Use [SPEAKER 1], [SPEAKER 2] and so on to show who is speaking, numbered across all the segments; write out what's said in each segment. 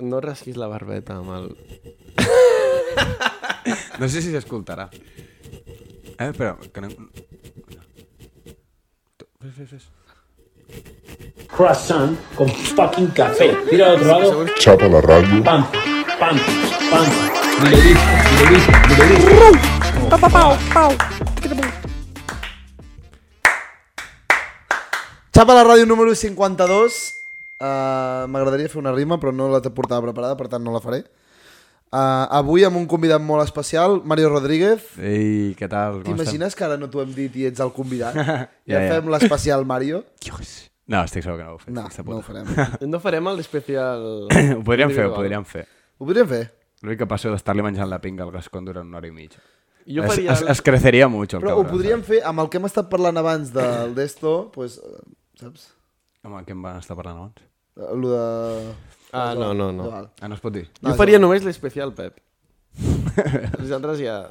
[SPEAKER 1] no rasquis la barbeta amb el...
[SPEAKER 2] No sé si s'escoltarà. Eh, però... Que no... Fes, fes, fes.
[SPEAKER 3] croissant con fucking café. Tira al otro lado.
[SPEAKER 4] Chapa la radio.
[SPEAKER 3] Pam, pam, pam. Mi lo dijo, mi lo dijo, mi lo dijo.
[SPEAKER 5] Xapa la ràdio número 52. Uh, M'agradaria fer una rima, però no la portava preparada, per tant no la faré. Uh, avui amb un convidat molt especial, Mario Rodríguez.
[SPEAKER 2] Ei, què tal? Com
[SPEAKER 5] T'imagines que ara no t'ho hem dit i ets el convidat? ja,
[SPEAKER 2] Ja,
[SPEAKER 5] ja
[SPEAKER 2] ja.
[SPEAKER 5] fem l'especial Mario?
[SPEAKER 2] estem? Dios. No, estic segur que no ho fes.
[SPEAKER 5] No,
[SPEAKER 2] aquesta
[SPEAKER 5] no ho
[SPEAKER 2] puta.
[SPEAKER 5] farem.
[SPEAKER 1] No farem el especial...
[SPEAKER 2] Ho podríem fer, ho
[SPEAKER 1] individual.
[SPEAKER 2] podríem fer.
[SPEAKER 5] Ho podríem fer?
[SPEAKER 2] L'únic que passa és estar-li menjant la pinga al gascón durant una hora i mitja.
[SPEAKER 1] Jo
[SPEAKER 2] es,
[SPEAKER 1] faria...
[SPEAKER 2] es, es creceria mucho, el
[SPEAKER 5] Però ho
[SPEAKER 2] cabrón.
[SPEAKER 5] podríem fer amb el que hem estat parlant abans del d'esto, pues, eh, saps?
[SPEAKER 2] Home, què em van estar parlant abans?
[SPEAKER 5] Lo de...
[SPEAKER 1] Ah, no, no, no.
[SPEAKER 5] Val.
[SPEAKER 2] Ah, no es pot dir?
[SPEAKER 1] Jo faria només l'especial, Pep. Els altres ja...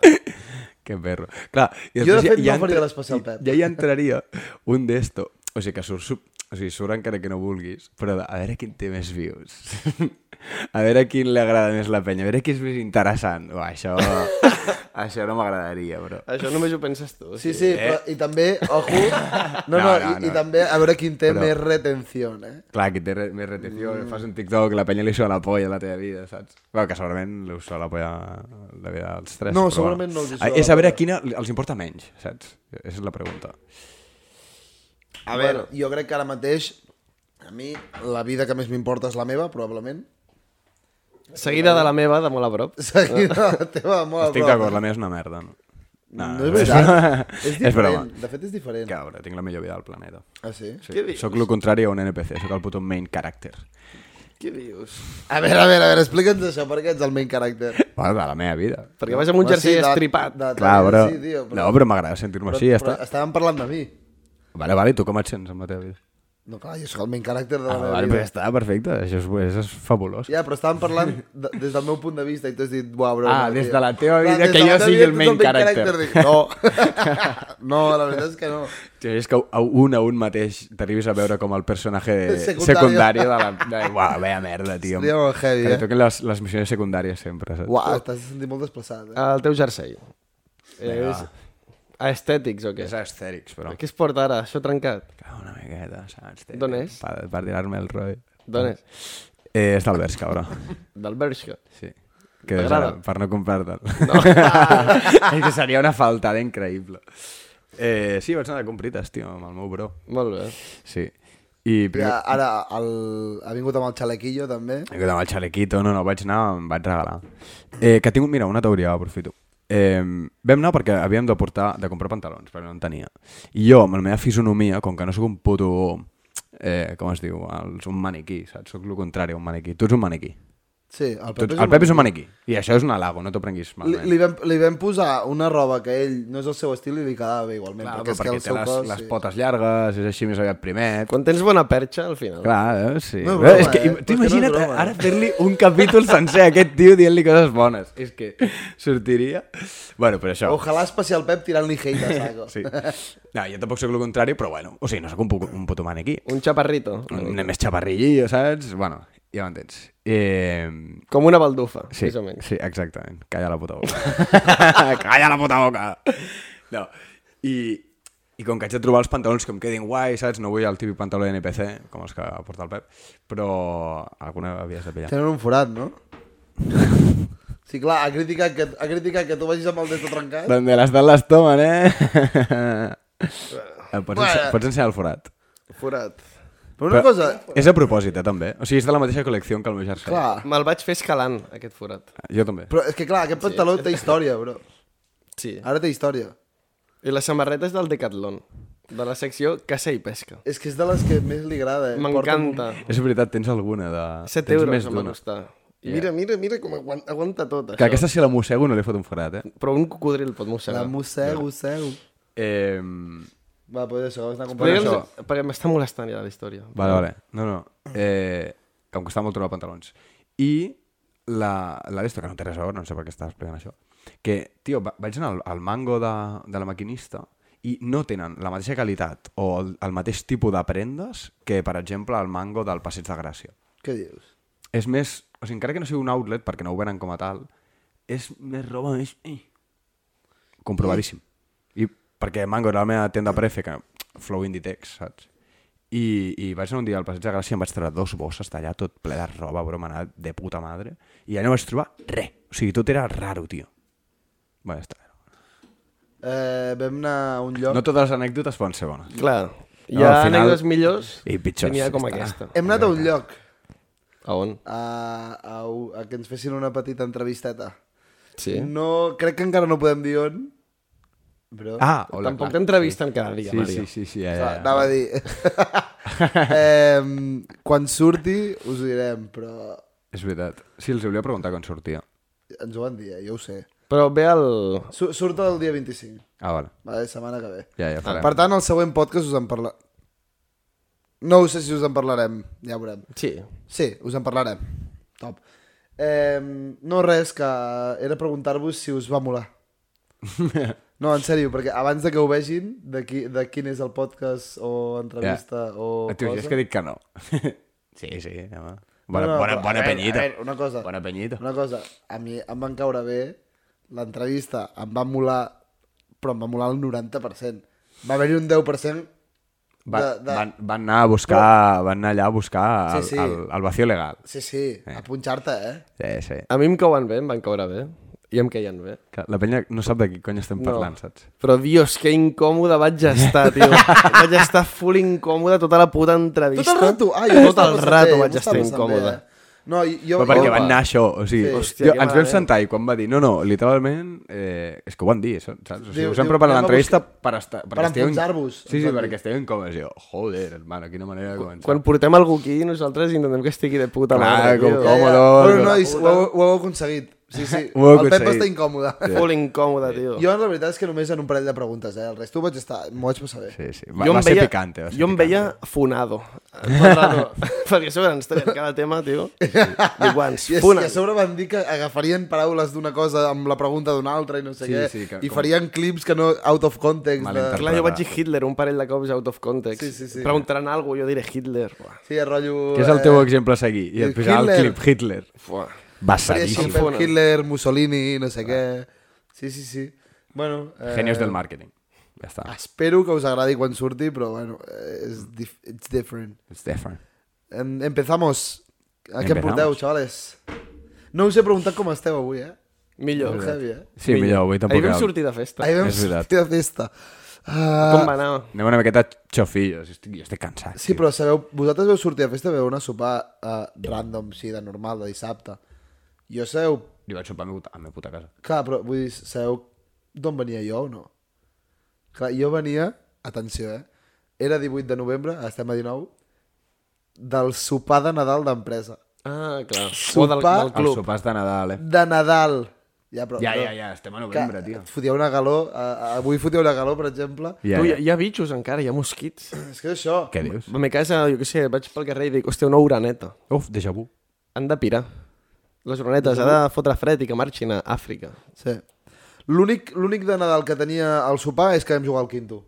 [SPEAKER 2] Que perro. Clar, i
[SPEAKER 5] Jo, de
[SPEAKER 2] després
[SPEAKER 5] fet, no
[SPEAKER 2] entra-
[SPEAKER 5] faria l'especial, Pep.
[SPEAKER 2] Ja hi entraria un d'esto. O sigui, que surt, sub... o sigui, surt encara que no vulguis, però de, a veure quin té més views. a veure quin li agrada més la penya, a veure qui és més interessant. Uah, això... això no m'agradaria, però...
[SPEAKER 1] Això només ho penses tu.
[SPEAKER 5] Sí, sí, però, i també, ojo... No,
[SPEAKER 2] Eh? No,
[SPEAKER 5] no, i,
[SPEAKER 2] no,
[SPEAKER 5] i
[SPEAKER 2] no.
[SPEAKER 5] també a veure quin té
[SPEAKER 2] Però-
[SPEAKER 5] més retenció, eh?
[SPEAKER 2] Clar, que té re més retenció, mm. fas un TikTok, la penya li sua la polla a la teva vida, saps? Bé, que segurament li sua la polla a la vida dels tres.
[SPEAKER 5] No,
[SPEAKER 2] però
[SPEAKER 5] segurament no els hi sua
[SPEAKER 2] Ah,
[SPEAKER 5] la
[SPEAKER 2] És a veure
[SPEAKER 5] polla.
[SPEAKER 2] quina els importa menys, saps? Esa és la pregunta.
[SPEAKER 5] A veure, bueno, jo crec que ara mateix a mi la vida que més m'importa és la meva, probablement.
[SPEAKER 1] Seguida de la meva, de molt a prop.
[SPEAKER 5] Seguida la teva molt a
[SPEAKER 2] Estic
[SPEAKER 5] prop.
[SPEAKER 2] d'acord, la meva és una merda, Ah, no?
[SPEAKER 5] No, no és veritat. és
[SPEAKER 2] És broma.
[SPEAKER 5] diferent. De fet, és diferent.
[SPEAKER 2] Cabra, tinc la millor vida del planeta.
[SPEAKER 5] Ah, sí?
[SPEAKER 1] Què dius?
[SPEAKER 2] Soc el contrari a un NPC, sóc el puto main character.
[SPEAKER 1] Què dius?
[SPEAKER 5] A veure, a veure, a veure, explica'ns això, perquè ets el main character.
[SPEAKER 2] Bueno, de la meva vida.
[SPEAKER 1] Perquè vas amb un
[SPEAKER 5] Bueno, sí,
[SPEAKER 1] jersei
[SPEAKER 5] de-
[SPEAKER 1] estripat.
[SPEAKER 5] de-
[SPEAKER 2] Clar, però...
[SPEAKER 5] Sí, tio, però-
[SPEAKER 2] No, però m'agrada sentir-me així, ja
[SPEAKER 5] però
[SPEAKER 2] està.
[SPEAKER 5] Estàvem parlant de mi.
[SPEAKER 2] Vale, vale, i tu com et sents amb la teva vida?
[SPEAKER 5] No, clar, jo sóc el main character de la
[SPEAKER 2] Ah,
[SPEAKER 5] meva
[SPEAKER 2] vale,
[SPEAKER 5] vida.
[SPEAKER 2] però ja està, perfecte, això és, això és fabulós.
[SPEAKER 5] Ja, però estàvem parlant de, des del meu punt de vista i tu has dit, buah, bro...
[SPEAKER 2] Ah,
[SPEAKER 5] no,
[SPEAKER 2] des
[SPEAKER 5] tio."
[SPEAKER 2] de la teva vida
[SPEAKER 5] des
[SPEAKER 2] que
[SPEAKER 5] de
[SPEAKER 2] jo
[SPEAKER 5] la teva
[SPEAKER 2] sigui
[SPEAKER 5] vida
[SPEAKER 2] el
[SPEAKER 5] tu ets
[SPEAKER 2] main character.
[SPEAKER 5] Dic, no, no, la veritat és que no.
[SPEAKER 2] Tio, és que a un a un mateix t'arribes a veure com el personatge
[SPEAKER 5] Secundari.
[SPEAKER 2] secundari de la... De... Uau, veia merda, tio.
[SPEAKER 5] Seria molt heavy,
[SPEAKER 2] que li
[SPEAKER 5] eh?
[SPEAKER 2] toquen les, les missions secundàries sempre, saps?
[SPEAKER 5] Uau, t'has sentit molt desplaçat,
[SPEAKER 2] Ah.
[SPEAKER 5] eh?
[SPEAKER 1] El teu jersei.
[SPEAKER 2] Vinga,
[SPEAKER 1] És... Aestètics o què?
[SPEAKER 2] És estèrics, però...
[SPEAKER 1] Què es porta ara? Això trencat?
[SPEAKER 2] Cago una miqueta, saps? Té-
[SPEAKER 1] D'on és?
[SPEAKER 2] Per, per tirar-me el rotllo.
[SPEAKER 1] D'on és?
[SPEAKER 2] Eh, és del Berç, cabró.
[SPEAKER 1] Del Bershka.
[SPEAKER 2] Sí. Que és
[SPEAKER 1] T'agrada?
[SPEAKER 2] ara, per no comprar-te'l. No. és que seria una faltada increïble. Eh, sí, vaig anar de comprites, tio, amb el meu bro.
[SPEAKER 1] Molt bé.
[SPEAKER 2] Sí. I primer...
[SPEAKER 5] Ja, ara el... ha vingut amb el xalequillo, també.
[SPEAKER 2] He quedat amb el xalequito, no, no, vaig anar, em vaig regalar. Eh, que tinc, mira, una teoria, aprofito. Eh, vam anar perquè havíem de portar, de comprar pantalons, però no en tenia. I jo, amb la meva fisonomia, com que no sóc un puto, eh, com es diu, els, un maniquí, saps? Sóc el contrari, a un maniquí. Tu ets un maniquí.
[SPEAKER 5] Sí, el
[SPEAKER 2] Tu,
[SPEAKER 5] Pep,
[SPEAKER 2] ets- el Pep és un eh. maniquí. I això és un halago, no t'ho prenguis
[SPEAKER 5] Li,
[SPEAKER 2] malament.
[SPEAKER 5] li, vam, li vam posar una roba que ell no és el seu estil i li quedava bé igualment.
[SPEAKER 2] Clar,
[SPEAKER 5] perquè,
[SPEAKER 2] perquè,
[SPEAKER 5] és que el
[SPEAKER 2] té
[SPEAKER 5] seu
[SPEAKER 2] les,
[SPEAKER 5] cos...
[SPEAKER 2] les
[SPEAKER 5] sí.
[SPEAKER 2] potes llargues, és així més aviat primet.
[SPEAKER 1] Quan tens bona perxa, al final.
[SPEAKER 2] Clar, eh? sí.
[SPEAKER 5] No
[SPEAKER 2] Però
[SPEAKER 5] és broma,
[SPEAKER 2] és que,
[SPEAKER 5] eh? Però és
[SPEAKER 2] tu
[SPEAKER 5] que no és
[SPEAKER 2] imagina't
[SPEAKER 5] broma.
[SPEAKER 2] ara fer-li un capítol sencer a aquest tio dient-li coses bones. És que sortiria... Bueno, però això...
[SPEAKER 5] Ojalà especial Pep tirant-li hate a saco.
[SPEAKER 2] Sí. No, jo tampoc sóc el contrari, però bueno. O sigui, no sóc un, pu- un puto maniquí.
[SPEAKER 1] Un xaparrito.
[SPEAKER 2] Un més xaparrillillo, saps? Bueno, ja m'entens. Eh...
[SPEAKER 1] Com una baldufa,
[SPEAKER 2] Sí,
[SPEAKER 1] més o menys.
[SPEAKER 2] sí, exactament. Calla la puta boca. Calla la puta boca! No, i, i com que haig de trobar els pantalons que em quedin guai, saps? No vull el típic pantaló de NPC, com els que porta el Pep, però alguna havies de pillar.
[SPEAKER 5] Tenen un forat, no? Sí, clar, ha criticat que, ha criticat que tu vagis amb el dedo trencat.
[SPEAKER 2] Donde las dan las toman, eh? Em pots, ense
[SPEAKER 5] Bueno.
[SPEAKER 2] pots ensenyar el forat.
[SPEAKER 1] Forat.
[SPEAKER 5] Però una cosa...
[SPEAKER 2] És a propòsit, eh, també. O sigui, és de la mateixa col·lecció que el meu jersei.
[SPEAKER 5] Clar,
[SPEAKER 1] Me'l vaig fer escalant, aquest forat.
[SPEAKER 2] Jo també.
[SPEAKER 5] Però és que clar, aquest pantaló té història, bro.
[SPEAKER 1] Sí.
[SPEAKER 5] Ara té història.
[SPEAKER 1] I la samarreta és del Decathlon, de la secció Caça i Pesca.
[SPEAKER 5] És que és de les que més li agrada. Eh?
[SPEAKER 1] M'encanta.
[SPEAKER 2] És veritat, tens alguna de...
[SPEAKER 1] 7
[SPEAKER 2] tens
[SPEAKER 1] euros
[SPEAKER 2] més
[SPEAKER 1] em van
[SPEAKER 2] d'una.
[SPEAKER 1] costar. I mira, mira, mira com aguanta, aguanta tot,
[SPEAKER 2] Que
[SPEAKER 1] això.
[SPEAKER 2] aquesta si la mossego no li fot un forat, eh?
[SPEAKER 1] Però un cocodril pot
[SPEAKER 5] Porta un-
[SPEAKER 1] mossegar.
[SPEAKER 5] La mossego, mossego.
[SPEAKER 2] eh...
[SPEAKER 5] Va, doncs això, vas anar a comprar
[SPEAKER 1] Digue'ls-
[SPEAKER 5] això.
[SPEAKER 1] Perquè m'està molestant ja la història.
[SPEAKER 2] Vale, vale. No, no. Eh... Que em costava molt trobar pantalons. I la, la d'esto, que no té res a veure, no sé per què estàs explicant això, que, tio, va, vaig anar al, al mango de, de la maquinista i no tenen la mateixa qualitat o el, el mateix tipus de prendes que, per exemple, el mango del Passeig de Gràcia.
[SPEAKER 5] Què dius?
[SPEAKER 2] és més O sigui, encara que no sigui un outlet, perquè no ho venen com a tal, és més roba més... Eh. Comprovadíssim. I perquè Mango era la meva tenda prefe, que flow inditex, saps? I, i vaig anar un dia al passeig de Gràcia i em vaig treure dos bosses d'allà tot ple de roba, bro, m'ha anat de puta madre. I allà no vaig trobar res. O sigui, tot era raro, tio. Bé, ja està.
[SPEAKER 5] Eh, vam anar a un lloc...
[SPEAKER 2] No totes les anècdotes poden ser bones.
[SPEAKER 1] Clar,
[SPEAKER 2] No,
[SPEAKER 1] hi ha
[SPEAKER 2] al final-
[SPEAKER 1] anècdotes millors
[SPEAKER 2] I pitjors,
[SPEAKER 1] n'hi ha com
[SPEAKER 2] ja està.
[SPEAKER 1] aquesta.
[SPEAKER 5] Hem anat a un lloc
[SPEAKER 1] A on?
[SPEAKER 5] a, a, u- a que ens fessin una petita entrevisteta.
[SPEAKER 1] Sí.
[SPEAKER 2] Mm.
[SPEAKER 5] No, crec que encara no podem dir on, però...
[SPEAKER 2] Ah, hola,
[SPEAKER 1] Tampoc
[SPEAKER 2] clar.
[SPEAKER 1] t'entrevisten cada dia,
[SPEAKER 2] Sí,
[SPEAKER 1] Mario.
[SPEAKER 2] sí, sí, sí, ja, ja,
[SPEAKER 5] Ja,
[SPEAKER 2] ja.
[SPEAKER 5] Anava a dir... eh, quan surti us ho direm, però
[SPEAKER 2] És veritat. Sí, els hauria de preguntar quan sortia.
[SPEAKER 5] ens ho van dir, eh? jo ho sé.
[SPEAKER 1] Però ve el...
[SPEAKER 5] Su surt el dia 25,
[SPEAKER 2] Ah, vale.
[SPEAKER 5] vale, setmana que ve.
[SPEAKER 2] Ja, ja farem.
[SPEAKER 5] Per tant, el següent podcast us en parla... No ho sé si us en parlarem, ja ho veurem.
[SPEAKER 1] Sí.
[SPEAKER 5] Sí, us en parlarem. Top. Eh, no res, que era preguntar-vos si us va molar. No, en sèrio, perquè abans de que ho vegin, de, qui, de quin és el podcast o entrevista yeah. o
[SPEAKER 2] Tio,
[SPEAKER 5] cosa...
[SPEAKER 2] és que dic que no. sí, sí, home.
[SPEAKER 5] No,
[SPEAKER 2] Bona,
[SPEAKER 5] no,
[SPEAKER 2] bona,
[SPEAKER 5] però,
[SPEAKER 2] bona
[SPEAKER 5] a veure,
[SPEAKER 2] penyita.
[SPEAKER 5] a veure, una cosa.
[SPEAKER 2] Bona penyita.
[SPEAKER 5] Una cosa, a mi em van caure bé l'entrevista, em va molar, però em va molar el 90%. Va haver-hi un 10%
[SPEAKER 2] Va,
[SPEAKER 5] de, de...
[SPEAKER 2] Van, van anar a buscar, van anar allà a buscar el,
[SPEAKER 5] Sí, sí.
[SPEAKER 2] El, el vacío legal.
[SPEAKER 5] Sí, sí, a punxar-te, eh?
[SPEAKER 2] Sí, sí.
[SPEAKER 1] A mi em cauen bé, em van caure bé. I em caien bé.
[SPEAKER 2] Que La penya no sap de qui cony estem parlant, saps?
[SPEAKER 1] Però, dios, que incòmode vaig estar, tio. vaig estar full incòmode tota la puta entrevista.
[SPEAKER 5] Tot el rato,
[SPEAKER 2] Ah,
[SPEAKER 5] ai, m'ho
[SPEAKER 1] Tot el
[SPEAKER 5] estava
[SPEAKER 1] Ah,
[SPEAKER 5] passant
[SPEAKER 1] rato
[SPEAKER 5] bé,
[SPEAKER 1] vaig
[SPEAKER 5] m'ho
[SPEAKER 1] estar
[SPEAKER 5] estava passant
[SPEAKER 1] incòmode.
[SPEAKER 5] bé, eh? No, i- jo...
[SPEAKER 2] Però perquè
[SPEAKER 5] jo-
[SPEAKER 2] van anar a això, o sigui,
[SPEAKER 5] Sí.
[SPEAKER 1] Hòstia,
[SPEAKER 2] jo,
[SPEAKER 1] que
[SPEAKER 2] ens vam
[SPEAKER 1] malament.
[SPEAKER 2] sentar i quan va dir, no, no, literalment, eh, és que ho van dir, saps? O sigui,
[SPEAKER 5] Diu-
[SPEAKER 2] us hem
[SPEAKER 5] diu,
[SPEAKER 2] preparat
[SPEAKER 5] anem a
[SPEAKER 2] l'entrevista per, estar,
[SPEAKER 5] per
[SPEAKER 2] estigueu in-
[SPEAKER 5] enfonsar-vos,
[SPEAKER 2] Sí,
[SPEAKER 5] ens
[SPEAKER 2] sí,
[SPEAKER 5] van dir.
[SPEAKER 2] perquè esteu incòmodes. Jo, joder, hermano, quina manera de començar.
[SPEAKER 1] Quan portem algú aquí, nosaltres intentem que estigui de puta
[SPEAKER 2] Clar,
[SPEAKER 1] mare,
[SPEAKER 2] com-
[SPEAKER 1] tio.
[SPEAKER 2] com- Còmode,
[SPEAKER 5] Bueno,
[SPEAKER 2] còmode.
[SPEAKER 5] nois, ho, heu- ho heu aconseguit. Sí, sí,
[SPEAKER 2] Ho heu
[SPEAKER 5] el Pep
[SPEAKER 2] aconseguit.
[SPEAKER 5] està incòmode.
[SPEAKER 1] Full incòmode, tio.
[SPEAKER 5] Jo, la veritat, és que només en un parell de preguntes, eh? El resto ho vaig estar... M'ho vaig passar bé.
[SPEAKER 2] Sí, sí. Va, va ser picante. Va ser
[SPEAKER 1] jo em
[SPEAKER 2] picante.
[SPEAKER 1] veia funado. Tot el rato. Perquè a sobre ens tenien cada tema, tio. Dic, guants,
[SPEAKER 5] I, és, I
[SPEAKER 1] funen.
[SPEAKER 5] a sobre van dir que agafarien paraules d'una cosa amb la pregunta d'una altra i no sé
[SPEAKER 2] Sí,
[SPEAKER 5] què,
[SPEAKER 2] sí, que-
[SPEAKER 5] i
[SPEAKER 2] com-
[SPEAKER 5] farien clips que no out of context.
[SPEAKER 2] Malinterpretat.
[SPEAKER 5] De...
[SPEAKER 1] Clar, jo vaig dir Hitler un parell de cops out of context.
[SPEAKER 5] Sí, sí, sí.
[SPEAKER 1] Preguntaran alguna cosa, jo diré Hitler. Buah.
[SPEAKER 5] Sí, el rotllo... eh,
[SPEAKER 2] Què és el teu exemple a seguir? I
[SPEAKER 5] diu
[SPEAKER 2] et posarà el
[SPEAKER 5] Hitler.
[SPEAKER 2] clip Hitler.
[SPEAKER 1] Buah.
[SPEAKER 5] Faria així,
[SPEAKER 2] Basadíssim.
[SPEAKER 5] Pep
[SPEAKER 1] Fonen.
[SPEAKER 5] Hitler, Mussolini, no sé què... Sí, sí, sí. Bueno... Eh,
[SPEAKER 2] Genios del marketing. Ja està.
[SPEAKER 5] Espero que us agradi quan surti, però bueno, eh, és dif it's different.
[SPEAKER 2] It's different.
[SPEAKER 5] Em empezamos. A què em
[SPEAKER 2] Empezamos.
[SPEAKER 5] porteu, xavales? No us he preguntat com esteu avui, eh?
[SPEAKER 1] Millor.
[SPEAKER 5] Molt heavy, eh?
[SPEAKER 2] Sí, millor, avui tampoc...
[SPEAKER 1] Ahir vam
[SPEAKER 2] era-
[SPEAKER 1] sortir de festa.
[SPEAKER 5] Ahir vam
[SPEAKER 2] És veritat.
[SPEAKER 5] sortir de festa. Ah,
[SPEAKER 1] Com va anar?
[SPEAKER 2] Anem una miqueta xofillos. Estic, jo estic cansat.
[SPEAKER 5] Sí, però sabeu, vosaltres veu sortir a festa, veu anar a sopar uh, random, sí, de normal, de dissabte. Jo sabeu...
[SPEAKER 2] Jo vaig sopar a mi puta- a la meva puta casa.
[SPEAKER 5] Clar, però vull dir, sabeu d'on venia jo o no? Clar, jo venia... Atenció, eh? Era 18 de novembre, estem a 19, del sopar de Nadal d'empresa.
[SPEAKER 1] Ah, clar. o del,
[SPEAKER 5] Sopar-
[SPEAKER 1] del club.
[SPEAKER 2] Els sopars de Nadal, eh?
[SPEAKER 5] De Nadal! Ja, però...
[SPEAKER 2] Ja,
[SPEAKER 5] no.
[SPEAKER 2] ja, ja, estem a
[SPEAKER 5] Que
[SPEAKER 2] novembre, tio.
[SPEAKER 5] Fotia una calor, uh, avui fotia una calor, per exemple.
[SPEAKER 2] Ja,
[SPEAKER 1] tu, hi,
[SPEAKER 2] ja.
[SPEAKER 1] ha- hi ha bitxos encara, hi ha mosquits.
[SPEAKER 5] És que és això.
[SPEAKER 2] Què dius?
[SPEAKER 1] A mi casa, jo què sé, vaig pel carrer i dic, hòstia, una oraneta.
[SPEAKER 2] Uf, déjà vu.
[SPEAKER 1] Han de pirar. Les oranetes, ha de fotre fred i que marxin a Àfrica.
[SPEAKER 5] Sí. L'únic l'únic de Nadal que tenia al sopar és que vam jugar al quinto.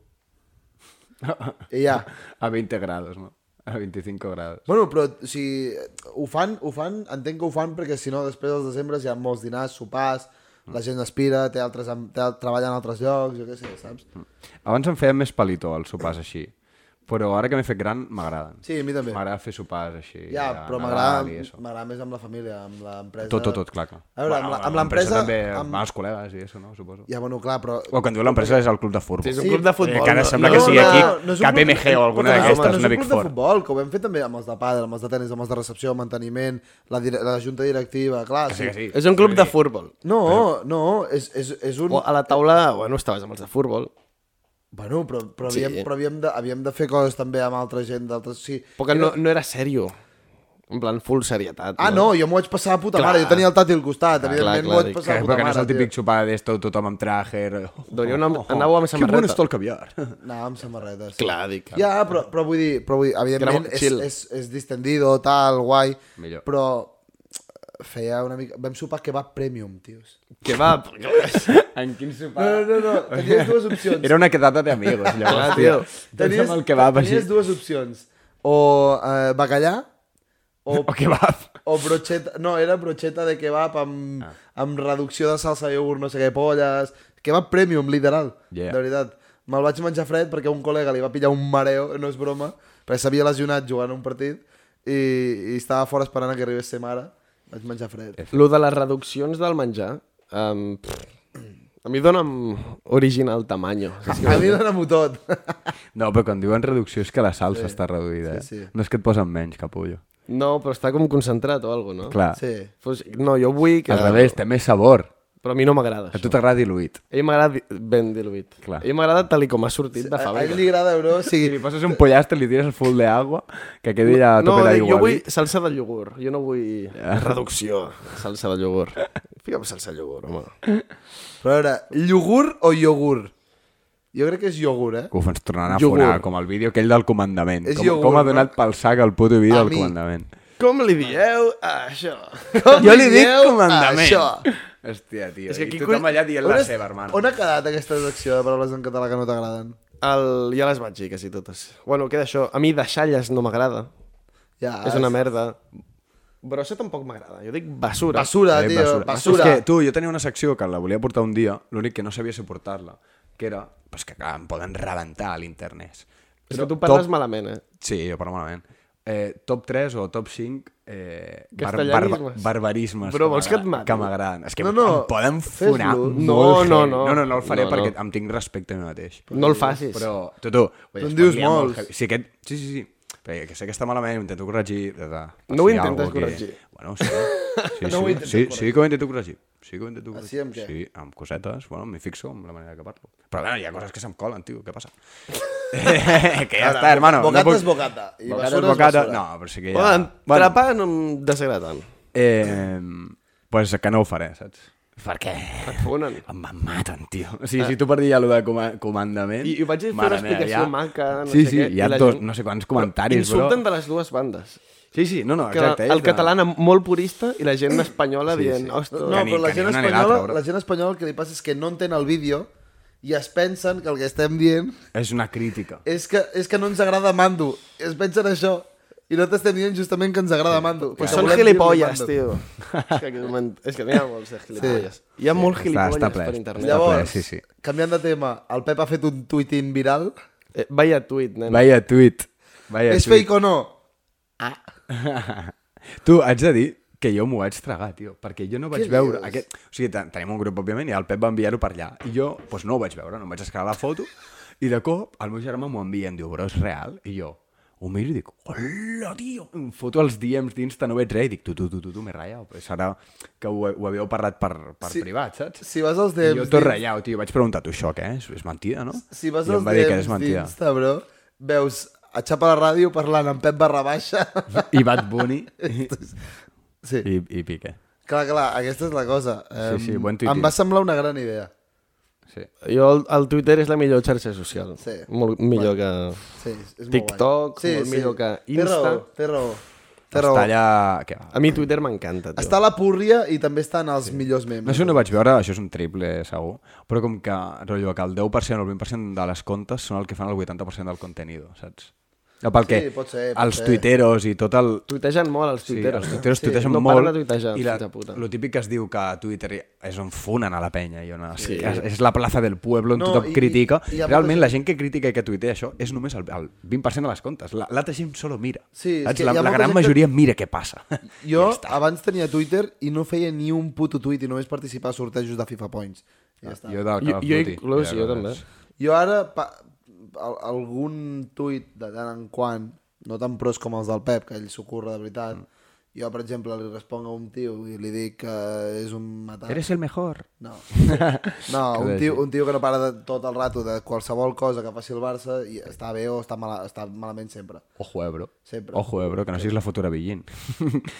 [SPEAKER 5] I ja.
[SPEAKER 2] A 20 grados, no? A 25 grados.
[SPEAKER 5] Bueno, però o sigui, ho fan, ho fan, entenc que ho fan perquè si no després dels decembres hi ha molts dinars, sopars,
[SPEAKER 2] Mm.
[SPEAKER 5] la gent aspira, té altres, am- té, treballa en altres llocs, jo què sé, saps?
[SPEAKER 2] Abans em feien més palito els sopars així. Però ara que m'he fet gran, m'agraden.
[SPEAKER 5] Sí, a mi també.
[SPEAKER 2] M'agrada fer sopars així.
[SPEAKER 5] Ja,
[SPEAKER 2] de
[SPEAKER 5] però
[SPEAKER 2] Nadal i
[SPEAKER 5] m'agrada
[SPEAKER 2] això.
[SPEAKER 5] m'agrada més amb la família, amb l'empresa.
[SPEAKER 2] Tot, tot, tot, clar, clar.
[SPEAKER 5] A veure, amb la- amb l'empresa-
[SPEAKER 2] també,
[SPEAKER 5] amb-
[SPEAKER 2] amb... els col·legues i això, no? Suposo.
[SPEAKER 5] Ja, bueno, clar, però...
[SPEAKER 2] O quan diu l'empresa és el club de furbo.
[SPEAKER 1] Sí, és un club de futbol.
[SPEAKER 2] Eh, que ara
[SPEAKER 1] no?
[SPEAKER 2] sembla
[SPEAKER 1] no,
[SPEAKER 2] que sigui
[SPEAKER 1] no,
[SPEAKER 2] aquí.
[SPEAKER 1] no.
[SPEAKER 5] és un
[SPEAKER 2] KPMG
[SPEAKER 5] club-
[SPEAKER 2] o alguna
[SPEAKER 5] Però no,
[SPEAKER 2] d'aquestes,
[SPEAKER 5] home,
[SPEAKER 2] una Big
[SPEAKER 5] No és un club
[SPEAKER 2] Four.
[SPEAKER 5] de futbol, que ho hem fet també amb els de pàdel, amb els de tenis, amb els de recepció, manteniment, la, dire la junta directiva, clar.
[SPEAKER 2] Sí, que sí.
[SPEAKER 1] És un club de futbol.
[SPEAKER 5] No, no, és, és, és un...
[SPEAKER 1] O a la taula, bueno, estaves amb els de futbol.
[SPEAKER 5] Bueno, però, però,
[SPEAKER 1] Sí.
[SPEAKER 5] havíem, però havíem, de, havíem de fer coses també amb altra gent, d'altres... Sí.
[SPEAKER 1] Però que no, no era sèrio. En plan, full serietat.
[SPEAKER 5] Ah, no, jo m'ho vaig passar a puta clar. mare, jo tenia el tati al costat, clar, evidentment
[SPEAKER 1] clar,
[SPEAKER 5] m'ho vaig
[SPEAKER 1] dic,
[SPEAKER 5] passar
[SPEAKER 2] Que,
[SPEAKER 5] a puta
[SPEAKER 2] perquè no
[SPEAKER 5] mare.
[SPEAKER 2] és el típic sopar d'esto, tothom amb traje...
[SPEAKER 1] Doncs jo anava- anava amb
[SPEAKER 2] Que
[SPEAKER 1] samarreta.
[SPEAKER 2] bon està el caviar.
[SPEAKER 5] Tio. Anava amb samarretes.
[SPEAKER 1] Clar, dic.
[SPEAKER 5] Ja, però, però vull dir, però vull dir evidentment
[SPEAKER 1] molt
[SPEAKER 5] és,
[SPEAKER 1] chill.
[SPEAKER 5] és, és distendido, tal, guai,
[SPEAKER 2] Millor.
[SPEAKER 5] però feia una mica... Vam sopar que va premium, tios.
[SPEAKER 1] Que va...
[SPEAKER 2] En quin sopar?
[SPEAKER 5] No, no, no, tenies dues opcions.
[SPEAKER 2] Era una quedada de amigos, llavors,
[SPEAKER 1] Clar,
[SPEAKER 2] tio.
[SPEAKER 1] tio.
[SPEAKER 2] Tenies, amb el kebab així.
[SPEAKER 5] tenies dues opcions. O eh, bacallà, o,
[SPEAKER 2] O kebab.
[SPEAKER 5] O brocheta... No, era brocheta de kebab amb, ah. amb reducció de salsa, iogurt, no sé què, polles... Kebab premium, literal,
[SPEAKER 2] Yeah.
[SPEAKER 5] de veritat. Me'l vaig menjar fred perquè un col·lega li va pillar un mareo, no és broma, perquè s'havia lesionat jugant un partit i, i estava fora esperant a que arribés ser mare. Vaig menjar
[SPEAKER 2] Eh,
[SPEAKER 5] fred.
[SPEAKER 1] Lo de les reduccions del menjar, um, a mi dona'm original tamaño. saps què
[SPEAKER 5] A
[SPEAKER 1] vull
[SPEAKER 5] mi
[SPEAKER 1] dir?
[SPEAKER 5] dóna-m'ho tot.
[SPEAKER 2] No, però quan diuen reducció és que la salsa sí. està reduïda.
[SPEAKER 5] Sí,
[SPEAKER 2] Sí,
[SPEAKER 5] sí.
[SPEAKER 2] sí. No és que et posen menys, capullo.
[SPEAKER 1] No, però està com concentrat o alguna no?
[SPEAKER 2] Clar, Oh, sí,
[SPEAKER 5] Sí.
[SPEAKER 1] Pues, no, jo vull que...
[SPEAKER 2] al revés, té més sabor.
[SPEAKER 1] Però a mi no m'agrada.
[SPEAKER 2] A
[SPEAKER 1] això.
[SPEAKER 2] tu t'agrada diluït.
[SPEAKER 1] A mi m'agrada di- ben diluït.
[SPEAKER 2] Clar.
[SPEAKER 1] A mi m'agrada tal i com ha sortit de
[SPEAKER 5] A, a ell
[SPEAKER 1] fàbrica.
[SPEAKER 5] li agrada, bro. O
[SPEAKER 2] Si
[SPEAKER 5] sigui,
[SPEAKER 2] li passes un pollastre, li tires el full d'aigua, que quedi allà a
[SPEAKER 1] No,
[SPEAKER 2] tope
[SPEAKER 1] dic,
[SPEAKER 2] d'aigua.
[SPEAKER 1] jo vull salsa de iogurt. Jo no vull reducció. Salsa de iogurt. Fica'm salsa de iogurt, home.
[SPEAKER 5] Però a veure, iogurt o iogurt? Jo crec que és iogurt, eh?
[SPEAKER 2] Que ho ens tornaran a
[SPEAKER 1] Iogurt.
[SPEAKER 2] fonar, com el vídeo aquell del comandament.
[SPEAKER 5] És
[SPEAKER 2] Com,
[SPEAKER 5] iogurt,
[SPEAKER 2] com ha
[SPEAKER 5] no?
[SPEAKER 2] donat pel sac el puto vídeo
[SPEAKER 5] A
[SPEAKER 2] del
[SPEAKER 5] mi.
[SPEAKER 2] comandament.
[SPEAKER 1] Com li dieu a això?
[SPEAKER 2] Jo li dic
[SPEAKER 5] dieu
[SPEAKER 2] comandament.
[SPEAKER 5] Això.
[SPEAKER 2] Hòstia, tio.
[SPEAKER 1] És que
[SPEAKER 2] I
[SPEAKER 1] aquí
[SPEAKER 2] tothom
[SPEAKER 1] coi-
[SPEAKER 2] allà dient
[SPEAKER 5] On,
[SPEAKER 2] la
[SPEAKER 5] és,
[SPEAKER 2] seva, hermano.
[SPEAKER 5] on ha quedat aquesta secció de paraules en català que no t'agraden?
[SPEAKER 1] El, ja les vaig dir, quasi totes. Bueno, queda això. A mi deixalles no m'agrada.
[SPEAKER 5] Ja,
[SPEAKER 1] És una merda. Brossa tampoc m'agrada. Jo dic basura.
[SPEAKER 5] Basura,
[SPEAKER 2] Eh,
[SPEAKER 5] tio, basura.
[SPEAKER 2] És que, tu, jo tenia una secció que la volia portar un dia, l'únic que no sabia si portar-la, que era, pues que clar, em poden rebentar a l'internet.
[SPEAKER 1] És que tu
[SPEAKER 2] Top-
[SPEAKER 1] parles malament, eh?
[SPEAKER 2] Sí, jo parlo malament. Eh, top 3 o top 5 eh, bar
[SPEAKER 1] Castellanismes.
[SPEAKER 2] barba- barbarismes
[SPEAKER 1] Bro, vols que et
[SPEAKER 2] m'agraden-
[SPEAKER 1] matin?
[SPEAKER 2] que m'agraden és que
[SPEAKER 5] No,
[SPEAKER 2] no,
[SPEAKER 5] no,
[SPEAKER 2] no, em poden
[SPEAKER 5] fes-lo.
[SPEAKER 2] fonar
[SPEAKER 5] No,
[SPEAKER 2] molt
[SPEAKER 1] no,
[SPEAKER 2] heavy.
[SPEAKER 1] no.
[SPEAKER 2] no, no, no el faré
[SPEAKER 1] No, no.
[SPEAKER 2] perquè em tinc respecte a mi mateix
[SPEAKER 1] No el facis.
[SPEAKER 2] però, tu, tu,
[SPEAKER 5] Tu en dius molts.
[SPEAKER 2] Sí, aquest... sí, sí, sí. Perquè que sé que està malament, ho intento corregir. De, de, per
[SPEAKER 1] No ho
[SPEAKER 2] si hi ha
[SPEAKER 1] intentes
[SPEAKER 2] algú que-
[SPEAKER 1] corregir.
[SPEAKER 2] Bueno, sí. Sí,
[SPEAKER 5] No
[SPEAKER 2] sí,
[SPEAKER 5] ho intentes
[SPEAKER 2] sí,
[SPEAKER 5] corregir.
[SPEAKER 2] sí que ho intento corregir. Sí que ho intento corregir.
[SPEAKER 5] sí, amb què?
[SPEAKER 2] Sí, amb cosetes. Bueno, m'hi fixo amb la manera que parlo. Però bueno, hi ha coses que se'm colen, tio. Què passa? Eh, que ja
[SPEAKER 5] Ara,
[SPEAKER 2] està, hermano.
[SPEAKER 5] bocata és bocata, i
[SPEAKER 2] bocata
[SPEAKER 5] basura
[SPEAKER 2] és
[SPEAKER 5] és
[SPEAKER 2] bocata.
[SPEAKER 5] basura.
[SPEAKER 2] No, però sí que ja...
[SPEAKER 1] Bueno, entrepà no em desagrada tant.
[SPEAKER 2] Eh, pues que no ho faré, saps? Per què?
[SPEAKER 1] Fonen.
[SPEAKER 2] Em em maten, tio. O sigui, si tu per dir allò de coma- comandament...
[SPEAKER 1] I, i vaig fer
[SPEAKER 2] mare
[SPEAKER 1] una
[SPEAKER 2] meva,
[SPEAKER 1] explicació maca, no
[SPEAKER 2] sí,
[SPEAKER 1] sé
[SPEAKER 2] sí,
[SPEAKER 1] què.
[SPEAKER 2] hi ha
[SPEAKER 1] i la
[SPEAKER 2] dos, no sé quants comentaris,
[SPEAKER 1] però... Insulten
[SPEAKER 2] bro.
[SPEAKER 1] de les dues bandes.
[SPEAKER 2] Sí, sí, no, no,
[SPEAKER 1] Que
[SPEAKER 2] exacte.
[SPEAKER 1] el
[SPEAKER 2] és de-
[SPEAKER 1] català molt purista i la gent espanyola
[SPEAKER 2] Sí,
[SPEAKER 1] dient,
[SPEAKER 2] sí.
[SPEAKER 1] ostres...
[SPEAKER 5] No,
[SPEAKER 2] Que ni-
[SPEAKER 5] però
[SPEAKER 2] que
[SPEAKER 5] la
[SPEAKER 2] ni
[SPEAKER 5] gent,
[SPEAKER 2] una ni
[SPEAKER 5] espanyola,
[SPEAKER 2] l'altra, bro.
[SPEAKER 5] la gent espanyola el que li passa és que no entén el vídeo i es pensen que el que estem dient
[SPEAKER 2] És una crítica.
[SPEAKER 1] Eh,
[SPEAKER 5] és que, és que no ens agrada Mando. Es pensen això. I no t'estem dient justament que ens agrada Mando.
[SPEAKER 1] Pues
[SPEAKER 5] que
[SPEAKER 1] són
[SPEAKER 5] volem dir-li
[SPEAKER 1] gilipolles,
[SPEAKER 5] Mando.
[SPEAKER 1] tio. és, que, men- és que n'hi ha molts de gilipolles. Hi ha molt
[SPEAKER 2] està-
[SPEAKER 1] gilipolles
[SPEAKER 2] està ple,
[SPEAKER 1] per internet.
[SPEAKER 2] està
[SPEAKER 5] Llavors,
[SPEAKER 2] ple, sí, sí.
[SPEAKER 5] canviant de tema, el Pep ha fet un tuitin viral.
[SPEAKER 1] Eh, vaya tuit, nen.
[SPEAKER 2] Vaya tuit. Vaya
[SPEAKER 5] és
[SPEAKER 2] tuit.
[SPEAKER 5] fake o no?
[SPEAKER 2] Tu, haig de dir que jo m'ho vaig tragar, tio, perquè jo no vaig
[SPEAKER 5] Què
[SPEAKER 2] veure...
[SPEAKER 5] dius?
[SPEAKER 2] Aquest... O sigui, ten- tenim un grup, òbviament, i el Pep va enviar-ho per allà. I jo, doncs no ho vaig veure, no em vaig escalar la foto, i de cop el meu germà m'ho envia, em diu, però és real? I jo ho miro i dic, hola, tio! Em foto els DMs d'Insta, no veig res, i dic, tu, tu, tu, tu, tu m'he ratllat. Pues ara que ho, ho havíeu parlat per, per
[SPEAKER 5] Sí.
[SPEAKER 2] sí. privat, saps?
[SPEAKER 5] Si vas als
[SPEAKER 2] I
[SPEAKER 5] DMs...
[SPEAKER 2] jo tot
[SPEAKER 5] d'Insta-
[SPEAKER 2] ratllat, tio, vaig preguntar, tu, això què és? És mentida, no?
[SPEAKER 5] Si vas
[SPEAKER 2] I
[SPEAKER 5] als
[SPEAKER 2] em va dir que
[SPEAKER 5] DMs
[SPEAKER 2] és mentida.
[SPEAKER 5] d'Insta, bro, veus a xapa la ràdio parlant amb Pep barra baixa.
[SPEAKER 2] I Bad Bunny i,
[SPEAKER 5] sí,
[SPEAKER 2] i, i Piqué.
[SPEAKER 5] clar, clar, aquesta és la cosa.
[SPEAKER 2] Sí,
[SPEAKER 5] Em-
[SPEAKER 2] sí, bon tuitin.
[SPEAKER 5] Em va semblar una gran idea.
[SPEAKER 2] Sí.
[SPEAKER 1] Jo, el, el Twitter és la millor xarxa social.
[SPEAKER 5] Sí.
[SPEAKER 1] Molt millor que...
[SPEAKER 5] Sí, és és molt
[SPEAKER 1] TikTok,
[SPEAKER 5] guai. sí,
[SPEAKER 1] molt
[SPEAKER 5] sí.
[SPEAKER 1] millor que
[SPEAKER 5] Té raó,
[SPEAKER 1] Insta.
[SPEAKER 5] té raó. Té raó.
[SPEAKER 2] Està allà... Què va?
[SPEAKER 1] A mi Twitter m'encanta, tio.
[SPEAKER 5] Està a la púrria i també estan els millors
[SPEAKER 2] No
[SPEAKER 5] memes.
[SPEAKER 2] sé on ho vaig veure, això és un triple, segur, però com que, rotllo, que el 10% o el 20% de les comptes són el que fan el 80% del contenido, saps? No, pel
[SPEAKER 5] Sí,
[SPEAKER 2] que
[SPEAKER 5] pot ser, pot
[SPEAKER 2] els
[SPEAKER 5] ser.
[SPEAKER 2] tuiteros i tot el...
[SPEAKER 1] Tuitegen molt els
[SPEAKER 2] Sí,
[SPEAKER 1] tuiteros.
[SPEAKER 2] els tuiteros
[SPEAKER 1] Sí,
[SPEAKER 2] tuitegen
[SPEAKER 1] no
[SPEAKER 2] molt
[SPEAKER 1] No de tuitejar,
[SPEAKER 2] i
[SPEAKER 1] la...
[SPEAKER 2] la,
[SPEAKER 1] fills de puta.
[SPEAKER 2] lo típic que es diu que a Twitter és on funen a la penya i on es,
[SPEAKER 1] Sí.
[SPEAKER 2] sí. és, és la plaça del poble on
[SPEAKER 5] No,
[SPEAKER 2] no, tothom
[SPEAKER 5] i-
[SPEAKER 2] i, critica i,
[SPEAKER 5] i hi ha
[SPEAKER 2] i realment
[SPEAKER 5] molta
[SPEAKER 2] la gent que critica i que tuitea això és només el, el 20% de les comptes La- l'altra gent solo mira
[SPEAKER 5] Sí, és
[SPEAKER 2] Saps?
[SPEAKER 5] que
[SPEAKER 2] la,
[SPEAKER 5] hi
[SPEAKER 2] la
[SPEAKER 5] ha molta
[SPEAKER 2] gran
[SPEAKER 5] gent que-
[SPEAKER 2] majoria mira què passa
[SPEAKER 5] Jo abans tenia Twitter i no feia ni un puto tuit i només participava a sortejos de FIFA Points. I ja
[SPEAKER 2] Ah,
[SPEAKER 5] està.
[SPEAKER 2] jo, del Call
[SPEAKER 1] Jo,
[SPEAKER 2] of
[SPEAKER 1] jo
[SPEAKER 2] Duty,
[SPEAKER 1] inclús,
[SPEAKER 2] ja
[SPEAKER 1] jo
[SPEAKER 2] veuràs.
[SPEAKER 1] també.
[SPEAKER 5] Jo ara, pa, al, algun tuit de tant en quant, no tan pros com els del Pep, que ell s'ho curra de veritat,
[SPEAKER 2] Mm.
[SPEAKER 5] jo, per exemple, li responc a un tio i li dic que és un matat.
[SPEAKER 2] Eres el mejor
[SPEAKER 5] No, no un, tio, un tio que no para de, tot el rato de qualsevol cosa que faci el Barça i està bé o està, mala, està malament sempre.
[SPEAKER 2] Ojo, eh, bro.
[SPEAKER 5] Sempre.
[SPEAKER 2] Ojo, eh, bro, que no siguis la futura Villín.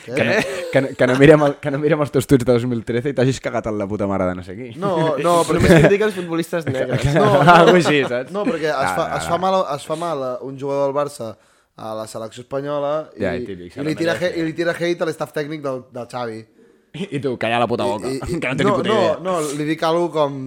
[SPEAKER 2] Que no, que, no, que, no mirem el, que no mirem els teus tuits de 2013 i t'hagis cagat en la puta mare de no sé qui.
[SPEAKER 5] No, Oh, no, però
[SPEAKER 1] Només critica els futbolistes negres.
[SPEAKER 2] no, no. Algo així, saps?
[SPEAKER 5] No, perquè es,
[SPEAKER 2] No,
[SPEAKER 5] fa,
[SPEAKER 2] no,
[SPEAKER 5] es,
[SPEAKER 2] no.
[SPEAKER 5] fa mal, es fa mal a un jugador del Barça a la selecció espanyola i,
[SPEAKER 2] Ja, i típic, se
[SPEAKER 5] i, li,
[SPEAKER 2] la
[SPEAKER 5] tira,
[SPEAKER 2] merece.
[SPEAKER 5] he- i li tira hate a l'estaf tècnic del, del Xavi.
[SPEAKER 2] I tu, calla la puta boca,
[SPEAKER 5] I, i,
[SPEAKER 2] que no tens ni
[SPEAKER 5] no,
[SPEAKER 2] puta
[SPEAKER 5] no,
[SPEAKER 2] idea.
[SPEAKER 5] no, li dic alguna com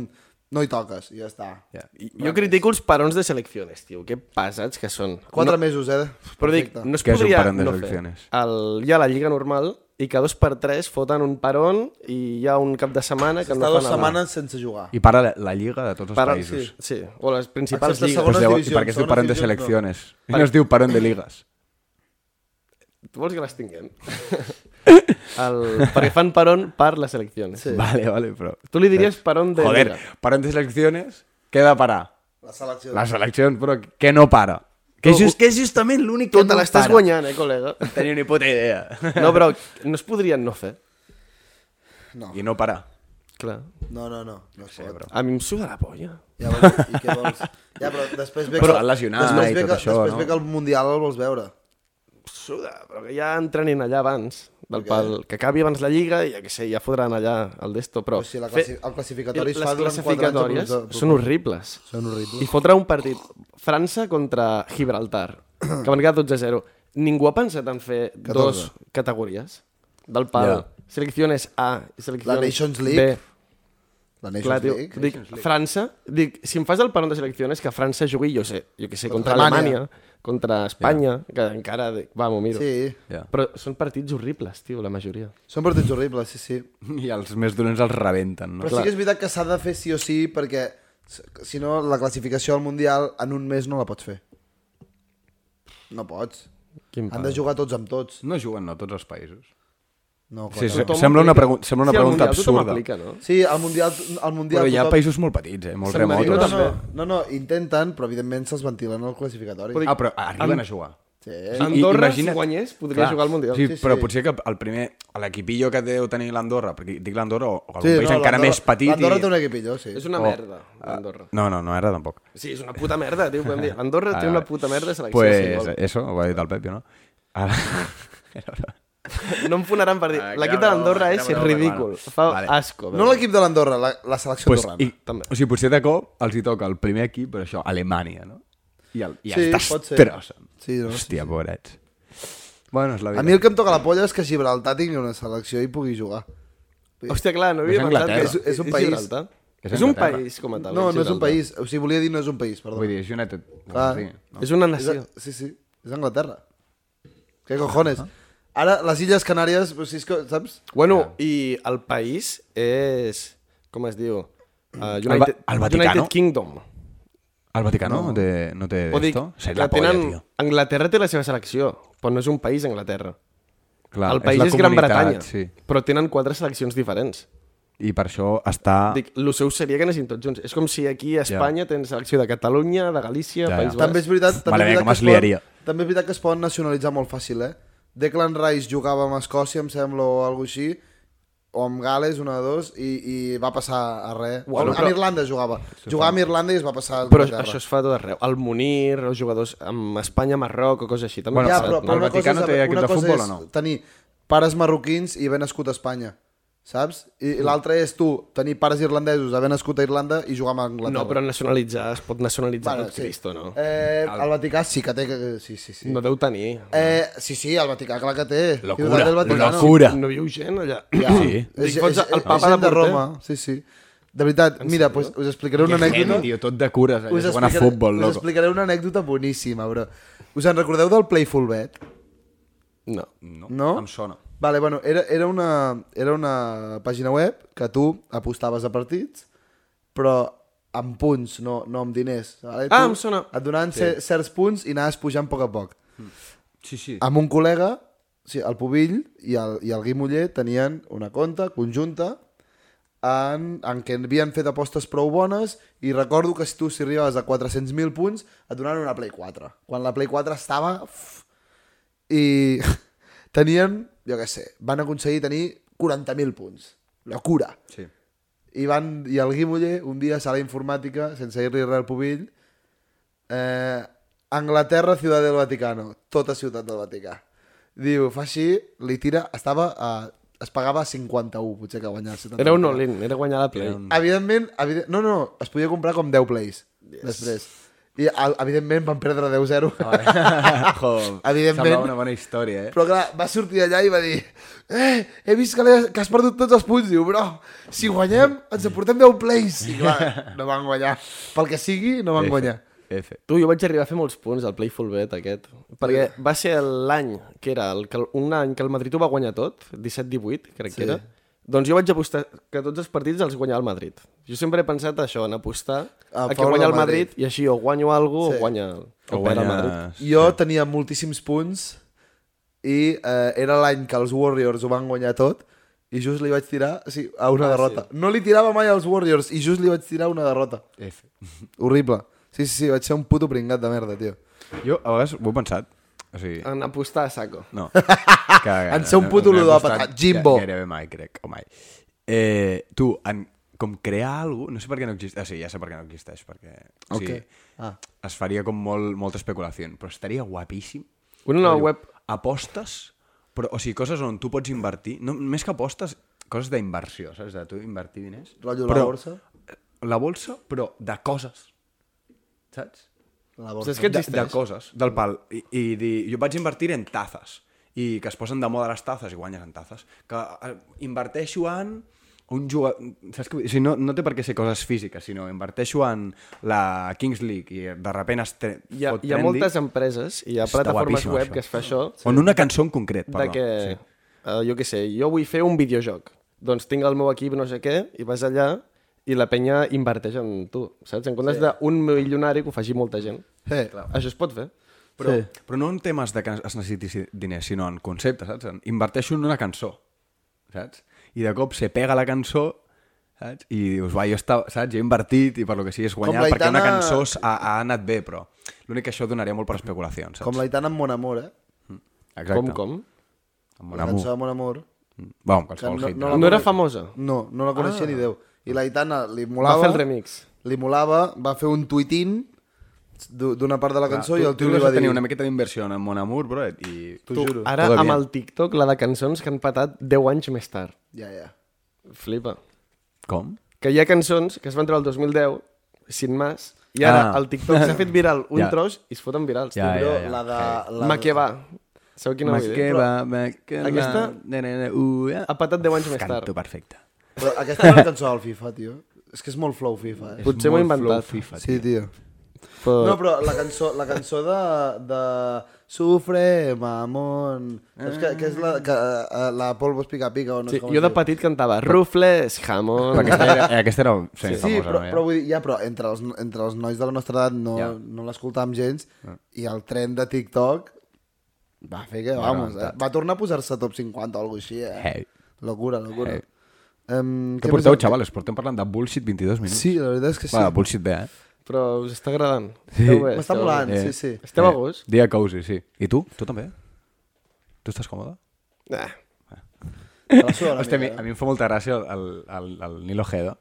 [SPEAKER 5] no hi toques i ja està.
[SPEAKER 2] Ja.
[SPEAKER 1] Jo critico els parons de selecciones, tio. Que pesats que són.
[SPEAKER 5] Quatre mesos, eh?
[SPEAKER 1] Però dic,
[SPEAKER 5] Perfecte.
[SPEAKER 1] no es
[SPEAKER 2] Què és un
[SPEAKER 1] podria
[SPEAKER 2] parón de
[SPEAKER 1] no fer.
[SPEAKER 2] selecciones?
[SPEAKER 1] El, hi ha la Lliga normal i que dos per tres foten un parón i hi ha un cap de setmana que
[SPEAKER 5] Està
[SPEAKER 1] no fa
[SPEAKER 5] dues
[SPEAKER 1] nada.
[SPEAKER 5] setmanes sense jugar.
[SPEAKER 2] I para la, la lliga de tots els
[SPEAKER 1] Para, sí,
[SPEAKER 2] països.
[SPEAKER 1] sí, o les principals
[SPEAKER 5] Excepte
[SPEAKER 1] lligues.
[SPEAKER 5] Segones
[SPEAKER 2] Pues deu, I
[SPEAKER 5] divisions,
[SPEAKER 2] per què es diu
[SPEAKER 5] segones
[SPEAKER 2] parón de
[SPEAKER 5] divisions, no.
[SPEAKER 2] selecciones? I no es diu parón de ligues.
[SPEAKER 1] Tu vols que les tinguem? El, perquè fan parón per les eleccions.
[SPEAKER 5] Sí.
[SPEAKER 2] Vale, vale, però...
[SPEAKER 1] Tu li diries parón de...
[SPEAKER 2] Joder,
[SPEAKER 1] Liga.
[SPEAKER 2] parón de selecciones, què de parar?
[SPEAKER 5] La selecció.
[SPEAKER 2] La selecció, però que no para. Que, just, que és justament l'únic que
[SPEAKER 5] Tota
[SPEAKER 1] Tu te l'estàs guanyant, eh, col·lega?
[SPEAKER 2] Tenia ni puta idea.
[SPEAKER 1] No, però no es podrien no fer.
[SPEAKER 5] No,
[SPEAKER 2] I no parar.
[SPEAKER 1] Clar.
[SPEAKER 5] no, no, no. no es pot.
[SPEAKER 1] A mi em suda la polla.
[SPEAKER 5] Ja vols, i què vols? Ja, però després ve
[SPEAKER 2] Però lesionar
[SPEAKER 5] després
[SPEAKER 2] i
[SPEAKER 5] ve
[SPEAKER 2] tot
[SPEAKER 5] que,
[SPEAKER 2] això,
[SPEAKER 5] després
[SPEAKER 2] no?
[SPEAKER 5] ve que el Mundial el vols veure.
[SPEAKER 1] Suda, però que ja entrenin allà abans. Del
[SPEAKER 5] Ok.
[SPEAKER 1] pal, que acabi abans la Lliga i ja que sé, ja fodran allà el d'esto, però...
[SPEAKER 5] Però si la
[SPEAKER 1] fer-
[SPEAKER 5] classi el classificatori
[SPEAKER 1] les
[SPEAKER 5] es fa durant 4 anys...
[SPEAKER 1] classificatòries
[SPEAKER 5] a prop-
[SPEAKER 1] són horribles.
[SPEAKER 5] Són horribles.
[SPEAKER 1] I fotre un partit França contra Gibraltar, que van quedar 12 a 0. Ningú ha pensat en fer 14.
[SPEAKER 5] 14.
[SPEAKER 1] dos categories del pal.
[SPEAKER 2] Ja.
[SPEAKER 1] Yeah. Selecciones A, selecciones
[SPEAKER 5] La Nations
[SPEAKER 1] B.
[SPEAKER 5] League. La Nations
[SPEAKER 1] Clar, tio,
[SPEAKER 5] League.
[SPEAKER 1] dic, França, dic, si em fas el parón de selecciones, que França jugui, jo sé, jo que sé, contra,
[SPEAKER 5] Contra
[SPEAKER 1] contra
[SPEAKER 5] Alemanya.
[SPEAKER 1] Alemanya, contra Espanya, que encara, dic, va, m'ho miro.
[SPEAKER 5] Sí.
[SPEAKER 2] Ja.
[SPEAKER 1] Però són partits horribles, tio, la majoria.
[SPEAKER 5] Són partits horribles, sí, sí.
[SPEAKER 2] I els més dolents els rebenten, no?
[SPEAKER 5] Però sí que és veritat que s'ha de fer sí o sí perquè s- si no la classificació al Mundial en un mes no la pots fer. No pots.
[SPEAKER 1] Quin
[SPEAKER 5] Han de jugar tots amb tots.
[SPEAKER 2] No juguen, no, tots els països.
[SPEAKER 5] No,
[SPEAKER 2] Sí,
[SPEAKER 5] clar.
[SPEAKER 2] sí. Sembla una pregun- sembla una
[SPEAKER 1] al
[SPEAKER 2] pregunta
[SPEAKER 1] Mundial tothom
[SPEAKER 2] absurda.
[SPEAKER 1] Aplica, no?
[SPEAKER 5] sí el Mundial... El mundial
[SPEAKER 2] Però hi ha
[SPEAKER 5] tothom-
[SPEAKER 2] països molt petits, eh? Molt
[SPEAKER 1] Sant Marino
[SPEAKER 5] No,
[SPEAKER 2] remotos.
[SPEAKER 5] no, no, no, intenten, però evidentment se'ls ventilen al classificatori.
[SPEAKER 2] Ah, però arriben a jugar.
[SPEAKER 5] Sí.
[SPEAKER 2] I-
[SPEAKER 1] Andorra, si
[SPEAKER 2] imagina't-
[SPEAKER 1] guanyés, podria jugar al Mundial.
[SPEAKER 2] Sí,
[SPEAKER 5] Sí, sí,
[SPEAKER 2] però
[SPEAKER 5] sí.
[SPEAKER 2] potser que el primer, l'equipillo que deu tenir l'Andorra, perquè dic l'Andorra o o algun
[SPEAKER 5] Sí,
[SPEAKER 2] país
[SPEAKER 5] no,
[SPEAKER 2] encara
[SPEAKER 5] l'Andorra-
[SPEAKER 2] més petit...
[SPEAKER 5] L'Andorra té
[SPEAKER 2] I...
[SPEAKER 5] un equipillo, sí.
[SPEAKER 1] És una
[SPEAKER 2] Oh.
[SPEAKER 1] merda, Andorra.
[SPEAKER 2] No, no, no era tampoc.
[SPEAKER 1] Sí, és una puta merda, tio, podem dir. Andorra té una puta merda de selecció.
[SPEAKER 2] Ah, Pues eh,
[SPEAKER 1] si vol.
[SPEAKER 2] eso, ho ha dit el Pep, jo no? Ara...
[SPEAKER 1] No em fonaran per dir.
[SPEAKER 2] Ah,
[SPEAKER 1] L'equip
[SPEAKER 2] era
[SPEAKER 1] de l'Andorra
[SPEAKER 2] broma,
[SPEAKER 1] és
[SPEAKER 2] era broma,
[SPEAKER 1] ridícul.
[SPEAKER 2] hermano.
[SPEAKER 1] Fa
[SPEAKER 2] Vale.
[SPEAKER 1] asco.
[SPEAKER 5] No l'equip de l'Andorra, la, la selecció
[SPEAKER 2] pues,
[SPEAKER 5] andorrana.
[SPEAKER 2] i,
[SPEAKER 1] també.
[SPEAKER 2] o sigui, potser de cop els hi toca el primer equip, però això, Alemanya, no? I, el, i
[SPEAKER 5] Sí,
[SPEAKER 2] els
[SPEAKER 5] pot ser.
[SPEAKER 2] destrossen.
[SPEAKER 5] Sí, no, sí,
[SPEAKER 2] Hòstia, pobrets. Bueno, és la vida.
[SPEAKER 5] A mi el que em toca la polla és que Gibraltar tingui una selecció i pugui jugar.
[SPEAKER 1] Hòstia, clar, no
[SPEAKER 2] Però és
[SPEAKER 1] havia pensat que
[SPEAKER 2] Anglaterra.
[SPEAKER 1] és,
[SPEAKER 5] És- és un país.
[SPEAKER 1] Gibraltar.
[SPEAKER 2] És
[SPEAKER 1] És un
[SPEAKER 2] Anglaterra.
[SPEAKER 1] país com a tal.
[SPEAKER 5] No, no és un
[SPEAKER 1] Gibraltar.
[SPEAKER 5] país. O sigui, volia dir no és un país, perdó.
[SPEAKER 2] Vull dir, és United...
[SPEAKER 5] Clar.
[SPEAKER 2] Sí,
[SPEAKER 1] És una
[SPEAKER 5] És a-
[SPEAKER 1] nació.
[SPEAKER 5] sí, sí, és Anglaterra. Què cojones? Ara, les Illes Canàries, o sigui, és que, saps?
[SPEAKER 1] Bueno, i el país és... Com es diu? Uh,
[SPEAKER 2] Va-
[SPEAKER 1] United,
[SPEAKER 2] el Vaticano?
[SPEAKER 1] United Kingdom.
[SPEAKER 2] El Vaticano no, té, no té
[SPEAKER 1] O dic,
[SPEAKER 2] esto? Seria
[SPEAKER 1] que
[SPEAKER 2] la polla,
[SPEAKER 1] tenen...
[SPEAKER 2] tio.
[SPEAKER 1] Anglaterra té la seva selecció, però no és un país, Anglaterra.
[SPEAKER 2] Clar,
[SPEAKER 1] el país
[SPEAKER 2] la
[SPEAKER 1] és, Gran
[SPEAKER 2] comunitat,
[SPEAKER 1] Bretanya,
[SPEAKER 2] Sí.
[SPEAKER 1] però tenen quatre seleccions diferents.
[SPEAKER 2] I per això està...
[SPEAKER 1] Dic, el seu seria que anessin tots junts. És com si aquí a Espanya tens selecció de Catalunya, de Galícia,
[SPEAKER 2] Ja, ja.
[SPEAKER 1] ja, País Basc...
[SPEAKER 5] També és veritat, també
[SPEAKER 2] Mare mia,
[SPEAKER 5] és
[SPEAKER 2] com
[SPEAKER 5] veritat que
[SPEAKER 2] es
[SPEAKER 5] es poden,
[SPEAKER 2] liaria.
[SPEAKER 5] també és veritat que es poden nacionalitzar molt fàcil, eh? Declan Rice jugava amb Escòcia, em sembla, o alguna així, o amb Gales, una de dos, i, i va passar a res.
[SPEAKER 1] Bueno,
[SPEAKER 5] Bueno,
[SPEAKER 1] però-
[SPEAKER 5] amb Irlanda jugava. Jugava amb Irlanda i es va passar a
[SPEAKER 1] Però
[SPEAKER 5] Anglaterra.
[SPEAKER 1] això es fa a tot arreu. El Munir, els jugadors amb Espanya, Marroc o coses així. També
[SPEAKER 2] Bueno,
[SPEAKER 5] ja,
[SPEAKER 1] ha
[SPEAKER 2] el-
[SPEAKER 5] però,
[SPEAKER 1] passat,
[SPEAKER 5] però
[SPEAKER 2] el
[SPEAKER 5] una
[SPEAKER 2] Vaticano
[SPEAKER 5] cosa és,
[SPEAKER 2] té equip
[SPEAKER 5] una
[SPEAKER 2] de
[SPEAKER 5] cosa
[SPEAKER 2] futbol
[SPEAKER 5] és
[SPEAKER 2] o no?
[SPEAKER 5] tenir pares marroquins i haver nascut a Espanya, saps? I, i l'altra és tu tenir pares irlandesos, haver nascut a Irlanda i jugar amb
[SPEAKER 1] no?
[SPEAKER 5] Anglaterra.
[SPEAKER 1] no, però nacionalitzar, es pot nacionalitzar bueno, tot sí. Cristo, no? Eh,
[SPEAKER 5] Eh, el Vaticà sí que té... que- Sí, sí, sí.
[SPEAKER 1] no
[SPEAKER 5] No.
[SPEAKER 1] deu tenir.
[SPEAKER 5] Eh, sí, sí, el Vaticà clar que té.
[SPEAKER 2] Locura,
[SPEAKER 5] Ciutat del Vaticano.
[SPEAKER 2] locura.
[SPEAKER 1] No viu gent allà.
[SPEAKER 5] Ja.
[SPEAKER 2] Sí.
[SPEAKER 5] És,
[SPEAKER 1] Dic,
[SPEAKER 5] és,
[SPEAKER 1] fots
[SPEAKER 5] és,
[SPEAKER 1] el
[SPEAKER 5] el
[SPEAKER 1] papa
[SPEAKER 5] papa de
[SPEAKER 1] de porter.
[SPEAKER 5] Roma. Sí, sí. De veritat, mira, pues, us explicaré una anècdota.
[SPEAKER 2] tio, tot de cures,
[SPEAKER 5] us,
[SPEAKER 2] allà, jugant a futbol,
[SPEAKER 5] us
[SPEAKER 2] loco.
[SPEAKER 5] explicaré una anècdota boníssima, bro. Us en recordeu del Playful Bet?
[SPEAKER 1] No.
[SPEAKER 2] No,
[SPEAKER 5] No?
[SPEAKER 2] em sona.
[SPEAKER 5] Vale, bueno, era, era, una, era una pàgina web que tu apostaves a partits, però amb punts, no, no amb diners. Vale?
[SPEAKER 1] Ah,
[SPEAKER 5] Tu
[SPEAKER 1] em sona.
[SPEAKER 5] Et donaven sí. certs punts i anaves pujant a poc a poc.
[SPEAKER 2] Mm. Sí, sí.
[SPEAKER 5] Amb un col·lega, sí, el Pubill i el, i el Guimoller tenien una conta conjunta en, en què havien fet apostes prou bones i recordo que si tu si arribaves a 400.000 punts et donaven una Play 4. Quan la Play 4 estava... uf, I tenien, jo què sé, van aconseguir tenir 40.000 punts. Locura.
[SPEAKER 2] sí.
[SPEAKER 5] I, van, I el Guimoller, un dia a sala informàtica, sense dir-li res al Pubill, eh, Anglaterra, Ciudad del Vaticano. Tota ciutat del Vaticà. Diu, fa així, li tira... Estava a... Es pagava 51, potser que guanyava 70.
[SPEAKER 1] Era un all-in, era guanyar la play.
[SPEAKER 5] Evidentment, evident... no, no, es podia comprar com 10 plays yes. després. I a- evidentment van perdre 10-0.
[SPEAKER 2] Jo,
[SPEAKER 5] Evidentment.
[SPEAKER 2] Semblava una bona història, eh?
[SPEAKER 5] Però clar, va sortir allà i va dir Eh, he vist que, l'he- que has perdut tots els punts. Diu, bro, si guanyem, ens emportem 10 plays. I clar, no van guanyar. Pel que sigui, no van guanyar.
[SPEAKER 2] F.
[SPEAKER 1] Tu, jo vaig arribar a fer molts punts al Playful Bet aquest, perquè va ser l'any que era, el, que- un any que el Madrid ho va guanyar tot, 17-18, crec sí. que era, doncs jo vaig apostar que tots els partits els guanyava el Madrid. Jo sempre he pensat això, en apostar
[SPEAKER 5] A
[SPEAKER 1] a, a que
[SPEAKER 5] favor
[SPEAKER 1] guanya
[SPEAKER 5] del
[SPEAKER 1] el Madrid,
[SPEAKER 5] Madrid.
[SPEAKER 1] i així o guanyo alguna
[SPEAKER 5] Sí.
[SPEAKER 1] sí. o guanya
[SPEAKER 2] O
[SPEAKER 1] o perd el Madrid.
[SPEAKER 5] Jo tenia moltíssims punts i eh, era l'any que els Warriors ho van guanyar tot i just li vaig tirar sí, a una ah, derrota. Sí. No li tirava mai als Warriors i just li vaig tirar una derrota.
[SPEAKER 2] F.
[SPEAKER 5] Horrible. Sí, sí, sí, vaig ser un puto pringat de merda, tio.
[SPEAKER 2] Jo a vegades ho he pensat. O sigui,
[SPEAKER 1] En apostar a saco.
[SPEAKER 2] no. Que,
[SPEAKER 5] Ah. En ser un puto
[SPEAKER 2] no he
[SPEAKER 5] ludòpata,
[SPEAKER 2] apostat
[SPEAKER 5] Jimbo.
[SPEAKER 2] ga- Gairebé mai, crec, o mai. Eh, tu, en, com crear alguna cosa, no sé per què no existeix, o sigui, ja sé per què no existeix, perquè o sigui,
[SPEAKER 5] Ok. Ah.
[SPEAKER 2] es faria com molt, molta especulació, però estaria guapíssim.
[SPEAKER 1] Una nova
[SPEAKER 2] Rotllo,
[SPEAKER 1] web-
[SPEAKER 2] Apostes, però, o sigui, coses on tu pots invertir, no, més que apostes, coses d'inversió, saps? De tu invertir diners.
[SPEAKER 5] Rotllo la
[SPEAKER 2] Però-
[SPEAKER 5] borsa?
[SPEAKER 2] La bolsa, però de coses, saps?
[SPEAKER 5] La
[SPEAKER 1] Saps que
[SPEAKER 2] de,
[SPEAKER 1] existeix?
[SPEAKER 2] de coses, del pal. I, i dir, jo vaig invertir en tazes, i que es posen de moda les tazes i guanyes en tazes. Que eh, inverteixo en un jugador... Saps que, vull dir? o sigui, no, no té per què ser coses físiques, sinó inverteixo en la Kings League i de repente es tre...
[SPEAKER 1] Hi ha,
[SPEAKER 2] fot
[SPEAKER 1] hi ha
[SPEAKER 2] trendy.
[SPEAKER 1] moltes empreses i hi ha
[SPEAKER 2] Està
[SPEAKER 1] plataformes
[SPEAKER 2] guapíssim,
[SPEAKER 1] web
[SPEAKER 2] això.
[SPEAKER 1] que es fa això
[SPEAKER 2] O en una cançó en concret,
[SPEAKER 1] de
[SPEAKER 2] perdó.
[SPEAKER 1] que,
[SPEAKER 2] Sí.
[SPEAKER 1] uh, jo què sé, jo vull fer un videojoc, doncs tinc el meu equip no sé què, i vas allà i la penya inverteix en tu, saps? En comptes sí. d'un milionari que ho faci molta gent.
[SPEAKER 5] Sí.
[SPEAKER 1] Això es pot fer.
[SPEAKER 2] Però, sí. però no en temes de que es necessiti diners, sinó en conceptes, saps? En inverteixo en una cançó, saps? I de cop se pega la cançó, saps? I dius, va, jo, estava, saps? jo he invertit i per lo que sigui és guanyar,
[SPEAKER 5] la
[SPEAKER 2] perquè una
[SPEAKER 5] Aitana-
[SPEAKER 2] cançó s- ha, ha anat bé, però l'únic que això donaria molt per especulacions, saps?
[SPEAKER 5] Com l'Aitana amb Mon Amor, eh?
[SPEAKER 2] Exacte.
[SPEAKER 1] Com, com?
[SPEAKER 2] Amb Mon Amour.
[SPEAKER 5] La
[SPEAKER 2] Mm.
[SPEAKER 5] cançó de Mon Amor.
[SPEAKER 2] Bueno, amb
[SPEAKER 5] Que
[SPEAKER 2] qualsevol
[SPEAKER 5] no-
[SPEAKER 2] hit.
[SPEAKER 5] no
[SPEAKER 2] No,
[SPEAKER 5] la-
[SPEAKER 1] No era famosa.
[SPEAKER 5] No, no la coneixia ah. ni Déu. I l'Aitana li
[SPEAKER 1] Va
[SPEAKER 5] molava...
[SPEAKER 1] fer el remix.
[SPEAKER 5] Li molava, va fer un tuitín d'u- d'una part de la cançó i el tio
[SPEAKER 2] tu
[SPEAKER 5] li va dir...
[SPEAKER 2] tenir una miqueta d'inversió en Mon Amour, bro, i...
[SPEAKER 5] T'ho juro.
[SPEAKER 1] Ara,
[SPEAKER 2] Todavía.
[SPEAKER 1] amb el TikTok, la de cançons que han patat 10 anys més tard.
[SPEAKER 5] Ja, ja.
[SPEAKER 1] Flipa.
[SPEAKER 2] Com?
[SPEAKER 1] Que hi ha cançons que es van treure el 2010, sin más, i ara
[SPEAKER 2] Ah.
[SPEAKER 1] ah. el TikTok s'ha fet viral un
[SPEAKER 2] Ja.
[SPEAKER 1] ja. tros i es foten virals.
[SPEAKER 2] Ja,
[SPEAKER 1] Ja,
[SPEAKER 5] Però
[SPEAKER 2] ja, ja.
[SPEAKER 5] la de...
[SPEAKER 1] ja.
[SPEAKER 5] La...
[SPEAKER 1] Maqueva. Sabeu quina
[SPEAKER 2] Ma
[SPEAKER 1] vull dir?
[SPEAKER 2] que va, ma que va,
[SPEAKER 1] Aquesta-
[SPEAKER 2] ne, ne, ne, u, eh?
[SPEAKER 1] Ha patat 10 anys més tard.
[SPEAKER 2] Canto perfecte.
[SPEAKER 5] Però aquesta era la cançó del FIFA, tio. És que és molt flow FIFA, eh?
[SPEAKER 1] Potser m'ho he
[SPEAKER 2] Molt flow
[SPEAKER 1] inventat.
[SPEAKER 2] FIFA,
[SPEAKER 5] Sí, tio.
[SPEAKER 1] Però...
[SPEAKER 5] No, però la cançó, la cançó de, de Sufre, mamón... Saps que, que és la, que, eh, la polvos pica pica o no
[SPEAKER 1] Sí,
[SPEAKER 5] sé com
[SPEAKER 1] jo
[SPEAKER 5] es
[SPEAKER 1] de
[SPEAKER 5] diu?
[SPEAKER 1] petit cantava Rufles, jamón...
[SPEAKER 2] Aquesta era, eh, aquesta era sí,
[SPEAKER 5] Sí,
[SPEAKER 2] famosa,
[SPEAKER 5] però,
[SPEAKER 2] no? eh? Ja.
[SPEAKER 5] però vull dir, ja, però entre els, entre els nois de la nostra edat no,
[SPEAKER 2] Ja. Ah.
[SPEAKER 5] no l'escoltàvem gens i el tren de TikTok va fer que, vamos, eh?
[SPEAKER 2] rebentat.
[SPEAKER 5] va tornar a posar-se top 50 o alguna cosa així, eh?
[SPEAKER 2] Hey.
[SPEAKER 5] Locura, locura.
[SPEAKER 2] Hey.
[SPEAKER 5] Em,
[SPEAKER 2] Què
[SPEAKER 5] més
[SPEAKER 2] porteu,
[SPEAKER 5] em-
[SPEAKER 2] xavales? Portem parlant de bullshit 22 minuts.
[SPEAKER 5] Sí, la veritat és que sí.
[SPEAKER 2] Va, bullshit bé, eh?
[SPEAKER 1] Però us està agradant.
[SPEAKER 2] Sí.
[SPEAKER 1] Esteu bé,
[SPEAKER 5] M'està
[SPEAKER 1] esteu
[SPEAKER 5] molant,
[SPEAKER 1] bé.
[SPEAKER 2] eh.
[SPEAKER 5] sí, sí.
[SPEAKER 1] Esteu a gust?
[SPEAKER 2] Dia cozy, sí. I tu? Tu també? Tu estàs còmode?
[SPEAKER 1] Eh.
[SPEAKER 5] Te la suda una
[SPEAKER 2] Hòstia, a mi,
[SPEAKER 5] mica,
[SPEAKER 2] a mi em fa molta gràcia el, el, el, el Nil Ojeda.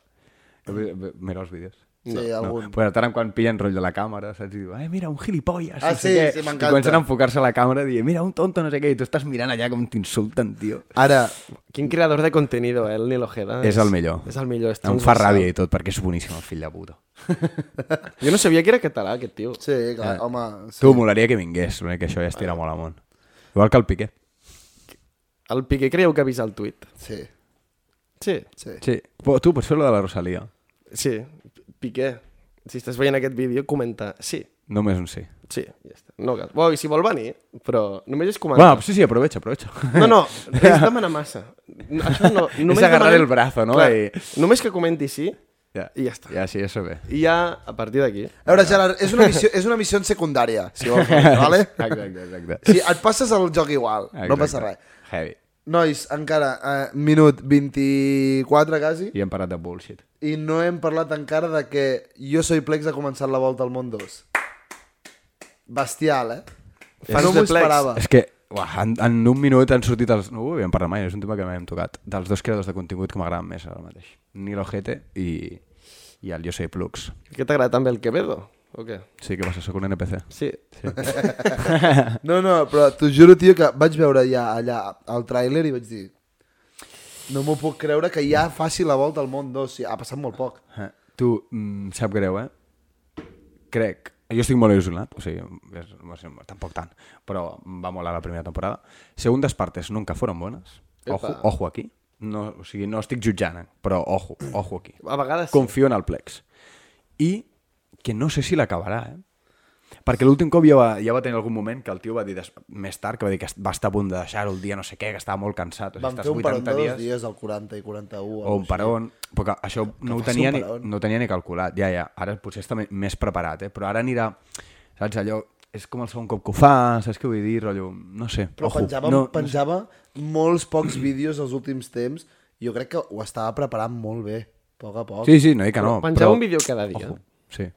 [SPEAKER 2] Mira els vídeos.
[SPEAKER 5] eh? Sí, algun.
[SPEAKER 2] Però de tant en quan pillen rotllo la càmera, saps? I diu, eh, mira, un gilipolles.
[SPEAKER 5] Ah,
[SPEAKER 2] no sé
[SPEAKER 5] sí,
[SPEAKER 2] què.
[SPEAKER 5] sí,
[SPEAKER 2] I
[SPEAKER 5] m'encanta.
[SPEAKER 2] comencen a enfocar-se a la càmera i dir, mira, un tonto, no sé què. I tu estàs mirant allà com t'insulten, tio.
[SPEAKER 5] Ara,
[SPEAKER 1] Quin creador de contenido, eh, el Nil Ojeda.
[SPEAKER 2] És el millor.
[SPEAKER 1] És el millor. és
[SPEAKER 2] Em fa
[SPEAKER 1] transversal.
[SPEAKER 2] ràbia i tot, perquè és boníssim el fill de puta.
[SPEAKER 1] Jo no sabia que era català, aquest tio.
[SPEAKER 5] sí, clar, home... Sí.
[SPEAKER 2] Eh. Tu, molaria que vingués, l'únic que això ja es tira molt amunt. Igual que el Piqué.
[SPEAKER 1] El Piqué creieu que ha vist el tuit?
[SPEAKER 5] Sí,
[SPEAKER 1] Sí.
[SPEAKER 5] sí.
[SPEAKER 2] Sí. Però tu pots fer-lo de la Rosalia.
[SPEAKER 1] Sí. Piqué, si estàs veient aquest vídeo, comenta sí.
[SPEAKER 2] Només un sí.
[SPEAKER 1] Sí, ja està. No cal. Bo, i si vol venir, però només és
[SPEAKER 2] Va,
[SPEAKER 1] comentar.
[SPEAKER 2] sí, sí, aprovecha, aprovecha.
[SPEAKER 1] No, no, res demana massa. No, això no, només
[SPEAKER 2] agarrar
[SPEAKER 1] demanem-
[SPEAKER 2] el brazo, no?
[SPEAKER 1] Clar,
[SPEAKER 2] I-
[SPEAKER 1] Només que comenti sí,
[SPEAKER 2] Ja,
[SPEAKER 1] I ja està.
[SPEAKER 2] Ja, sí, això bé.
[SPEAKER 1] i ja, a partir d'aquí...
[SPEAKER 5] A veure, Gerard, és una missió, és una missió en secundària, si vols, vale?
[SPEAKER 2] Exacte, exacte.
[SPEAKER 5] Si et passes el joc igual, no passa res.
[SPEAKER 2] Heavy.
[SPEAKER 5] Nois, encara, eh, minut 24 quasi,
[SPEAKER 2] I hem parlat de bullshit.
[SPEAKER 5] i no hem parlat encara de que Jo soy Plex ha començat la volta al món 2. Bestial, eh?
[SPEAKER 1] Fans
[SPEAKER 5] no
[SPEAKER 1] de
[SPEAKER 5] m'ho
[SPEAKER 1] Plex.
[SPEAKER 5] esperava.
[SPEAKER 2] És que, uah, en, en un minut han sortit els... No ho havíem parlat mai, és un tema que mai hem tocat. Dels dos creadors de contingut que m'agraden més ara mateix. Nil Ojete i, i el Yo Soy Plux.
[SPEAKER 1] Què t'agrada també el Quevedo? O què?
[SPEAKER 2] Sí, què passa? Soc un NPC.
[SPEAKER 1] Sí.
[SPEAKER 5] No, no, però t'ho juro, tio, que vaig veure ja allà el tràiler i vaig dir no m'ho puc creure que ja faci la volta al món 2. Sí, ha passat molt poc.
[SPEAKER 2] Eh, Tu, mm, sap greu, eh? Crec, jo estic molt il·lusionat, o sigui, és, no sé, tampoc tant, però em va molar la primera temporada. Segundas partes nunca fueron buenas. Ojo, ojo aquí. No, o sigui, no estic jutjant, eh? però ojo, ojo aquí.
[SPEAKER 1] A vegades sí.
[SPEAKER 2] Confio en el Plex. I que no sé si l'acabarà, eh? Perquè l'últim cop ja va, ja va tenir algun moment que el tio va dir des, més tard, que va dir que es- va estar a punt de deixar-ho el dia no sé què, que estava molt cansat. O sigui,
[SPEAKER 5] Vam
[SPEAKER 2] estàs
[SPEAKER 5] fer un parón
[SPEAKER 2] 80
[SPEAKER 5] de dos
[SPEAKER 2] dies,
[SPEAKER 5] dies, el 40 i 41.
[SPEAKER 2] o un parón, però que això no, ho
[SPEAKER 5] faci
[SPEAKER 2] tenia
[SPEAKER 5] un
[SPEAKER 2] ni,
[SPEAKER 5] parón.
[SPEAKER 2] no ho tenia ni calculat, ja, ja. Ara potser està me- més preparat, eh? però ara anirà, saps, allò, és com el segon cop que ho fa, saps què vull dir, rotllo, no sé,
[SPEAKER 5] Però
[SPEAKER 2] ojo.
[SPEAKER 5] penjava,
[SPEAKER 2] no,
[SPEAKER 5] no, penjava molts pocs vídeos els últims temps. Jo crec que ho estava preparant molt bé, a poc a poc.
[SPEAKER 2] Sí, sí, no dic que no.
[SPEAKER 1] Penjava
[SPEAKER 2] però-
[SPEAKER 1] un vídeo cada dia.
[SPEAKER 2] Ojo, sí.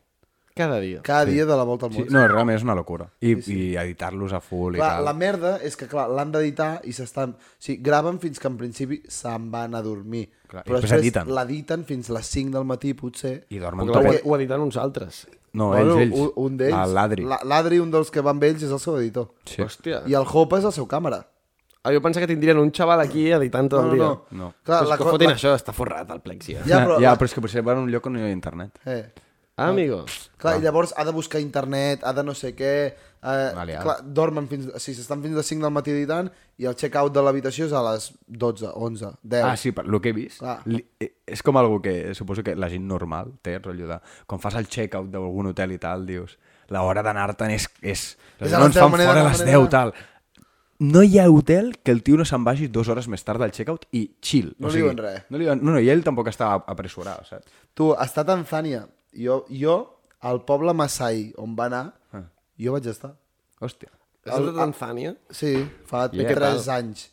[SPEAKER 1] Cada dia.
[SPEAKER 5] Cada dia de la volta al
[SPEAKER 2] sí.
[SPEAKER 5] món.
[SPEAKER 2] No, realment és una locura. I, sí, sí. i editar-los a full
[SPEAKER 5] Clar,
[SPEAKER 2] i tal.
[SPEAKER 5] la merda és que, clar, l'han d'editar i s'estan... O sigui, graven fins que en principi se'n van a dormir.
[SPEAKER 2] Clar, i
[SPEAKER 5] però
[SPEAKER 2] després
[SPEAKER 5] després
[SPEAKER 2] editen.
[SPEAKER 5] l'editen fins les 5 del matí, potser.
[SPEAKER 2] I dormen
[SPEAKER 1] Perquè
[SPEAKER 2] perquè...
[SPEAKER 1] ho, ho editen uns altres.
[SPEAKER 2] No, ells, ells.
[SPEAKER 5] Un, un d'ells...
[SPEAKER 2] L'Adri.
[SPEAKER 5] la- L'Adri, un dels que va amb ells, és el seu editor.
[SPEAKER 2] Sí.
[SPEAKER 1] Hòstia.
[SPEAKER 5] I el Hope és el seu càmera.
[SPEAKER 1] Ah, jo pensava que tindrien un xaval aquí editant tot
[SPEAKER 5] No,
[SPEAKER 1] el dia.
[SPEAKER 5] no, no. No. Clar,
[SPEAKER 1] Clar,
[SPEAKER 5] la
[SPEAKER 1] la, que
[SPEAKER 5] co-
[SPEAKER 1] fotin
[SPEAKER 5] la-
[SPEAKER 1] això, està forrat el plexi. Eh?
[SPEAKER 5] Ja, però...
[SPEAKER 2] ja,
[SPEAKER 5] la-
[SPEAKER 2] però és que potser van a un lloc on no hi ha internet.
[SPEAKER 5] Eh.
[SPEAKER 1] Ah, amigo.
[SPEAKER 5] Clar, i llavors ha de buscar internet, ha de no sé què... Eh,
[SPEAKER 2] Aliat.
[SPEAKER 5] clar, dormen fins... O sigui, s'estan fins a les 5 del matí editant i el check-out de l'habitació és a les 12, 11, 10.
[SPEAKER 2] Ah, sí, per el que he vist,
[SPEAKER 5] Clar.
[SPEAKER 2] li, eh, és com algo que suposo que la gent normal té, el rotllo de... Quan fas el check-out d'algun hotel i tal, dius, l'hora d'anar-te'n és... és,
[SPEAKER 5] És a
[SPEAKER 2] no
[SPEAKER 5] les
[SPEAKER 2] ens
[SPEAKER 5] 10,
[SPEAKER 2] fan
[SPEAKER 5] manera,
[SPEAKER 2] fora a
[SPEAKER 5] no,
[SPEAKER 2] les
[SPEAKER 5] manera.
[SPEAKER 2] 10, tal. No hi ha hotel que el tio no se'n vagi dues hores més tard del check-out i chill.
[SPEAKER 5] No
[SPEAKER 2] o
[SPEAKER 5] li
[SPEAKER 2] sigui,
[SPEAKER 5] diuen res.
[SPEAKER 2] No, li diuen, no, no, i ell tampoc està apressurat, saps?
[SPEAKER 5] Tu, està a Tanzània. Jo, jo, al poble Masai, on va anar,
[SPEAKER 2] Ah.
[SPEAKER 5] jo vaig estar.
[SPEAKER 2] Hòstia.
[SPEAKER 1] Has estat a Tanzània?
[SPEAKER 5] Sí, fa
[SPEAKER 1] Yeah.
[SPEAKER 5] 3
[SPEAKER 1] Què
[SPEAKER 5] anys.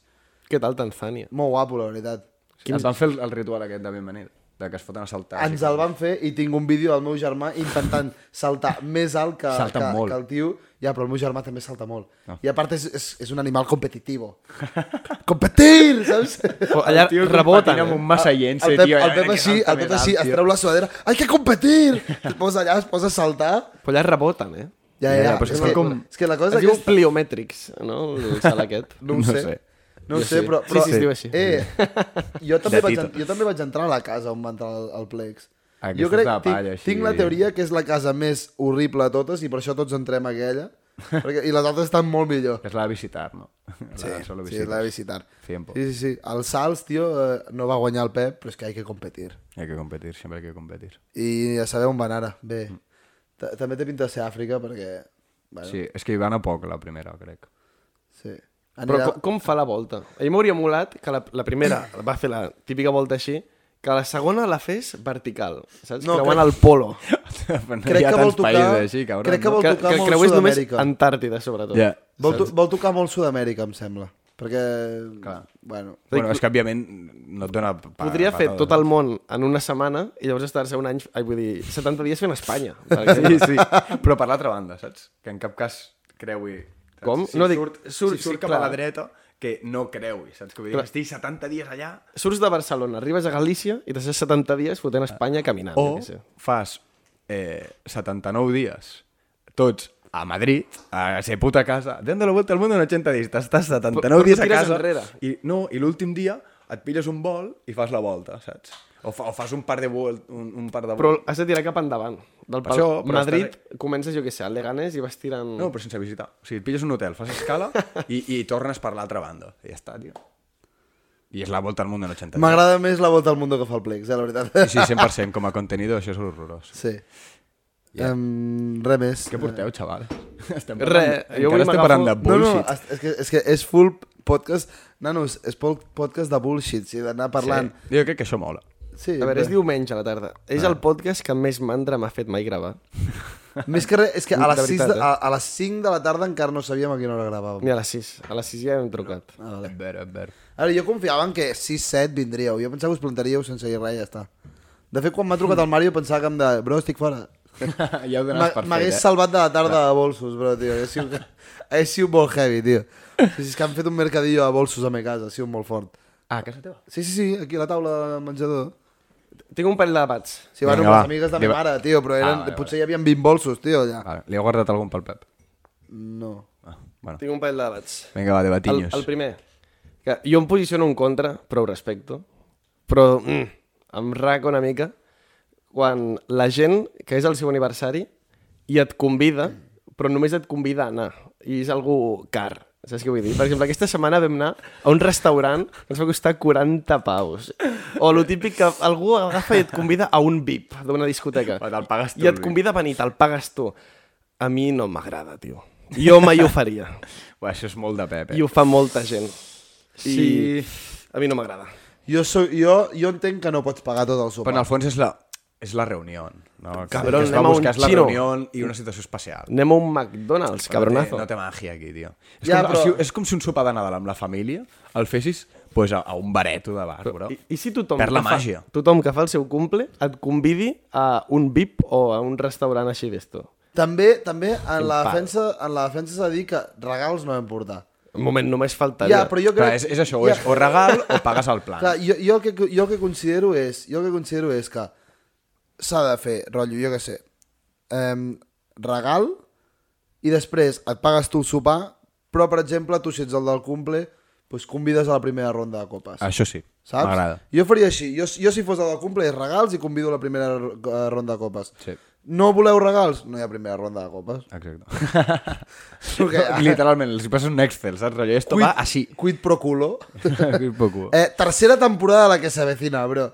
[SPEAKER 1] Què tal Tanzània?
[SPEAKER 5] Molt guapo, la veritat.
[SPEAKER 2] Quin... Et van fer el, el ritual aquest de benvenida, de que es foten a saltar.
[SPEAKER 5] Ens el van fer i tinc un vídeo del meu germà intentant saltar més alt que,
[SPEAKER 2] Salta
[SPEAKER 5] que,
[SPEAKER 2] molt. Ah.
[SPEAKER 5] que el tio. Ja, però el meu germà també salta molt. I a part és, és, és un animal competitivo. Competir, saps?
[SPEAKER 1] Oh, allà reboten. eh?
[SPEAKER 2] Amb un massa llense,
[SPEAKER 5] el Pep,
[SPEAKER 2] tio.
[SPEAKER 5] el Pep així, el Pep així es treu la suadera. Hay que competir! Es posa allà, es posa a saltar.
[SPEAKER 1] Eh? Però allà reboten, eh?
[SPEAKER 5] Ja, ja, ja.
[SPEAKER 2] però és
[SPEAKER 5] és,
[SPEAKER 2] que
[SPEAKER 5] que,
[SPEAKER 2] com-
[SPEAKER 5] és que la
[SPEAKER 1] Es
[SPEAKER 5] cosa
[SPEAKER 1] diu
[SPEAKER 5] aquesta...
[SPEAKER 1] Pliometrics, no? El sal aquest.
[SPEAKER 5] No ho
[SPEAKER 2] No
[SPEAKER 5] sé.
[SPEAKER 2] sé.
[SPEAKER 5] No ho
[SPEAKER 1] Jo
[SPEAKER 5] sé,
[SPEAKER 1] sí.
[SPEAKER 5] però...
[SPEAKER 1] Sí,
[SPEAKER 5] però
[SPEAKER 1] sí, es diu així.
[SPEAKER 5] Eh, jo, també
[SPEAKER 2] De
[SPEAKER 5] vaig,
[SPEAKER 2] Tito. Ah,
[SPEAKER 5] en- jo també vaig entrar a la casa on va entrar el, el Plex.
[SPEAKER 2] Aquesta
[SPEAKER 5] jo crec,
[SPEAKER 2] és la
[SPEAKER 5] tinc,
[SPEAKER 2] palla, així.
[SPEAKER 5] tinc la teoria que és la casa més horrible de totes i per això tots entrem a aquella. Perquè, I les altres estan molt millor.
[SPEAKER 2] És la de visitar, no? La, solo
[SPEAKER 5] sí, la de visitar.
[SPEAKER 2] Cien por.
[SPEAKER 5] Sí, sí, sí. El Salts, tio, eh, no va guanyar el Pep, però és que hay que competir.
[SPEAKER 2] Hay que competir, sempre hay que competir.
[SPEAKER 5] I ja sabeu on va anar. Bé, Ta- també té pinta de ser Àfrica perquè... Bueno, sí.
[SPEAKER 2] Sí, és que hi van a poc, la primera, crec.
[SPEAKER 5] sí.
[SPEAKER 1] Però
[SPEAKER 5] Anirà...
[SPEAKER 1] com, com fa la volta? A mi m'hauria molat que la, la primera va fer la típica volta així, que la segona la fes vertical, saps?
[SPEAKER 5] No,
[SPEAKER 1] No, Creuant
[SPEAKER 5] crec-
[SPEAKER 1] el polo.
[SPEAKER 2] no
[SPEAKER 5] Crec que vol tocar...
[SPEAKER 2] així, cabrón.
[SPEAKER 5] crec que vol
[SPEAKER 1] Que,
[SPEAKER 5] tocar
[SPEAKER 1] que
[SPEAKER 5] molt
[SPEAKER 1] creués només
[SPEAKER 5] Sud-amèrica.
[SPEAKER 1] Antàrtida, sobretot.
[SPEAKER 2] Ja.
[SPEAKER 5] Vol, to vol tocar molt Sud-amèrica, em sembla. Perquè...
[SPEAKER 2] Clar.
[SPEAKER 5] Bueno.
[SPEAKER 2] Bueno, és que, òbviament, no et dona... Pa,
[SPEAKER 1] Podria
[SPEAKER 2] pa
[SPEAKER 1] fer
[SPEAKER 2] todo,
[SPEAKER 1] tot el món en una setmana i llavors estar-se un any, ai, vull dir, 70 dies fent Espanya. per
[SPEAKER 2] saps?
[SPEAKER 1] exemple.
[SPEAKER 2] Sí, sí. Però per l'altra banda, saps? Que en cap cas creui... saps?
[SPEAKER 1] Com?
[SPEAKER 2] Si
[SPEAKER 1] No,
[SPEAKER 2] no,
[SPEAKER 1] dic-
[SPEAKER 2] surt,
[SPEAKER 1] surt-
[SPEAKER 2] surt, si surt
[SPEAKER 1] sí,
[SPEAKER 2] cap
[SPEAKER 1] clar.
[SPEAKER 2] a la dreta, que no creui, saps? Que vull dir,
[SPEAKER 1] Clar.
[SPEAKER 2] que estigui 70 dies allà...
[SPEAKER 1] Surts de Barcelona, arribes a Galícia i t'has 70 dies fotent Espanya caminant.
[SPEAKER 2] O
[SPEAKER 1] jo què sé.
[SPEAKER 2] fas eh, 79 dies, tots a Madrid, a ser puta casa, dando la vuelta al mundo en 80 dies, t'estàs 79
[SPEAKER 1] Però- però
[SPEAKER 2] dies a
[SPEAKER 1] tires
[SPEAKER 2] casa,
[SPEAKER 1] enrere.
[SPEAKER 2] i, no, i l'últim dia et pilles un vol i fas la volta, saps? O, fa, o fas un par de vol, un, un par de vol.
[SPEAKER 1] Però has de tirar cap endavant. Del
[SPEAKER 2] Per
[SPEAKER 1] pal...
[SPEAKER 2] això, però
[SPEAKER 1] Madrid
[SPEAKER 2] estàs-
[SPEAKER 1] comences, jo què sé, a Leganés i vas tirant...
[SPEAKER 2] No, però sense visitar. O sigui, et pilles un hotel, fas escala i, i tornes per l'altra banda. I ja està, tio. I és la volta al món en 80 dies.
[SPEAKER 5] M'agrada més la volta al món que fa el Plex, eh, la veritat.
[SPEAKER 2] Sí, 100%, com a contenido, això és horrorós.
[SPEAKER 5] Sí. Yeah. Um, res més.
[SPEAKER 2] Què porteu, xaval? Estem
[SPEAKER 1] Re, jo avui
[SPEAKER 2] encara estem
[SPEAKER 1] m'agafo-
[SPEAKER 2] parlant de
[SPEAKER 5] No, no,
[SPEAKER 2] bullshit.
[SPEAKER 5] és, és, que, és que és full podcast... Nanos, és full podcast de bullshit, sí, d'anar parlant...
[SPEAKER 2] Sí. Eh, Jo crec que això mola.
[SPEAKER 5] Sí. sí
[SPEAKER 1] A veure, és
[SPEAKER 5] bé.
[SPEAKER 1] diumenge a la tarda.
[SPEAKER 2] Ah.
[SPEAKER 1] És el podcast que més mandra m'ha fet mai gravar.
[SPEAKER 5] Més que res, és que a les,
[SPEAKER 1] De
[SPEAKER 5] 6
[SPEAKER 1] veritat,
[SPEAKER 5] de, a, a les 5 de la tarda encara no sabíem a quina hora
[SPEAKER 1] Ni
[SPEAKER 5] gravàvem.
[SPEAKER 1] a les 6. A les 6 ja hem trucat.
[SPEAKER 2] Ah, vale. ver, a ver.
[SPEAKER 5] A veure, jo confiava en que 6-7 vindríeu. Jo pensava que us plantaríeu sense dir res, ja està. De fet, quan m'ha trucat el Mario pensava que em de... Bro, estic fora.
[SPEAKER 2] ja ho dones
[SPEAKER 5] M'ha-
[SPEAKER 2] per fet,
[SPEAKER 5] M'hagués
[SPEAKER 2] eh?
[SPEAKER 5] salvat de la tarda de bolsos, però, tio. Hagués sigut, hagués sigut molt heavy, tio. Sí, sí, és que han fet un mercadillo de bolsos a mi casa, ha sigut molt fort.
[SPEAKER 2] Ah, a casa teva?
[SPEAKER 5] Sí, sí, sí, aquí a la taula del menjador.
[SPEAKER 1] Tinc un parell de debats.
[SPEAKER 5] Sí, bueno,
[SPEAKER 2] Vinga,
[SPEAKER 5] les
[SPEAKER 2] va.
[SPEAKER 5] amigues de la
[SPEAKER 2] Li
[SPEAKER 5] meva
[SPEAKER 2] va-
[SPEAKER 5] mare, tio, però eren,
[SPEAKER 2] Ah, vale,
[SPEAKER 5] potser hi havia 20 bolsos, tio, allà.
[SPEAKER 2] Ah, Vale, li heu guardat algun pel Pep?
[SPEAKER 5] No.
[SPEAKER 2] Ah, bueno.
[SPEAKER 1] Tinc un parell de debats.
[SPEAKER 2] Vinga, va,
[SPEAKER 1] El,
[SPEAKER 2] debatinyos.
[SPEAKER 1] el primer, que jo em posiciono en contra, però ho respecto, però mm, em raco una mica quan la gent, que és el seu aniversari, i et convida, però només et convida a anar, i és algú car. Saps què vull dir? Per exemple, aquesta setmana vam anar a un restaurant que ens va costar 40 paus. O el típic que algú agafa i et convida a un VIP d'una discoteca.
[SPEAKER 2] Però te'l pagues tu,
[SPEAKER 1] I
[SPEAKER 2] el
[SPEAKER 1] et
[SPEAKER 2] VIP.
[SPEAKER 1] convida a venir, te'l pagues tu. a mi no m'agrada, tio. Jo mai ho faria.
[SPEAKER 2] Uà, això és molt de Pep, eh?
[SPEAKER 1] I ho fa molta gent. I sí.
[SPEAKER 2] Sí.
[SPEAKER 1] a mi no m'agrada.
[SPEAKER 5] Jo, soc, jo, jo entenc que no pots pagar tot el
[SPEAKER 2] Però
[SPEAKER 5] sopar.
[SPEAKER 2] en el fons és la, és la reunió. No?
[SPEAKER 1] Cabrón,
[SPEAKER 2] que es
[SPEAKER 1] anem
[SPEAKER 2] va
[SPEAKER 1] a un
[SPEAKER 2] buscar és la
[SPEAKER 1] chino.
[SPEAKER 2] reunió i una situació especial.
[SPEAKER 1] Anem a un McDonald's, cabronazo.
[SPEAKER 2] No té, no té màgia aquí, tio. És,
[SPEAKER 5] Ja,
[SPEAKER 2] ja, com,
[SPEAKER 5] però-
[SPEAKER 2] però... és com si un sopar de Nadal amb la família el fessis pues, a, a un bareto de bar, bro.
[SPEAKER 1] I, I si tothom,
[SPEAKER 2] Perd la
[SPEAKER 1] que fa,
[SPEAKER 2] màgia.
[SPEAKER 1] tothom que fa el seu cumple et convidi a un VIP o a un restaurant així d'esto?
[SPEAKER 5] També, també en, la
[SPEAKER 1] pal.
[SPEAKER 5] defensa, en la defensa s'ha de dir que regals no vam portar.
[SPEAKER 1] Un moment, només faltaria.
[SPEAKER 5] Ja, però jo crec...
[SPEAKER 2] Clar, és, és això, o, és, o regal o pagues el plan.
[SPEAKER 5] Clar, jo, jo, el que, jo el que considero és, jo el que considero és que s'ha de fer, rotllo, jo què sé, um, regal i després et pagues tu el sopar, però, per exemple, tu si ets el del cumple, doncs convides a la primera ronda de copes.
[SPEAKER 2] Això sí, m'agrada.
[SPEAKER 5] Saps? Jo faria així. Jo, jo si fos el del cumple, és regals i convido a la primera ro- eh, ronda de copes.
[SPEAKER 2] Sí.
[SPEAKER 5] No voleu regals? No hi ha primera ronda de copes.
[SPEAKER 2] Exacte.
[SPEAKER 5] Perquè,
[SPEAKER 2] Literalment, els hi passes un Excel, saps? Rotllo, esto va així.
[SPEAKER 5] Quid pro culo.
[SPEAKER 2] Un poco.
[SPEAKER 5] Eh, tercera temporada de la que s'avecina, bro.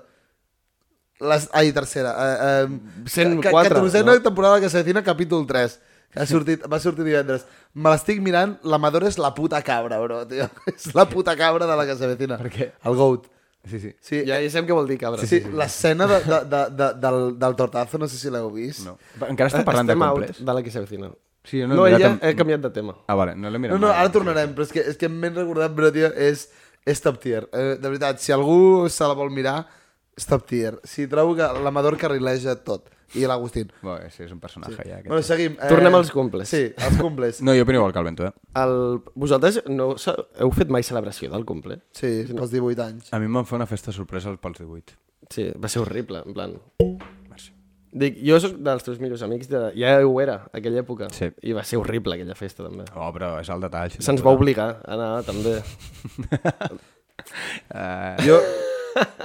[SPEAKER 5] Les, ai, tercera. Eh, eh,
[SPEAKER 1] 104,
[SPEAKER 5] 14
[SPEAKER 1] no?
[SPEAKER 5] temporada de la que s'avecina, capítol 3. Que ha sortit, va sortir divendres. Me l'estic mirant, l'amador és la puta cabra, bro, tio. És la puta cabra de la que s'avecina. Per
[SPEAKER 2] què?
[SPEAKER 5] El GOAT.
[SPEAKER 2] Sí, sí.
[SPEAKER 5] Sí,
[SPEAKER 1] Ja, ja sabem què vol dir, cabra.
[SPEAKER 5] sí, sí, l'escena de, de, de, de, del, del tortazo, no sé si l'heu vist.
[SPEAKER 2] No. Encara
[SPEAKER 5] Eh,
[SPEAKER 2] estem parlant
[SPEAKER 1] Eh, Estem
[SPEAKER 2] de
[SPEAKER 1] out
[SPEAKER 2] comples.
[SPEAKER 1] de la que s'avecina.
[SPEAKER 2] Sí, jo no he
[SPEAKER 1] no, no
[SPEAKER 2] mirat
[SPEAKER 1] ella,
[SPEAKER 2] amb-
[SPEAKER 1] he canviat de tema.
[SPEAKER 2] Ah, vale, no l'he mirat.
[SPEAKER 5] No, no,
[SPEAKER 2] mai.
[SPEAKER 5] ara tornarem, però és que, és que m'he recordat, però, tio, és, és top tier. Eh, de veritat, si algú se la vol mirar, és top tier. Si trobo que l'Amador carrileja tot. I l'Agustín.
[SPEAKER 2] Bé, sí, és un personatge sí. ja.
[SPEAKER 5] Bueno,
[SPEAKER 2] Aquest...
[SPEAKER 5] seguim. eh,
[SPEAKER 1] Tornem als cumples.
[SPEAKER 5] Sí, als cumples.
[SPEAKER 2] No, jo opino igual que el Bento, eh?
[SPEAKER 1] El... Vosaltres no se- heu fet mai celebració del cumple?
[SPEAKER 5] Sí, pels 18 anys.
[SPEAKER 2] A mi em van fer una festa sorpresa pels 18.
[SPEAKER 1] Sí, va ser horrible, en plan...
[SPEAKER 2] Merci.
[SPEAKER 1] Dic, jo sóc dels teus millors amics, de... ja ho era, aquella època.
[SPEAKER 2] Sí.
[SPEAKER 1] I va ser horrible aquella festa, també.
[SPEAKER 2] Oh, però és el detall. sí,
[SPEAKER 1] Se'ns va
[SPEAKER 2] total.
[SPEAKER 1] obligar a anar, també.
[SPEAKER 2] Eh,
[SPEAKER 5] Jo,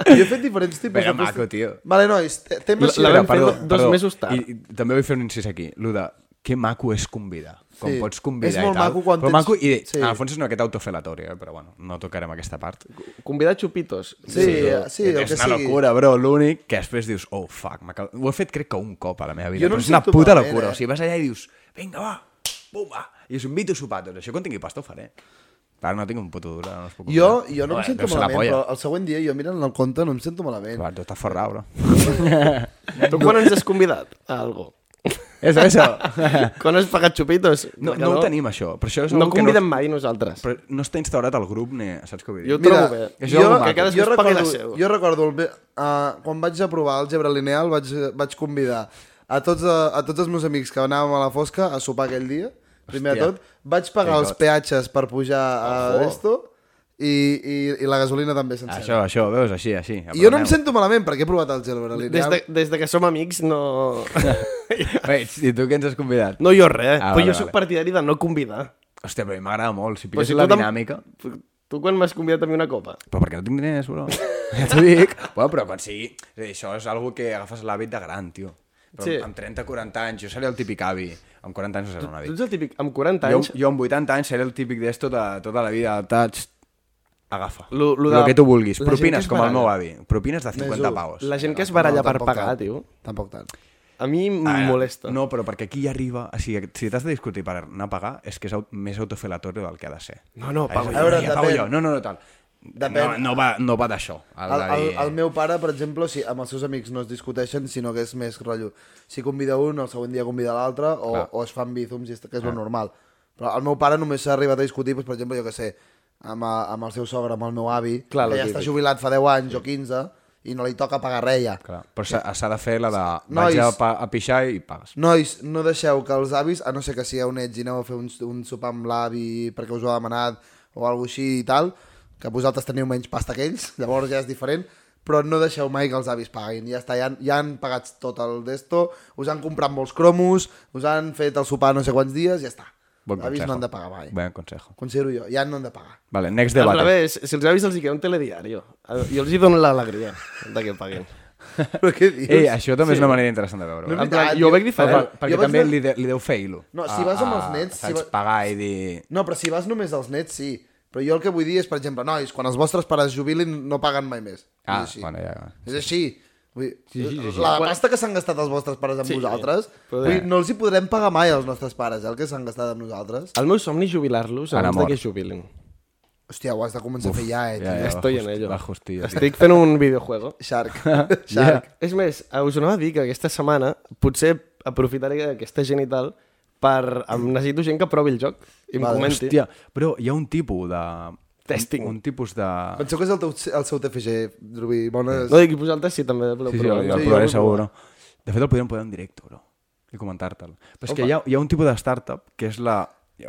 [SPEAKER 5] jo he fet diferents tipus
[SPEAKER 2] Però
[SPEAKER 5] de festes.
[SPEAKER 2] maco, tio.
[SPEAKER 5] Vale, nois, te-
[SPEAKER 1] La-
[SPEAKER 5] temes...
[SPEAKER 1] la
[SPEAKER 2] Espera,
[SPEAKER 1] vam fer do- dos mesos tard.
[SPEAKER 2] I, I també vull fer un incís aquí. Lo de que maco és convidar. Com
[SPEAKER 5] Sí.
[SPEAKER 2] pots convidar
[SPEAKER 5] És molt
[SPEAKER 2] i tal.
[SPEAKER 5] maco quan
[SPEAKER 2] però
[SPEAKER 5] tens-
[SPEAKER 2] maco i...
[SPEAKER 5] Sí.
[SPEAKER 2] Sí. En el fons és una aquesta autofelatòria, eh? però bueno, no tocarem aquesta part.
[SPEAKER 1] Convidar xupitos.
[SPEAKER 5] Sí, sí, el
[SPEAKER 2] és
[SPEAKER 5] que
[SPEAKER 2] una
[SPEAKER 5] sigui.
[SPEAKER 2] locura, bro. L'únic que després dius, oh, fuck, m'acabo- ho he fet crec que un cop a la meva vida.
[SPEAKER 5] Jo no em
[SPEAKER 2] però és una
[SPEAKER 5] sento
[SPEAKER 2] puta
[SPEAKER 5] malament,
[SPEAKER 2] locura.
[SPEAKER 5] eh?
[SPEAKER 2] O sigui, vas allà i dius, vinga, va, bum, va. I us invito a sopar tots. Doncs Això quan tingui pasta ho faré. Ara no tinc un puto duro, no us puc
[SPEAKER 5] Jo,
[SPEAKER 2] convidar.
[SPEAKER 5] jo no em
[SPEAKER 2] Bueno,
[SPEAKER 5] sento
[SPEAKER 2] deu ser la
[SPEAKER 5] malament,
[SPEAKER 2] polla.
[SPEAKER 5] però el següent dia jo mirant el compte no em sento malament.
[SPEAKER 2] Va, tu estàs forrat, bro.
[SPEAKER 1] Tu quan ens has convidat a algo?
[SPEAKER 2] eso, eso.
[SPEAKER 1] Quan has pagat xupitos?
[SPEAKER 2] No,
[SPEAKER 1] Que
[SPEAKER 2] no ho tenim, això. Però això és
[SPEAKER 1] No
[SPEAKER 2] algo que
[SPEAKER 1] conviden mai nosaltres.
[SPEAKER 2] Però no està instaurat al grup, ni... Saps què vull dir?
[SPEAKER 1] Jo ho
[SPEAKER 5] Mira,
[SPEAKER 1] trobo bé.
[SPEAKER 2] això és
[SPEAKER 5] jo,
[SPEAKER 2] el maco.
[SPEAKER 1] que cadascú
[SPEAKER 5] jo
[SPEAKER 1] es pagui la
[SPEAKER 5] recordo,
[SPEAKER 1] seva.
[SPEAKER 5] jo recordo el, me- eh, quan vaig aprovar el Gebre Lineal vaig, vaig convidar a tots, eh, a tots els meus amics que anàvem a la fosca a sopar aquell dia, primer de
[SPEAKER 2] Hòstia.
[SPEAKER 5] tot. Vaig pagar
[SPEAKER 2] Ei,
[SPEAKER 5] els
[SPEAKER 2] tot.
[SPEAKER 5] peatges per pujar a
[SPEAKER 1] Ojo.
[SPEAKER 5] Esto i, i, i la gasolina també sencera.
[SPEAKER 2] Això, això, veus, així, així.
[SPEAKER 5] I jo no em sento malament perquè he provat el Gebre
[SPEAKER 1] Des
[SPEAKER 5] Lineal.
[SPEAKER 1] de, des de que som amics no...
[SPEAKER 2] Ei, i tu què ens has convidat?
[SPEAKER 1] No jo res, ah,
[SPEAKER 2] Ah,
[SPEAKER 1] però
[SPEAKER 2] vale,
[SPEAKER 1] jo sóc
[SPEAKER 2] vale.
[SPEAKER 1] partidari de no convidar.
[SPEAKER 2] Hòstia, però a mi m'agrada molt. Si
[SPEAKER 1] Però
[SPEAKER 2] pilles la
[SPEAKER 1] tu tam-
[SPEAKER 2] dinàmica...
[SPEAKER 1] Tu quan m'has convidat a mi una copa?
[SPEAKER 2] Però perquè no tinc diners, bro. Ja t'ho dic. Bueno, però quan sigui... és a dir, Això és algo que agafes l'hàbit de gran, tio. Però
[SPEAKER 1] Sí.
[SPEAKER 2] sí. amb 30, 40 anys, jo seré el típic avi. Amb 40 anys no seré un
[SPEAKER 1] Tu
[SPEAKER 2] avi.
[SPEAKER 1] ets el típic, amb 40
[SPEAKER 2] Jo,
[SPEAKER 1] anys...
[SPEAKER 2] jo amb 80 anys seré el típic d'esto de tota la vida. Tats, agafa.
[SPEAKER 1] Lo- lo
[SPEAKER 2] lo,
[SPEAKER 1] de-
[SPEAKER 2] que tu vulguis.
[SPEAKER 1] la gent que
[SPEAKER 2] Propines,
[SPEAKER 1] es
[SPEAKER 2] com el
[SPEAKER 1] baralla.
[SPEAKER 2] meu avi. Propines de 50
[SPEAKER 5] un.
[SPEAKER 2] paus.
[SPEAKER 1] La gent que es baralla per
[SPEAKER 5] tampoc
[SPEAKER 1] pagar,
[SPEAKER 5] tant.
[SPEAKER 1] tio,
[SPEAKER 5] Tampoc tant.
[SPEAKER 1] a mi em
[SPEAKER 2] Ara,
[SPEAKER 1] molesta.
[SPEAKER 2] Ah, No, però perquè aquí hi arriba... O sigui, si t'has de discutir per anar a pagar, és que és aut més autofelatorio del que ha de ser.
[SPEAKER 1] No, no, pago
[SPEAKER 2] Ara,
[SPEAKER 1] jo.
[SPEAKER 5] A veure,
[SPEAKER 2] ja pago
[SPEAKER 5] depèn.
[SPEAKER 2] jo. No, no, no, tal.
[SPEAKER 5] Depèn.
[SPEAKER 2] No, no va, no va d'això.
[SPEAKER 5] El,
[SPEAKER 2] de
[SPEAKER 5] el,
[SPEAKER 2] dir-
[SPEAKER 5] el meu pare, per exemple, si amb els seus amics no es discuteixen, sinó que és més rotllo. Si convida un, el següent dia convida l'altre, o,
[SPEAKER 2] Clar.
[SPEAKER 5] o es fan bízums, i és- que és el normal. Però el meu pare només s'ha arribat a discutir, doncs, per exemple, jo que sé, amb, eh, amb el seu sogre, amb el meu avi,
[SPEAKER 1] Clar,
[SPEAKER 5] que
[SPEAKER 1] lo
[SPEAKER 5] ja està
[SPEAKER 1] típic.
[SPEAKER 5] jubilat fa 10 anys o 15, i no li toca pagar res ja.
[SPEAKER 2] Clar, però s'ha s'ha de fer la de...
[SPEAKER 5] Nois.
[SPEAKER 2] Vaig a, pa a pixar i pagues.
[SPEAKER 5] Nois, no deixeu que els avis, a no ser que sigueu nets i aneu a fer un, un sopar amb l'avi perquè us ho ha demanat o alguna així i tal, que vosaltres teniu menys pasta que ells, llavors ja és diferent, però no deixeu mai que els avis paguin. Ja està, ja han, ja han pagat tot el d'esto, us han comprat molts cromos, us han fet el sopar no sé quants dies, ja està.
[SPEAKER 2] Bon
[SPEAKER 5] avis
[SPEAKER 2] consejo.
[SPEAKER 5] no han de pagar mai.
[SPEAKER 2] Bon consejo.
[SPEAKER 5] Considero jo, ja no han de pagar.
[SPEAKER 2] Vale, next
[SPEAKER 1] Al
[SPEAKER 2] debate.
[SPEAKER 1] revés, si els avis els hi queda un telediari, jo els hi dono l'alegria de que paguin.
[SPEAKER 5] però què dius?
[SPEAKER 2] Ei, això també sí. és una manera interessant de veure.
[SPEAKER 5] No,
[SPEAKER 2] No,
[SPEAKER 1] Eh, En plan, jo ho veig
[SPEAKER 2] perquè
[SPEAKER 1] diferent.
[SPEAKER 2] perquè
[SPEAKER 5] jo vaig
[SPEAKER 2] també
[SPEAKER 5] veure-
[SPEAKER 2] li, de, li deu fer il·lo. Ah,
[SPEAKER 5] No, si vas amb els nets, si
[SPEAKER 2] Saps,
[SPEAKER 5] va-
[SPEAKER 2] pagar i dir...
[SPEAKER 5] No, però si vas només als nets, sí. Però jo el que vull dir és, per exemple, nois, quan els vostres pares jubilin no paguen mai més.
[SPEAKER 2] Ah,
[SPEAKER 5] és així.
[SPEAKER 2] bueno, ja...
[SPEAKER 5] És així. Vull dir,
[SPEAKER 2] Sí, sí, sí, sí.
[SPEAKER 5] La
[SPEAKER 1] Quan-
[SPEAKER 5] pasta que s'han gastat els vostres pares amb
[SPEAKER 1] Sí,
[SPEAKER 5] vosaltres,
[SPEAKER 1] però
[SPEAKER 5] vull dir,
[SPEAKER 2] de-
[SPEAKER 5] no els hi podrem pagar mai als nostres pares, eh, el que s'han gastat amb nosaltres.
[SPEAKER 1] El meu somni és jubilar-los
[SPEAKER 2] Ara
[SPEAKER 1] abans de
[SPEAKER 2] mort.
[SPEAKER 1] que es jubilen.
[SPEAKER 5] Hòstia, ho has de començar a fer ja, eh, tio.
[SPEAKER 2] Ja,
[SPEAKER 1] Estoy
[SPEAKER 2] bajo
[SPEAKER 1] en
[SPEAKER 2] hosti-
[SPEAKER 1] ello.
[SPEAKER 2] bajo hostia, sí.
[SPEAKER 1] Estic fent un videojuego.
[SPEAKER 5] Shark. Shark.
[SPEAKER 1] És més, us anava a dir que aquesta setmana potser aprofitaré aquesta gent i tal per... Em necessito gent que provi el joc i em
[SPEAKER 5] Vale.
[SPEAKER 1] comenti.
[SPEAKER 2] Hòstia, però hi ha un tipus de...
[SPEAKER 1] Testing.
[SPEAKER 2] Un tipus de...
[SPEAKER 5] Penseu que és el, teu, el seu TFG, Rubí. Bones...
[SPEAKER 1] No dic que vosaltres sí, també voleu
[SPEAKER 2] Sí, sí,
[SPEAKER 1] provar.
[SPEAKER 2] el,
[SPEAKER 5] jo
[SPEAKER 2] el
[SPEAKER 5] vull
[SPEAKER 2] provaré
[SPEAKER 5] provar.
[SPEAKER 2] segur, bro. De fet, el podríem posar en directe, bro, i comentar-te'l. Però és que hi ha, hi ha un tipus de startup que és la...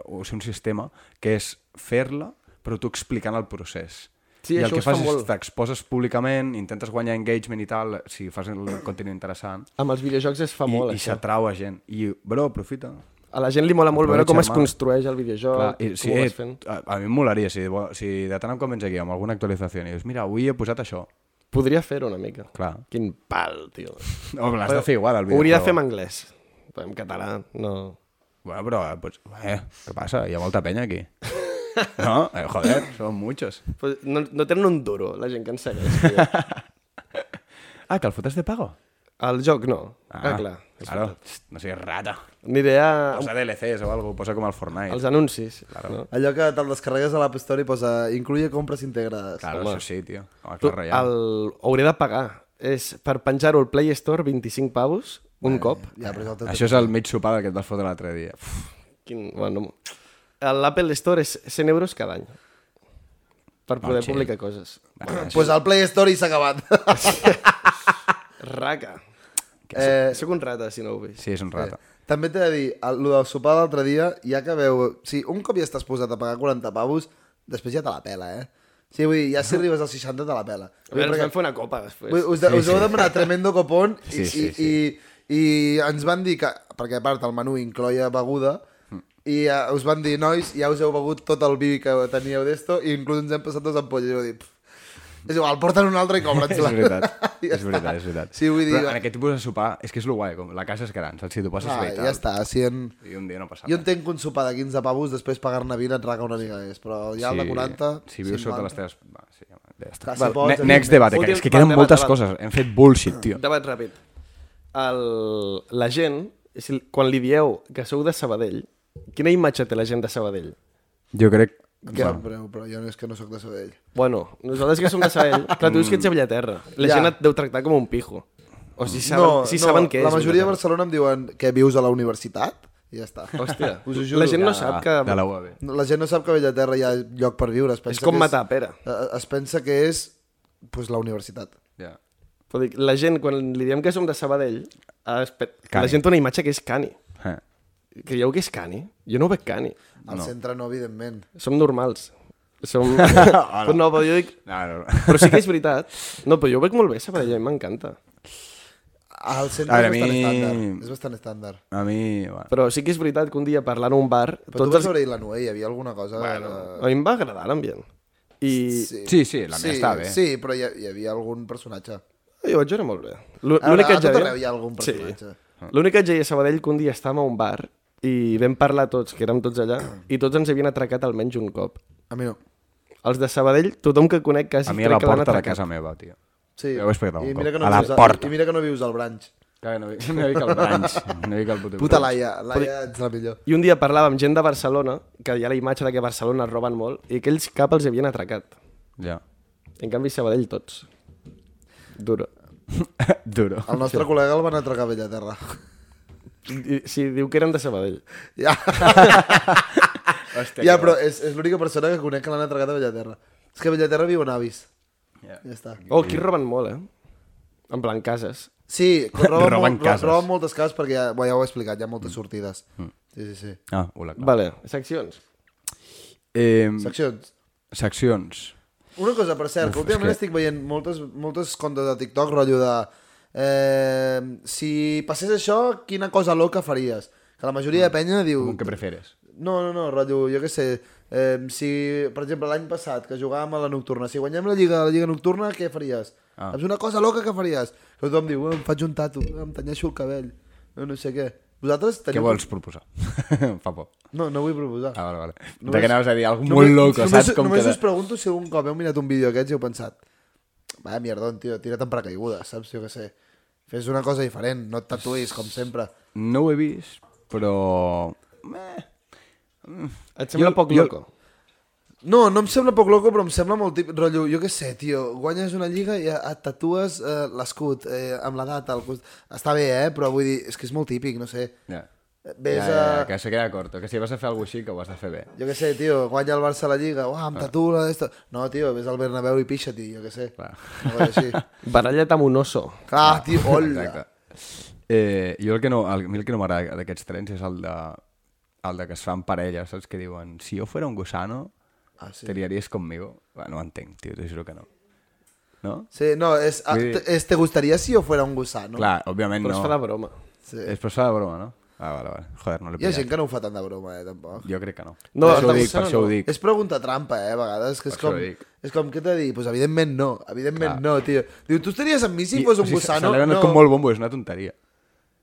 [SPEAKER 2] o sigui, un sistema que és fer-la, però tu explicant el procés.
[SPEAKER 1] Sí,
[SPEAKER 2] I el
[SPEAKER 1] això
[SPEAKER 2] que
[SPEAKER 1] es fa
[SPEAKER 2] fas és
[SPEAKER 1] molt.
[SPEAKER 2] t'exposes públicament, intentes guanyar engagement i tal, si fas el contingut interessant,
[SPEAKER 1] Amb els videojocs es fa
[SPEAKER 2] i,
[SPEAKER 1] molt,
[SPEAKER 2] i
[SPEAKER 1] això.
[SPEAKER 2] s'atrau a gent. I, bro, aprofita.
[SPEAKER 1] A la gent li mola molt veure com es
[SPEAKER 2] Aprovecha, home.
[SPEAKER 1] construeix el videojoc,
[SPEAKER 2] Clar, i,
[SPEAKER 1] com
[SPEAKER 2] si,
[SPEAKER 1] ho
[SPEAKER 2] eh,
[SPEAKER 1] vas fent.
[SPEAKER 2] a, a mi em molaria si, bo- si de tant em convenç aquí amb alguna actualització i dius, mira, avui he posat això.
[SPEAKER 1] Podria fer-ho una mica.
[SPEAKER 2] Clar.
[SPEAKER 1] Quin pal, tio.
[SPEAKER 2] No, però l'has de fer igual, el
[SPEAKER 1] Ho
[SPEAKER 2] videojoc.
[SPEAKER 1] hauria de fer en anglès. Però En català, no...
[SPEAKER 2] Bueno, però, eh, pues, eh, què passa? Hi ha molta penya aquí. No? Eh, joder, són muchos.
[SPEAKER 1] Pues no, no tenen un duro, la gent que ens segueix. Tio.
[SPEAKER 2] Ah, que el fotes de pago?
[SPEAKER 1] El joc no. Ah, ah clar. és
[SPEAKER 2] claro.
[SPEAKER 1] veritat. Ah,
[SPEAKER 2] Txt, No siguis rata.
[SPEAKER 1] Aniré a...
[SPEAKER 2] Posa DLCs o alguna posa com el Fortnite.
[SPEAKER 1] als anuncis. Claro. No?
[SPEAKER 5] Allò que te'l descarregues a l'App Store i posa incluye compres integrades.
[SPEAKER 2] Claro,
[SPEAKER 1] home.
[SPEAKER 2] això sí, tio. Home,
[SPEAKER 1] Tu,
[SPEAKER 2] clar, reial.
[SPEAKER 1] el... Hauré de pagar. És per penjar-ho al Play Store 25 pavos, un cop.
[SPEAKER 5] Ja, però és el teu
[SPEAKER 2] Això és el mig sopar que et vas fotre l'altre dia. Uf,
[SPEAKER 1] Quin... Bueno, L'Apple Store és 100 euros cada any per poder
[SPEAKER 2] chill.
[SPEAKER 1] publicar coses.
[SPEAKER 5] Doncs pues al Play Store i s'ha acabat.
[SPEAKER 1] Raca.
[SPEAKER 5] eh,
[SPEAKER 1] Soc un rata, si no ho veus.
[SPEAKER 2] sí, és un rata.
[SPEAKER 5] també t'he de dir, el, lo del sopar l'altre dia, ja que veu... Sí, un cop ja estàs posat a pagar 40 pavos, després ja te la pela, eh? Sí, vull dir, ja si arribes als 60 te la pela.
[SPEAKER 1] A veure, ens vam fer una copa després.
[SPEAKER 5] Vull, us, de, us heu demanat tremendo copón i,
[SPEAKER 2] Sí, sí,
[SPEAKER 5] i, i, i ens van dir que, perquè a part el menú incloia beguda, i uh, us van dir, nois, ja us heu begut tot el vi que teníeu d'esto i inclús ens hem passat dos ampolles. I vau dir, "Pff, és igual, porta'n un altre i
[SPEAKER 2] És
[SPEAKER 5] cobra-ts-la.
[SPEAKER 2] veritat,
[SPEAKER 5] I ja
[SPEAKER 2] és veritat,
[SPEAKER 5] està.
[SPEAKER 2] és veritat.
[SPEAKER 5] Sí, vull dir...
[SPEAKER 2] Però en aquest tipus de sopar, és que és lo guai, com la casa és gran, saps? Si t'ho passes
[SPEAKER 5] ah,
[SPEAKER 2] bé i tal.
[SPEAKER 5] ja està, si en...
[SPEAKER 2] I un dia no passa
[SPEAKER 5] Jo entenc que un sopar de 15 pavos després pagar-ne 20 et raca una mica més, però ja el de 40...
[SPEAKER 2] Si vius sota les
[SPEAKER 5] 50.
[SPEAKER 2] teves... Va, sí, home, ja està.
[SPEAKER 5] Clar, si
[SPEAKER 2] Val,
[SPEAKER 5] pots,
[SPEAKER 2] ne- next
[SPEAKER 5] evidentment.
[SPEAKER 2] debate, que
[SPEAKER 1] Últim-
[SPEAKER 2] és que
[SPEAKER 1] va,
[SPEAKER 2] queden
[SPEAKER 1] debat,
[SPEAKER 2] moltes
[SPEAKER 1] debat.
[SPEAKER 2] coses. Hem fet bullshit, tio.
[SPEAKER 1] Debat ràpid. El... La gent, si, quan li dieu que sou de Sabadell, quina imatge té la gent de Sabadell?
[SPEAKER 2] Jo crec...
[SPEAKER 5] Que bueno. breu, però jo no és que no sóc de Sabadell.
[SPEAKER 1] Bueno, nosaltres que som de Sabadell, clar, tu dius que ets de Bellaterra. La
[SPEAKER 5] Ja.
[SPEAKER 1] gent et deu tractar com un pijo. O si saben, no, si saben què
[SPEAKER 5] la
[SPEAKER 1] és.
[SPEAKER 5] majoria de
[SPEAKER 1] Bellaterra.
[SPEAKER 5] Barcelona em diuen que vius a la universitat i ja està.
[SPEAKER 1] Hòstia,
[SPEAKER 5] us ho juro.
[SPEAKER 1] la gent no
[SPEAKER 5] Ja.
[SPEAKER 1] sap que...
[SPEAKER 2] De la UAB.
[SPEAKER 5] No, La gent no sap que a Bellaterra hi ha lloc per viure. Es pensa
[SPEAKER 1] És com
[SPEAKER 5] que
[SPEAKER 1] matar pera.
[SPEAKER 5] eh, Es pensa que és pues, la universitat.
[SPEAKER 2] Ja.
[SPEAKER 1] Però dic, la gent, quan li diem que som de Sabadell, eh, espe-
[SPEAKER 2] Cani.
[SPEAKER 1] la gent té una imatge que és cani.
[SPEAKER 2] Eh.
[SPEAKER 1] Creieu que és cani? Jo no ho veig cani.
[SPEAKER 5] Al no. centre no, evidentment.
[SPEAKER 1] Som normals. Som... però no, però jo dic...
[SPEAKER 2] No, no, no.
[SPEAKER 1] Però sí que és veritat. No, però jo ho veig molt bé, Sabadell, a mi m'encanta.
[SPEAKER 5] Al centre
[SPEAKER 2] A veure, a
[SPEAKER 5] és bastant
[SPEAKER 2] mi-
[SPEAKER 5] estàndard. És bastant estàndard.
[SPEAKER 2] A mi... Bueno.
[SPEAKER 1] Però sí que és veritat que un dia parlant a un bar...
[SPEAKER 5] Però tu vas veure ahir la Noé, hi havia alguna cosa...
[SPEAKER 1] Bueno,
[SPEAKER 5] eh,
[SPEAKER 1] a mi em va agradar l'ambient. I sí.
[SPEAKER 2] Sí, sí, la meva
[SPEAKER 5] sí,
[SPEAKER 2] està bé.
[SPEAKER 5] Sí, però hi, ha- hi havia algun personatge.
[SPEAKER 1] jo vaig veure molt bé. L'ú-
[SPEAKER 5] A,
[SPEAKER 1] L'únic
[SPEAKER 5] a
[SPEAKER 1] que ja
[SPEAKER 5] tot arreu hi ha algun personatge. Sí.
[SPEAKER 1] L'únic que ja a Sabadell que un dia estàvem a un bar i vam parlar tots, que érem tots allà, i tots ens havien atracat almenys un cop.
[SPEAKER 5] A mi no.
[SPEAKER 1] Els de Sabadell, tothom que conec quasi
[SPEAKER 2] A mi a
[SPEAKER 1] crec
[SPEAKER 2] la
[SPEAKER 1] que l'han
[SPEAKER 2] porta de
[SPEAKER 1] atracat.
[SPEAKER 2] casa meva, tio.
[SPEAKER 5] Sí.
[SPEAKER 2] Ja ho he explicat algun
[SPEAKER 5] I mira
[SPEAKER 2] cop.
[SPEAKER 5] que no
[SPEAKER 2] A la
[SPEAKER 5] vius
[SPEAKER 2] porta.
[SPEAKER 5] I mira que no vius al branch.
[SPEAKER 2] Clar, no, no he vist el branx. No he vist el puto
[SPEAKER 5] Puta
[SPEAKER 2] branx.
[SPEAKER 5] Laia, Laia ets la millor.
[SPEAKER 1] I un dia parlava amb gent de Barcelona, que hi ha la imatge de que a Barcelona roben molt, i aquells cap els havien atracat.
[SPEAKER 2] Ja.
[SPEAKER 1] En canvi, Sabadell tots. Duro.
[SPEAKER 2] Duro.
[SPEAKER 5] El nostre col·lega el van atracar a Bellaterra.
[SPEAKER 1] I- Sí, diu que eren de Sabadell.
[SPEAKER 5] Ja,
[SPEAKER 2] Hòstia,
[SPEAKER 5] ja però és, és l'única persona que conec que l'han atracat a Bellaterra. És que a Bellaterra viuen avis.
[SPEAKER 2] Ja.
[SPEAKER 5] Ja està.
[SPEAKER 1] Oh, aquí roben molt, eh? En plan, cases.
[SPEAKER 5] Sí, roben,
[SPEAKER 2] Roben
[SPEAKER 5] molt,
[SPEAKER 2] cases. Mm.
[SPEAKER 5] roben moltes cases perquè ja, bueno, ja ho he explicat, hi ha moltes sortides. Sí, sí, sí.
[SPEAKER 2] Ah, hola, clar.
[SPEAKER 1] Vale, seccions.
[SPEAKER 2] Eh,
[SPEAKER 5] Seccions.
[SPEAKER 2] seccions.
[SPEAKER 5] Una cosa, per cert, que últimament
[SPEAKER 2] que-
[SPEAKER 5] estic veient moltes, moltes contes de TikTok, rotllo de... Eh, si passés això, quina cosa loca faries? Que la majoria de penya diu...
[SPEAKER 2] Ah, Com que preferes?
[SPEAKER 5] No, no, no, rotllo, jo què sé. Eh, si, per exemple, l'any passat, que jugàvem a la nocturna, si guanyem la Lliga, la Lliga Nocturna, què faries?
[SPEAKER 2] Ah.
[SPEAKER 5] Ah. És una cosa loca que faries. Però tothom diu, "Eh, em faig un tatu, eh, em tanyeixo el cabell, no, no sé què. Vosaltres
[SPEAKER 2] Què
[SPEAKER 5] teniu...
[SPEAKER 2] vols proposar? em fa por.
[SPEAKER 5] No, no vull proposar.
[SPEAKER 2] Ah, vale, vale.
[SPEAKER 5] Només-
[SPEAKER 2] Només... De què anaves a dir? Algo molt loco,
[SPEAKER 5] només,
[SPEAKER 2] saps? Com
[SPEAKER 5] només
[SPEAKER 2] que...
[SPEAKER 5] us pregunto si algun cop heu mirat un vídeo d'aquests i heu pensat Vaya mierdón, tio, tira't en paracaigudes, saps? Jo què sé. Fes una cosa diferent, no et tatuïs, com sempre.
[SPEAKER 2] No ho he vist, però...
[SPEAKER 1] Et sembla
[SPEAKER 2] Jo-
[SPEAKER 1] poc
[SPEAKER 2] jo-
[SPEAKER 1] loco?
[SPEAKER 5] No, no em sembla poc loco, però em sembla molt tip... Rotllo, jo què sé, tio, guanyes una lliga i et tatues eh, l'escut eh, amb la data. El... cost- Està bé, eh? Però vull dir, és que és molt típic, no sé.
[SPEAKER 2] Ja.
[SPEAKER 5] Ves
[SPEAKER 2] ja, ja,
[SPEAKER 5] a-
[SPEAKER 2] que se queda corto, que si vas a fer alguna cosa així que ho has de fer bé.
[SPEAKER 5] Jo què sé, tio, guanya el Barça la Lliga, uah,
[SPEAKER 2] Ah.
[SPEAKER 5] em tatuo la d'esto... No, tio, ves al Bernabéu i pixa-t'hi, jo què sé.
[SPEAKER 2] Clar.
[SPEAKER 5] Una cosa així.
[SPEAKER 1] Baralla't amb un oso.
[SPEAKER 5] Clar, tio, hola.
[SPEAKER 2] Exacte. Eh, jo el que no, el, a mi el que no m'agrada d'aquests trens és el de, el de que es fan parelles, saps? Que diuen, si jo fuera un gusano,
[SPEAKER 5] Ah, sí.
[SPEAKER 2] te liaries conmigo. Va, no ho entenc, tio, t'ho juro que no. No?
[SPEAKER 5] Sí, no, és, a,
[SPEAKER 2] Vull dir-
[SPEAKER 5] te- és te gustaría si yo fuera un gusano.
[SPEAKER 2] Clar, òbviament
[SPEAKER 1] Però no. es
[SPEAKER 2] no.
[SPEAKER 1] fa de broma.
[SPEAKER 5] Sí.
[SPEAKER 2] És per això de broma, no? Ah, vale, vale. Joder, no l'he
[SPEAKER 5] Hi ha
[SPEAKER 2] pillat.
[SPEAKER 5] gent que no ho fa tant de broma, eh, tampoc.
[SPEAKER 2] Jo crec que no.
[SPEAKER 1] No, de
[SPEAKER 2] per això ho dic, per
[SPEAKER 1] gusano
[SPEAKER 2] això
[SPEAKER 1] no.
[SPEAKER 2] ho dic.
[SPEAKER 5] És pregunta trampa, eh, a vegades, que és
[SPEAKER 2] Per això
[SPEAKER 5] com...
[SPEAKER 2] dic.
[SPEAKER 5] És com, què t'he de dir? Pues evidentment no, evidentment no, tio. Diu, tu estaries amb mi si fos un
[SPEAKER 2] Se
[SPEAKER 5] gusano?
[SPEAKER 2] l'ha
[SPEAKER 5] No.
[SPEAKER 2] donat com molt bombo, és una tonteria.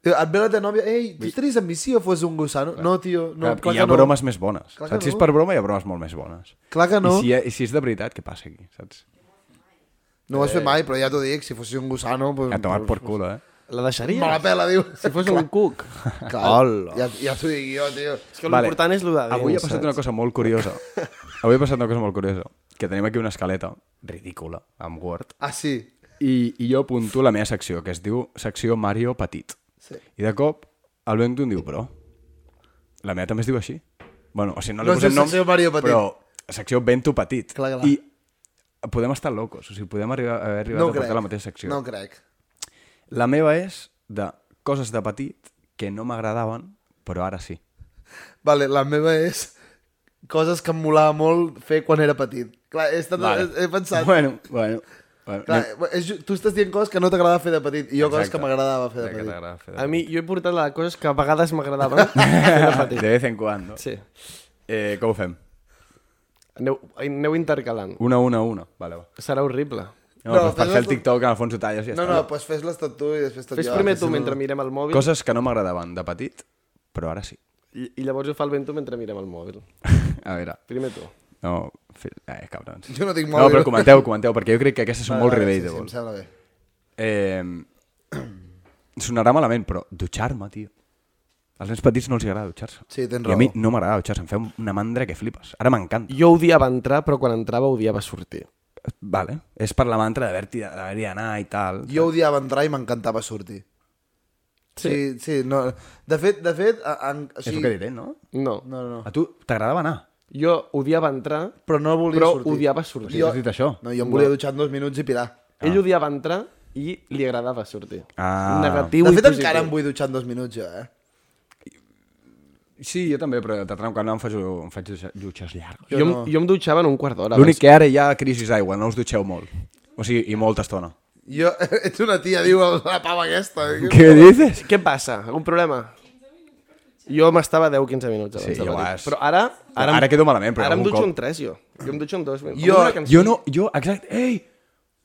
[SPEAKER 5] Tio, et ve la teva nòvia, ei, tu estaries amb mi si jo fos un gusano? No, tio,
[SPEAKER 2] No,
[SPEAKER 5] no, clar
[SPEAKER 2] hi ha
[SPEAKER 5] que no.
[SPEAKER 2] bromes més bones.
[SPEAKER 5] Clar que
[SPEAKER 2] saps? Si és
[SPEAKER 5] no.
[SPEAKER 2] per broma, hi ha bromes molt més bones.
[SPEAKER 5] Clar que no.
[SPEAKER 2] I si, i si és de veritat, què passa aquí, saps?
[SPEAKER 5] No ho has fet mai, però ja t'ho dic, si fossis un gusano... Pues,
[SPEAKER 2] A tomar por culo, eh?
[SPEAKER 1] La deixaries?
[SPEAKER 5] Me la pela, diu.
[SPEAKER 1] Si fos un cuc.
[SPEAKER 5] Clar,
[SPEAKER 1] Hola.
[SPEAKER 5] ja, ja t'ho dic jo, tio.
[SPEAKER 1] És que l'important és lo de dins,
[SPEAKER 2] Avui ha passat una cosa molt curiosa. Avui ha passat una cosa molt curiosa. Que tenim aquí una escaleta ridícula, amb Word.
[SPEAKER 5] Ah, sí.
[SPEAKER 2] I, i jo apunto la meva secció, que es diu secció Mario Petit.
[SPEAKER 5] Sí.
[SPEAKER 2] I de cop, el Benton diu, però, la meva també es diu així. Bueno, o sigui, no li
[SPEAKER 5] No es diu
[SPEAKER 2] posem nom,
[SPEAKER 5] Doncs secció Mario Petit.
[SPEAKER 2] però secció Bento Petit.
[SPEAKER 5] Clar, clar.
[SPEAKER 2] I podem estar locos, o sigui, podem arribar, haver arribat
[SPEAKER 5] No ho
[SPEAKER 2] a
[SPEAKER 5] crec.
[SPEAKER 2] portar la mateixa secció.
[SPEAKER 5] No ho crec.
[SPEAKER 2] La meva és de coses de petit que no m'agradaven, però ara sí.
[SPEAKER 5] Vale, la meva és coses que em molava molt fer quan era petit. Clar, he, estat,
[SPEAKER 2] Vale.
[SPEAKER 5] he, he pensat...
[SPEAKER 2] Bueno, bueno. bueno
[SPEAKER 5] Clar, és, ju- tu estàs dient coses que no t'agradava fer de petit i jo coses que
[SPEAKER 2] Exacte.
[SPEAKER 5] m'agradava fer de
[SPEAKER 2] Ja que
[SPEAKER 5] petit.
[SPEAKER 2] t'agrada fer de
[SPEAKER 1] A mi, jo he portat les coses que a vegades m'agradaven. de
[SPEAKER 5] Ah,
[SPEAKER 2] petit.
[SPEAKER 1] petit.
[SPEAKER 2] De vez en cuando.
[SPEAKER 1] sí.
[SPEAKER 2] Eh, com ho fem?
[SPEAKER 1] Aneu, aneu intercalant.
[SPEAKER 2] Una, una, una. Vale, va.
[SPEAKER 1] Serà horrible.
[SPEAKER 2] No, no
[SPEAKER 5] No,
[SPEAKER 2] per
[SPEAKER 5] fes
[SPEAKER 2] fer el
[SPEAKER 5] les-
[SPEAKER 2] TikTok, en el fons ho talles i ja
[SPEAKER 5] No, no,
[SPEAKER 2] està.
[SPEAKER 5] doncs pues fes-les tot tu i després tot
[SPEAKER 1] Fes
[SPEAKER 5] jo.
[SPEAKER 1] primer
[SPEAKER 5] que si
[SPEAKER 1] tu
[SPEAKER 5] no-
[SPEAKER 1] mentre mirem el mòbil
[SPEAKER 2] Coses que no m'agradaven de petit, però ara sí.
[SPEAKER 1] i, i llavors ho fa el Bento mentre mirem el mòbil.
[SPEAKER 2] A veure,
[SPEAKER 1] Primer tu.
[SPEAKER 2] no... fi- Eh, cabrons.
[SPEAKER 5] Jo no
[SPEAKER 2] No,
[SPEAKER 5] tinc mòbil.
[SPEAKER 2] però comenteu, comenteu, perquè jo crec que aquestes són molt
[SPEAKER 5] Vale, sí, sí,
[SPEAKER 2] relatable.
[SPEAKER 5] em sembla bé.
[SPEAKER 2] Eh, sonarà malament, però dutxar-me, tio. Als nens petits no els agrada dutxar-se.
[SPEAKER 5] Sí, tens
[SPEAKER 2] I a mi
[SPEAKER 5] raó.
[SPEAKER 2] no m'agrada dutxar-se, em feu una mandra que flipes. Ara m'encanta.
[SPEAKER 1] Jo odiava entrar, però quan entrava odiava sortir.
[SPEAKER 2] Vale, és per la mantra d'haver-hi d'haver d'anar i tal.
[SPEAKER 5] Jo odiava entrar i m'encantava sortir. Sí. sí, no. De fet, de fet, a- en, o
[SPEAKER 2] És el
[SPEAKER 5] sigui,
[SPEAKER 2] que diré, no?
[SPEAKER 1] No. no.
[SPEAKER 5] no, no, no.
[SPEAKER 2] A tu t'agradava anar?
[SPEAKER 1] Jo odiava entrar,
[SPEAKER 5] Però no volia
[SPEAKER 1] però
[SPEAKER 5] sortir.
[SPEAKER 1] odiava sortir.
[SPEAKER 2] Jo... Has dit això?
[SPEAKER 5] No, jo em volia dutxar en dos minuts i pirar.
[SPEAKER 1] Ell odiava entrar i li agradava sortir.
[SPEAKER 2] Ah.
[SPEAKER 1] Negatiu
[SPEAKER 5] De
[SPEAKER 1] i
[SPEAKER 5] fet,
[SPEAKER 1] positiu.
[SPEAKER 5] encara em vull dutxar en dos minuts, jo, eh?
[SPEAKER 2] Sí, jo també, però de tant en quant em faig, em faig dutxa- dutxes llargues.
[SPEAKER 1] Jo, em- jo em dutxava en un quart d'hora.
[SPEAKER 2] L'únic que ara hi ha crisi d'aigua, no us dutxeu molt. O sigui, i molta estona.
[SPEAKER 5] Jo, ets una tia, diu la pava aquesta.
[SPEAKER 2] Què dices?
[SPEAKER 1] Què passa? Algun problema? Jo m'estava 10-15 minuts abans
[SPEAKER 2] Sí,
[SPEAKER 1] de
[SPEAKER 2] jo
[SPEAKER 1] la
[SPEAKER 2] vas.
[SPEAKER 1] Però ara... Ara,
[SPEAKER 2] Ara quedo malament, però
[SPEAKER 1] Ara em
[SPEAKER 2] algun
[SPEAKER 1] dutxo
[SPEAKER 2] cop.
[SPEAKER 1] en 3, jo. Jo em dutxo en 2.
[SPEAKER 5] Jo-
[SPEAKER 2] Jo no, jo, exacte, ei!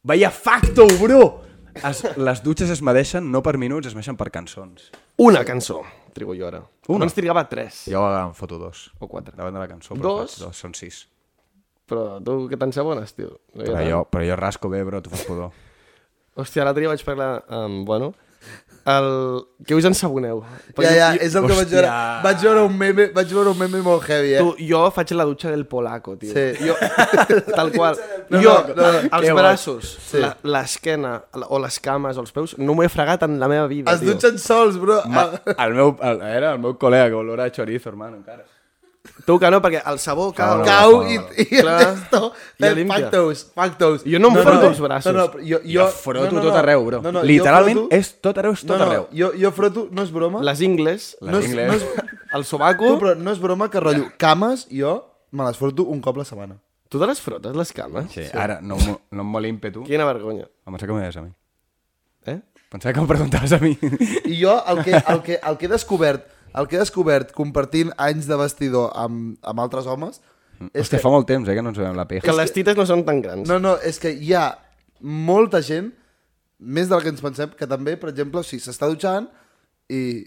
[SPEAKER 2] Vaya facto, bro! Es, les dutxes es medeixen no per minuts, es medeixen per cançons.
[SPEAKER 1] Una cançó, trigo jo ara.
[SPEAKER 2] Una?
[SPEAKER 1] Abans trigava 3
[SPEAKER 2] Jo em foto dos.
[SPEAKER 1] o 4.
[SPEAKER 2] Davant de la cançó,
[SPEAKER 1] però
[SPEAKER 2] però
[SPEAKER 1] Dos? faig
[SPEAKER 2] dos són sis.
[SPEAKER 1] Però tu que te'n sabones, tio. No hi ha
[SPEAKER 2] Però
[SPEAKER 1] tant.
[SPEAKER 2] jo, però jo rasco bé, bro, tu fas pudor.
[SPEAKER 1] Hòstia, l'altre dia vaig parlar amb... Bueno, el... que us ensaboneu.
[SPEAKER 5] Ja, ja, és el que vaig
[SPEAKER 2] Hòstia.
[SPEAKER 5] veure. Vaig veure un meme, vaig veure un meme molt heavy, eh?
[SPEAKER 1] Tu, jo faig la dutxa del polaco, tio.
[SPEAKER 5] Sí.
[SPEAKER 1] Jo, tal qual.
[SPEAKER 5] No,
[SPEAKER 1] jo,
[SPEAKER 5] no, no, no.
[SPEAKER 1] els
[SPEAKER 5] Que
[SPEAKER 1] braços,
[SPEAKER 5] Sí.
[SPEAKER 1] la- l'esquena la- o les cames o els peus, no m'ho he fregat en la meva vida,
[SPEAKER 5] Es
[SPEAKER 1] tio.
[SPEAKER 5] dutxen sols, bro. Ah,
[SPEAKER 2] El meu, el, era el meu col·lega que olora a chorizo, hermano, encara.
[SPEAKER 1] Tu que no, perquè el sabó cau.
[SPEAKER 2] no,
[SPEAKER 5] Ah, Cau
[SPEAKER 2] Ah, no,
[SPEAKER 5] i,
[SPEAKER 2] no.
[SPEAKER 5] i
[SPEAKER 1] Clar.
[SPEAKER 5] el testo.
[SPEAKER 1] Ja
[SPEAKER 5] eh,
[SPEAKER 1] limpia.
[SPEAKER 5] Factos, factos.
[SPEAKER 1] Jo no em froto els braços.
[SPEAKER 5] No, no, però jo, jo,
[SPEAKER 2] Jo froto tot arreu, bro. Literalment és tot arreu, és tot
[SPEAKER 5] no, no,
[SPEAKER 2] arreu.
[SPEAKER 5] Jo, jo froto, no és broma.
[SPEAKER 1] Les ingles,
[SPEAKER 2] Les
[SPEAKER 5] no és,
[SPEAKER 2] ingles.
[SPEAKER 5] no és,
[SPEAKER 1] el sobaco...
[SPEAKER 5] tu, però no és broma que rotllo. Cames, jo me les froto un cop la setmana.
[SPEAKER 1] Tu te les frotes, les cames?
[SPEAKER 2] Sí, ara, no, em mo- no em moli ímpetu.
[SPEAKER 1] Quina vergonya.
[SPEAKER 2] Em pensava que m'ho deies a mi.
[SPEAKER 1] Eh?
[SPEAKER 2] Pensava que em preguntaves a mi.
[SPEAKER 5] I jo el que, el que, el que he descobert el que he descobert compartint anys de vestidor amb, amb altres homes
[SPEAKER 2] És Hòstia, que... fa molt temps, eh, que no ens veiem la
[SPEAKER 1] Que
[SPEAKER 2] peja.
[SPEAKER 1] les tites no són tan grans.
[SPEAKER 5] No, no, és que hi ha molta gent, més del que ens pensem, que també, per exemple, o sigui, s'està dutxant i,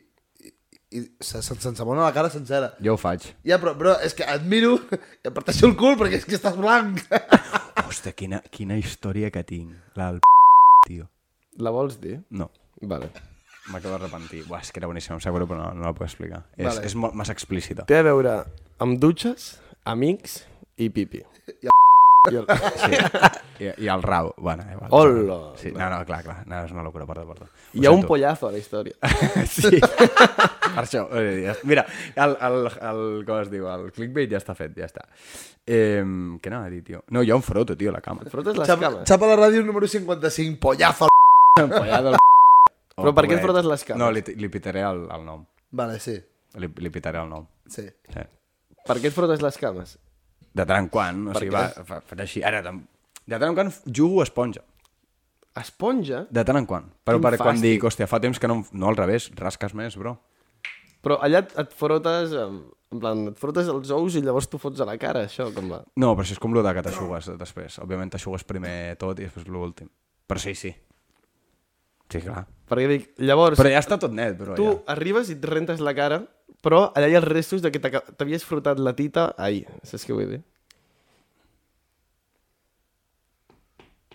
[SPEAKER 5] i, i se- se- se'n sabona la cara sencera.
[SPEAKER 2] Jo ho faig.
[SPEAKER 5] Ja, però, però és que et miro i em parteixo el cul perquè és que estàs blanc.
[SPEAKER 2] Hòstia, quina, quina història que tinc. La del p***, tio.
[SPEAKER 1] La vols dir?
[SPEAKER 2] No.
[SPEAKER 1] Vale.
[SPEAKER 2] M'acabo d'arrepentir. Buah, és que era boníssima, em sap greu, però no, no la puc explicar. Vale. És, és molt, massa explícita.
[SPEAKER 1] Té a veure amb dutxes, amics i pipi.
[SPEAKER 2] Sí. I, I el rau. Bueno, eh, vale,
[SPEAKER 1] Hola.
[SPEAKER 2] Sí, no, no, clar, clar. No, és una locura, porta, porta. Ho
[SPEAKER 1] Hi ha un
[SPEAKER 2] sento.
[SPEAKER 1] pollazo a la història.
[SPEAKER 2] sí. per això, eh, ja- mira, el, el, el, com es diu, el clickbait ja està fet, ja està. Eh, què anava a dir, tio? No, hi ha un froto, tio, a la cama.
[SPEAKER 1] Frotes les
[SPEAKER 5] Xapa,
[SPEAKER 2] eh?
[SPEAKER 1] cames.
[SPEAKER 5] xapa la ràdio número 55, pollafa. al-
[SPEAKER 2] Empollada al...
[SPEAKER 1] Però per què et frotes les cames?
[SPEAKER 2] Oh, No, li, li pitaré el, el nom.
[SPEAKER 5] Vale, sí,
[SPEAKER 2] Li, li pitaré el nom.
[SPEAKER 5] sí.
[SPEAKER 2] Sí.
[SPEAKER 1] Per què et frotes les cames?
[SPEAKER 2] De tant en quant, o sigui, va, fa, faig així. Ara, de, de tant en quant jugo a esponja.
[SPEAKER 1] Esponja?
[SPEAKER 2] De tant en quant. Però
[SPEAKER 1] Quin
[SPEAKER 2] per quan
[SPEAKER 1] fàstic.
[SPEAKER 2] dic, hòstia, fa temps que no... em- No, al revés, rasques més, bro.
[SPEAKER 1] Però allà et, et frotes... amb- En plan, et frotes els ous i llavors t'ho fots a la cara, això, com va.
[SPEAKER 2] No, però això és com lo de que t'aixugues després. Òbviament t'aixugues primer tot i després l'últim. Però sí, sí. Sí, clar.
[SPEAKER 1] Perquè dic, llavors,
[SPEAKER 2] Però ja està tot net, bro.
[SPEAKER 1] tu
[SPEAKER 2] Tu...
[SPEAKER 1] arribes i et rentes la cara, però allà hi ha els restos de que t'aca- t'havies frotat la tita ahir. Saps què vull dir?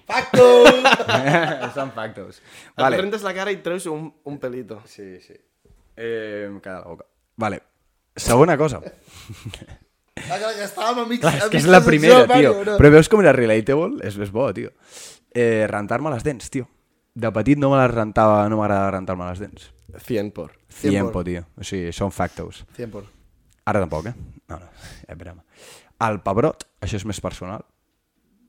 [SPEAKER 2] Ja. Són factos.
[SPEAKER 1] Vale. Et
[SPEAKER 2] Vale.
[SPEAKER 1] rentes la cara i et treus un, un pelito.
[SPEAKER 2] Sí, sí. Eh, em queda la boca. Vale. Segona cosa.
[SPEAKER 5] Ah, clar, que estàvem a mig...
[SPEAKER 2] Clar,
[SPEAKER 5] a
[SPEAKER 2] és que és
[SPEAKER 5] mig
[SPEAKER 2] la
[SPEAKER 5] secció,
[SPEAKER 2] primera, tio.
[SPEAKER 5] Mario, no?
[SPEAKER 2] Però veus com era relatable? És, és bo, tio. Eh, Rentar-me les dents, tio. De petit no me les rentava, no m'agradava rentar-me les dents.
[SPEAKER 1] Cien por.
[SPEAKER 2] Tiempo, tio. O sigui, són factos.
[SPEAKER 5] 100 por.
[SPEAKER 2] Ara tampoc, eh? No, no, és broma. El pebrot, això és més personal.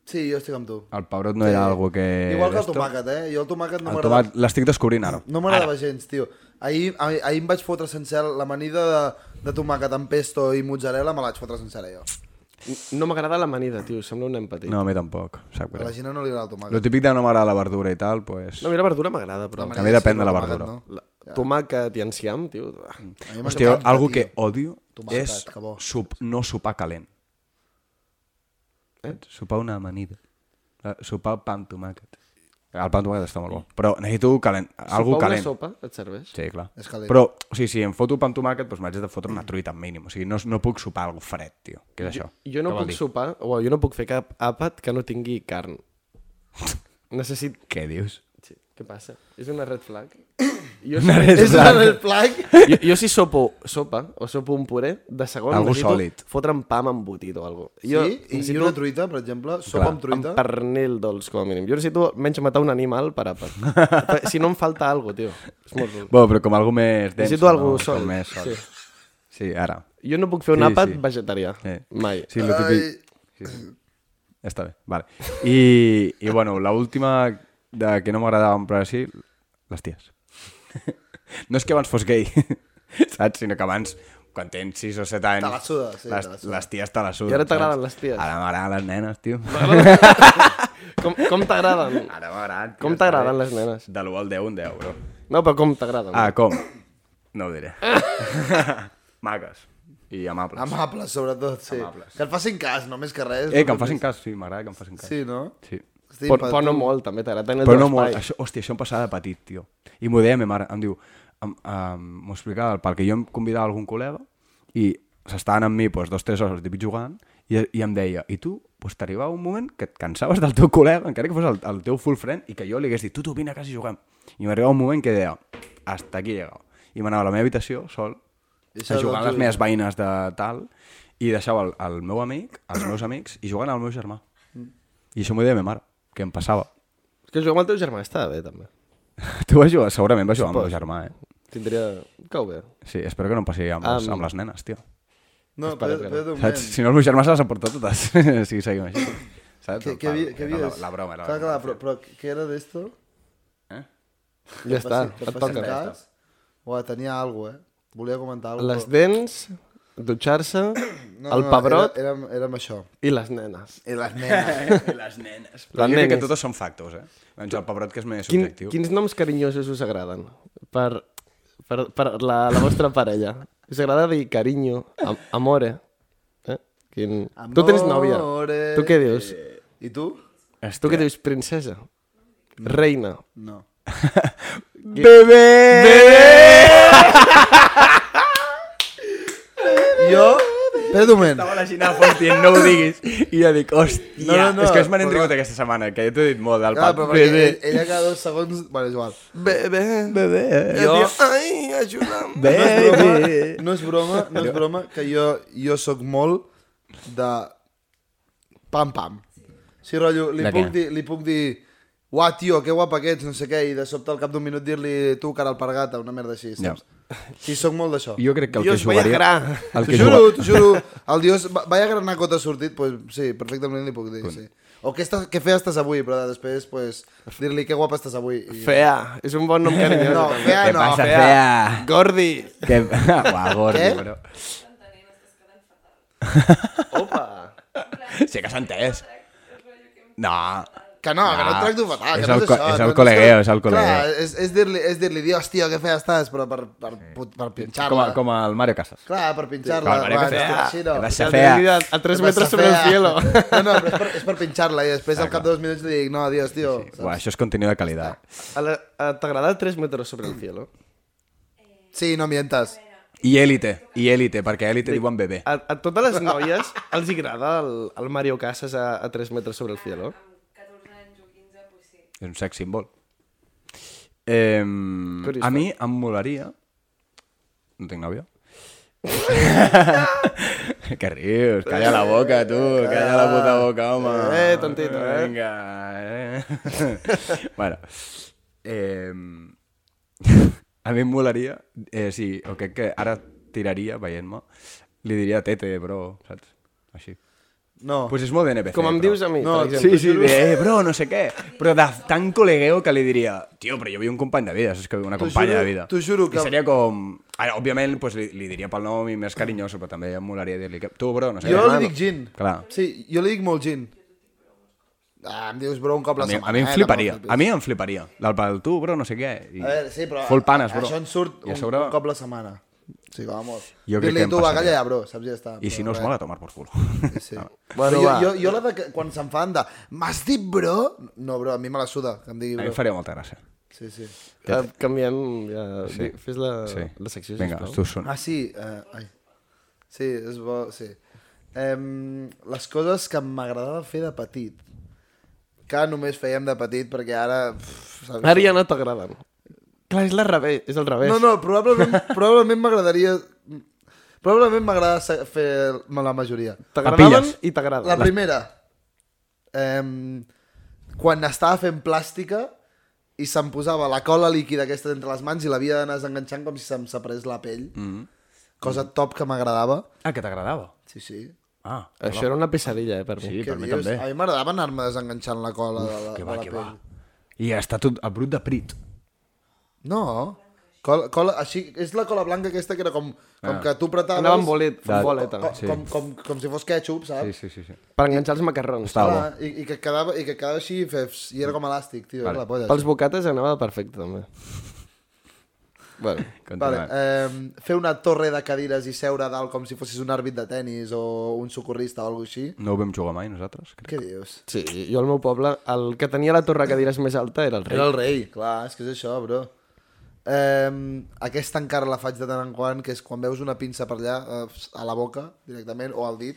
[SPEAKER 5] Sí, jo estic amb tu.
[SPEAKER 2] El pebrot Ah, no era algo que...
[SPEAKER 5] Igual que el
[SPEAKER 2] d'esto.
[SPEAKER 5] tomàquet, eh? Jo el tomàquet no
[SPEAKER 2] El
[SPEAKER 5] m'agradava.
[SPEAKER 2] tomàquet l'estic descobrint ara.
[SPEAKER 5] No m'agradava gens, tio. Ahir, ahir, ahir em vaig fotre sencera l'amanida de, de tomàquet amb pesto i mozzarella, me la vaig fotre sencera jo.
[SPEAKER 1] N- No m'agrada l'amanida, tio, sembla un nen petit. No,
[SPEAKER 2] No, a mi tampoc, sap
[SPEAKER 5] A la
[SPEAKER 2] greu.
[SPEAKER 5] gent no li agrada el
[SPEAKER 2] Lo
[SPEAKER 5] tomàquet.
[SPEAKER 2] típic de no m'agrada la verdura i tal, pues...
[SPEAKER 1] no mira, verdura m'agrada, però...
[SPEAKER 5] L'amanida
[SPEAKER 2] També depèn
[SPEAKER 5] sí,
[SPEAKER 2] de la
[SPEAKER 5] però el
[SPEAKER 2] verdura.
[SPEAKER 5] tomàquet
[SPEAKER 1] La... Tomàquet i enciam, tio... ah.
[SPEAKER 5] A mi
[SPEAKER 2] Hòstia,
[SPEAKER 5] m'encanta,
[SPEAKER 2] algo
[SPEAKER 5] tio.
[SPEAKER 2] que odio
[SPEAKER 5] Tomàquet,
[SPEAKER 2] és
[SPEAKER 5] que bo.
[SPEAKER 2] sup, no sopar calent. Eh? Sopar una amanida. Eh, Sopar pa amb tomàquet. El pa amb tomàquet està molt bo. Però necessito calent. Algo
[SPEAKER 1] Sopar
[SPEAKER 2] calent.
[SPEAKER 1] Una sopa et serveix?
[SPEAKER 2] Sí, clar.
[SPEAKER 5] És calent.
[SPEAKER 2] Però, o sigui, si em foto pa amb tomàquet, doncs m'haig de fotre una truita mínim. O sigui, no, no puc sopar algo fred, tio. Què és això?
[SPEAKER 1] Jo no
[SPEAKER 2] Què vol
[SPEAKER 1] puc
[SPEAKER 2] dir?
[SPEAKER 1] sopar, o jo no puc fer cap àpat que no tingui carn. Necessit...
[SPEAKER 2] Què dius?
[SPEAKER 1] Sí, què passa? És una red flag? Jo,
[SPEAKER 2] Una red
[SPEAKER 5] És una
[SPEAKER 2] flag.
[SPEAKER 5] red flag.
[SPEAKER 1] jo, jo si sopo sopa o sopo un puré, de segon
[SPEAKER 2] Algú
[SPEAKER 1] necessito
[SPEAKER 2] sòlid.
[SPEAKER 1] fotre'm pa amb embotit o alguna cosa.
[SPEAKER 5] Sí, i, i una truita, per exemple, sopa
[SPEAKER 2] Clar.
[SPEAKER 5] amb truita.
[SPEAKER 1] amb pernil dolç, com a mínim. Jo necessito menys matar un animal per àpat. si no em falta alguna cosa, tio. És molt dur.
[SPEAKER 2] Bueno, però com algo més dens.
[SPEAKER 1] Necessito algo sol.
[SPEAKER 2] Com més sol.
[SPEAKER 1] Sí.
[SPEAKER 2] Sí. sí, ara.
[SPEAKER 1] Jo no puc fer un
[SPEAKER 2] Sí,
[SPEAKER 1] àpat
[SPEAKER 2] sí.
[SPEAKER 1] vegetarià.
[SPEAKER 2] Sí.
[SPEAKER 1] Mai.
[SPEAKER 2] Sí, lo típic... Ja Està bé, vale. I, i bueno, l'última de que no m'agradava, però sí, les ties. No és que abans fos gay, saps? Sinó que abans, quan tens 6 o 7 anys...
[SPEAKER 5] Te la suda, sí,
[SPEAKER 2] les,
[SPEAKER 5] te la suda.
[SPEAKER 2] les ties te la suda.
[SPEAKER 1] I ara t'agraden les ties?
[SPEAKER 2] Ara m'agraden les nenes, tio.
[SPEAKER 1] Com, com t'agraden?
[SPEAKER 2] Ara m'agraden. tio,
[SPEAKER 1] Com
[SPEAKER 2] està
[SPEAKER 1] t'agraden
[SPEAKER 2] bé.
[SPEAKER 1] les nenes?
[SPEAKER 2] De l'1 al 10, un 10, bro.
[SPEAKER 1] No, però com t'agraden?
[SPEAKER 2] Ah, com? No ho diré. Maques i amables.
[SPEAKER 5] Amables, sobretot, sí.
[SPEAKER 2] Amables.
[SPEAKER 5] Que et facin cas, no més que res.
[SPEAKER 2] Eh, que em facin cas, sí, m'agrada que em facin cas.
[SPEAKER 5] Sí, no?
[SPEAKER 2] sí.
[SPEAKER 5] Estic
[SPEAKER 1] Però,
[SPEAKER 5] per
[SPEAKER 1] però no
[SPEAKER 5] tu.
[SPEAKER 1] molt, també t'agrada tenir el
[SPEAKER 2] Però
[SPEAKER 1] teu
[SPEAKER 2] no molt.
[SPEAKER 1] espai.
[SPEAKER 2] Això, hòstia, això em passava de petit, tio. I m'ho deia a ma mare. Em diu... em- em- M'ho explicava, perquè jo em convidava algun col·lega i s'estaven amb mi doncs, dos o tres hores típic jugant i, i em deia, i tu doncs, t'arribava un moment que et cansaves del teu col·lega, encara que fos el, el teu full friend, i que jo li hagués dit, tu, tu, vine a casa i juguem. I m'arribava un moment que deia, hasta aquí he llegado. I m'anava a la meva habitació, sol,
[SPEAKER 5] I
[SPEAKER 2] a
[SPEAKER 5] això doncs és
[SPEAKER 2] jugar
[SPEAKER 5] el
[SPEAKER 2] amb les
[SPEAKER 5] Juli.
[SPEAKER 2] meves veïnes de tal, i deixava el, el meu amic, els meus amics, i jugant al meu germà.
[SPEAKER 5] Mm.
[SPEAKER 2] I això m'ho deia a ma mare, que em passava.
[SPEAKER 1] És que jugar amb el teu germà estava bé, també.
[SPEAKER 2] Tu vas jugar, segurament vas jugar amb el meu germà, eh?
[SPEAKER 1] Tindria... Cau bé.
[SPEAKER 2] Sí, espero que no em passi amb, les,
[SPEAKER 1] Am-
[SPEAKER 2] amb les nenes, tio.
[SPEAKER 5] No, espera, espera, un moment.
[SPEAKER 2] Saps? Si no, el meu germà se les ha portat totes. sí, seguim així. Saps?
[SPEAKER 5] Què, què,
[SPEAKER 2] Val,
[SPEAKER 5] vi- què
[SPEAKER 2] era
[SPEAKER 5] vies?
[SPEAKER 2] la, la broma. Era
[SPEAKER 5] clar,
[SPEAKER 2] la
[SPEAKER 5] clar,
[SPEAKER 2] broma.
[SPEAKER 5] però, però què era d'esto?
[SPEAKER 1] Ja està,
[SPEAKER 5] Sí, que
[SPEAKER 1] et
[SPEAKER 5] et facin
[SPEAKER 1] toca.
[SPEAKER 5] cas. Uah, tenia alguna cosa, eh? Volia comentar alguna
[SPEAKER 1] Les dents, dutxar-se, el pebrot
[SPEAKER 5] Era, era, era amb això.
[SPEAKER 1] i les nenes.
[SPEAKER 5] I les nenes.
[SPEAKER 2] Les nenes.
[SPEAKER 1] Les
[SPEAKER 2] Però jo crec que
[SPEAKER 1] nenes.
[SPEAKER 2] totes són factos, eh? Doncs el pebrot que és més
[SPEAKER 1] Quin,
[SPEAKER 2] subjectiu.
[SPEAKER 1] quins noms carinyosos us agraden per, per, per la, la vostra parella? Us agrada dir carinyo, am amore? Eh? Quin... Tu tens nòvia.
[SPEAKER 5] Amore.
[SPEAKER 1] Tu què dius?
[SPEAKER 5] I tu?
[SPEAKER 1] Tu què dius? Princesa? Reina?
[SPEAKER 5] No.
[SPEAKER 2] Bebé! Bebé!
[SPEAKER 5] Jo, Espera't un moment.
[SPEAKER 2] Estava la Gina Font dient, no ho diguis. I jo dic, hòstia,
[SPEAKER 5] No, no, no,
[SPEAKER 2] és que es me n'he
[SPEAKER 5] però-
[SPEAKER 2] entregut aquesta setmana, que ja t'ho he dit molt del
[SPEAKER 5] Clar,
[SPEAKER 2] pap.
[SPEAKER 5] però
[SPEAKER 2] Bé,
[SPEAKER 5] perquè
[SPEAKER 2] bé.
[SPEAKER 5] ell- ella cada dos segons... Bueno, és igual.
[SPEAKER 1] Bebé.
[SPEAKER 2] Bebé.
[SPEAKER 1] Jo... Ai, ajuda'm.
[SPEAKER 2] Bé,
[SPEAKER 5] No és broma,
[SPEAKER 2] bé.
[SPEAKER 5] no és broma, no és broma que jo, jo sóc molt de pam-pam. Sí, rotllo, li
[SPEAKER 2] De
[SPEAKER 5] puc,
[SPEAKER 2] què?
[SPEAKER 5] dir, li puc dir uah, tio, que guapa que ets, no sé què, i de sobte al cap d'un minut dir-li tu, cara al pargata, una merda així, saps? Sí, sóc molt d'això.
[SPEAKER 2] Jo crec que el
[SPEAKER 1] Dios,
[SPEAKER 2] que jugaria...
[SPEAKER 1] vaya gra.
[SPEAKER 2] El
[SPEAKER 5] T'ho
[SPEAKER 2] que
[SPEAKER 5] juro,
[SPEAKER 2] juga...
[SPEAKER 5] t'ho juro. El dios, va- vaya gran nacot ha sortit, pues, sí, perfectament li puc dir, sí. O què, estàs, què fea estàs avui, però després pues, dir-li que guapa estàs avui. I...
[SPEAKER 1] Fea. És un bon nom carinyós.
[SPEAKER 5] No,
[SPEAKER 1] també.
[SPEAKER 5] fea
[SPEAKER 2] Què
[SPEAKER 5] no,
[SPEAKER 2] passa,
[SPEAKER 5] fea.
[SPEAKER 2] fea?
[SPEAKER 1] Gordi.
[SPEAKER 2] Que... Uau, gordi,
[SPEAKER 5] Què?
[SPEAKER 2] però...
[SPEAKER 1] Opa.
[SPEAKER 2] Sí que s'ha entès. No.
[SPEAKER 5] Que no, que no et
[SPEAKER 2] Ah,
[SPEAKER 5] tracto fatal.
[SPEAKER 2] és
[SPEAKER 5] que no
[SPEAKER 2] el
[SPEAKER 5] és,
[SPEAKER 2] co-
[SPEAKER 5] això,
[SPEAKER 2] és el
[SPEAKER 5] no- no
[SPEAKER 2] col·legueo,
[SPEAKER 5] que-
[SPEAKER 2] és el col·legueo.
[SPEAKER 5] Clar, és, és dir-li, és dir-li, dios, tio, que fea estàs, però per, per, per, per pinxar-la.
[SPEAKER 2] Com, a- com el Mario Casas.
[SPEAKER 5] Clar, per pinxar-la.
[SPEAKER 2] Clar, Mario,
[SPEAKER 5] va,
[SPEAKER 2] que fea.
[SPEAKER 5] hòstia, així
[SPEAKER 2] Que va ser
[SPEAKER 5] Ja
[SPEAKER 1] El
[SPEAKER 2] fea.
[SPEAKER 1] tenia A, a 3
[SPEAKER 5] que va ser
[SPEAKER 1] metres sobre el
[SPEAKER 5] fea.
[SPEAKER 1] cielo.
[SPEAKER 5] No, no, però és per, és per pinxar-la i després al cap de dos minuts li dic, no, dios, tio.
[SPEAKER 2] Uau, això és contenido de qualitat.
[SPEAKER 1] A la- a- T'agrada el 3 metres sobre el cielo?
[SPEAKER 5] Sí, no mientas.
[SPEAKER 2] I élite, i élite, perquè élite diuen bebè.
[SPEAKER 1] A, a totes les noies els agrada el, el Mario Casas a, a 3 metres sobre el cielo?
[SPEAKER 4] amb 14 anys o 15, pues sí.
[SPEAKER 2] És un sex símbol. Eh, a mi em molaria... No tinc nòvia. que rius, calla la boca, tu, calla la puta boca, home.
[SPEAKER 1] Eh, tontito, eh.
[SPEAKER 2] Vinga, eh. bueno, eh, a mi em molaria, eh, sí, o crec que ara tiraria, veient-me, li diria tete, bro, saps? Així.
[SPEAKER 5] No.
[SPEAKER 2] Pues és molt de NPC.
[SPEAKER 1] Oh. Com em
[SPEAKER 2] però-
[SPEAKER 1] dius a mi,
[SPEAKER 5] No,
[SPEAKER 1] per exemple.
[SPEAKER 2] Sí, sí, de, eh, bro, no sé què. Però de tan col·legueo que li diria, tio, però jo vi un company de vida, saps que una
[SPEAKER 5] T'ho
[SPEAKER 2] companya
[SPEAKER 5] juro-
[SPEAKER 2] de vida.
[SPEAKER 5] t'ho juro que-
[SPEAKER 2] I seria com... Ara, òbviament, pues, li, li diria pel nom i més carinyoso, però també em molaria dir-li que... Tu, bro, no sé
[SPEAKER 5] Jo
[SPEAKER 2] què.
[SPEAKER 5] li dic gin.
[SPEAKER 2] Clar.
[SPEAKER 5] Sí, jo li dic molt gin. Ah, em dius, bro, un cop la
[SPEAKER 2] A mi,
[SPEAKER 5] setmana.
[SPEAKER 2] a mi em
[SPEAKER 5] eh,
[SPEAKER 2] fliparia.
[SPEAKER 5] tampoc
[SPEAKER 2] A mi em fliparia. Del pal, tu, bro, no sé què. I...
[SPEAKER 5] A veure, sí, però...
[SPEAKER 2] Full panes, bro.
[SPEAKER 5] Això en surt
[SPEAKER 2] I a
[SPEAKER 5] un,
[SPEAKER 2] sobre...
[SPEAKER 5] un cop la setmana. Sí, com a molt.
[SPEAKER 2] Jo crec
[SPEAKER 5] Dir-li,
[SPEAKER 2] que em
[SPEAKER 5] tu, va,
[SPEAKER 2] passaria.
[SPEAKER 5] calla ja, bro, saps, ja està.
[SPEAKER 2] I si
[SPEAKER 5] Però
[SPEAKER 2] no us
[SPEAKER 5] res.
[SPEAKER 2] mola, ah. tomar por culo.
[SPEAKER 5] Sí.
[SPEAKER 1] Bueno,
[SPEAKER 5] Bueno, jo,
[SPEAKER 1] va.
[SPEAKER 5] jo, jo la de que, quan se'n fan de... M'has dit, bro? No, bro, a mi me la suda, que em digui,
[SPEAKER 2] A mi em
[SPEAKER 5] bro.
[SPEAKER 2] faria molta gràcia.
[SPEAKER 5] Sí, sí.
[SPEAKER 1] Eh, canviem, ja, sí. fes la,
[SPEAKER 2] Sí.
[SPEAKER 1] la secció,
[SPEAKER 2] Vinga,
[SPEAKER 1] sisplau.
[SPEAKER 2] tu són.
[SPEAKER 5] Ah, sí, eh, ai. Sí, és bo, sí. Um, les coses que m'agradava fer de petit, que només fèiem de petit, perquè ara... Pff, saps?
[SPEAKER 1] Ara ja no t'agraden. Clar, és, la revés, és el revés.
[SPEAKER 5] No, no, probablement, probablement m'agradaria... Probablement m'agrada sa- fer la majoria.
[SPEAKER 1] T'agradaven
[SPEAKER 2] Papilles.
[SPEAKER 1] i t'agraden.
[SPEAKER 5] La primera, eh, quan estava fent plàstica i se'm posava la cola líquida aquesta entre les mans i l'havia d'anar desenganxant com si se'm separés la pell. Mm
[SPEAKER 2] Mm-hmm.
[SPEAKER 5] -hmm. Cosa top que m'agradava.
[SPEAKER 2] Ah, que t'agradava.
[SPEAKER 5] Sí, sí.
[SPEAKER 2] Ah,
[SPEAKER 1] Això era una pesadilla, eh, per mi.
[SPEAKER 2] sí,
[SPEAKER 5] Què
[SPEAKER 2] per mi
[SPEAKER 5] dius?
[SPEAKER 2] també.
[SPEAKER 5] A mi m'agradava anar-me desenganxant la cola de la,
[SPEAKER 2] Que
[SPEAKER 5] de
[SPEAKER 2] va,
[SPEAKER 5] la
[SPEAKER 2] que
[SPEAKER 5] pell.
[SPEAKER 2] va. I està tot a brut de prit.
[SPEAKER 5] No, cola, cola, així, és la cola blanca aquesta que era com, com ah. que tu apretaves...
[SPEAKER 1] Anava amb bolet,
[SPEAKER 2] De-
[SPEAKER 1] amb boleta.
[SPEAKER 5] Com,
[SPEAKER 2] Sí.
[SPEAKER 5] com, com, com si fos ketchup, saps?
[SPEAKER 2] Sí, sí, sí. sí.
[SPEAKER 1] Per enganxar els macarrons.
[SPEAKER 2] Està bo.
[SPEAKER 5] Clar, i, i, que quedava, I que quedava així i, fes, i era com elàstic, tio. Vale. La polla,
[SPEAKER 1] Pels bocates anava perfecte, també. bueno,
[SPEAKER 5] Vale,
[SPEAKER 2] Continuem.
[SPEAKER 5] eh, fer una torre de cadires i seure a dalt com si fossis un àrbit de tennis o un socorrista o alguna així.
[SPEAKER 2] No ho vam jugar mai nosaltres, crec.
[SPEAKER 5] Què dius?
[SPEAKER 1] sí, jo al meu poble, el que tenia la torre cadires més alta era el rei.
[SPEAKER 5] Era el rei, clar, és que és això, bro. Eh, aquesta encara la faig de tant en quant, que és quan veus una pinça per allà, eh, a la boca, directament, o al dit,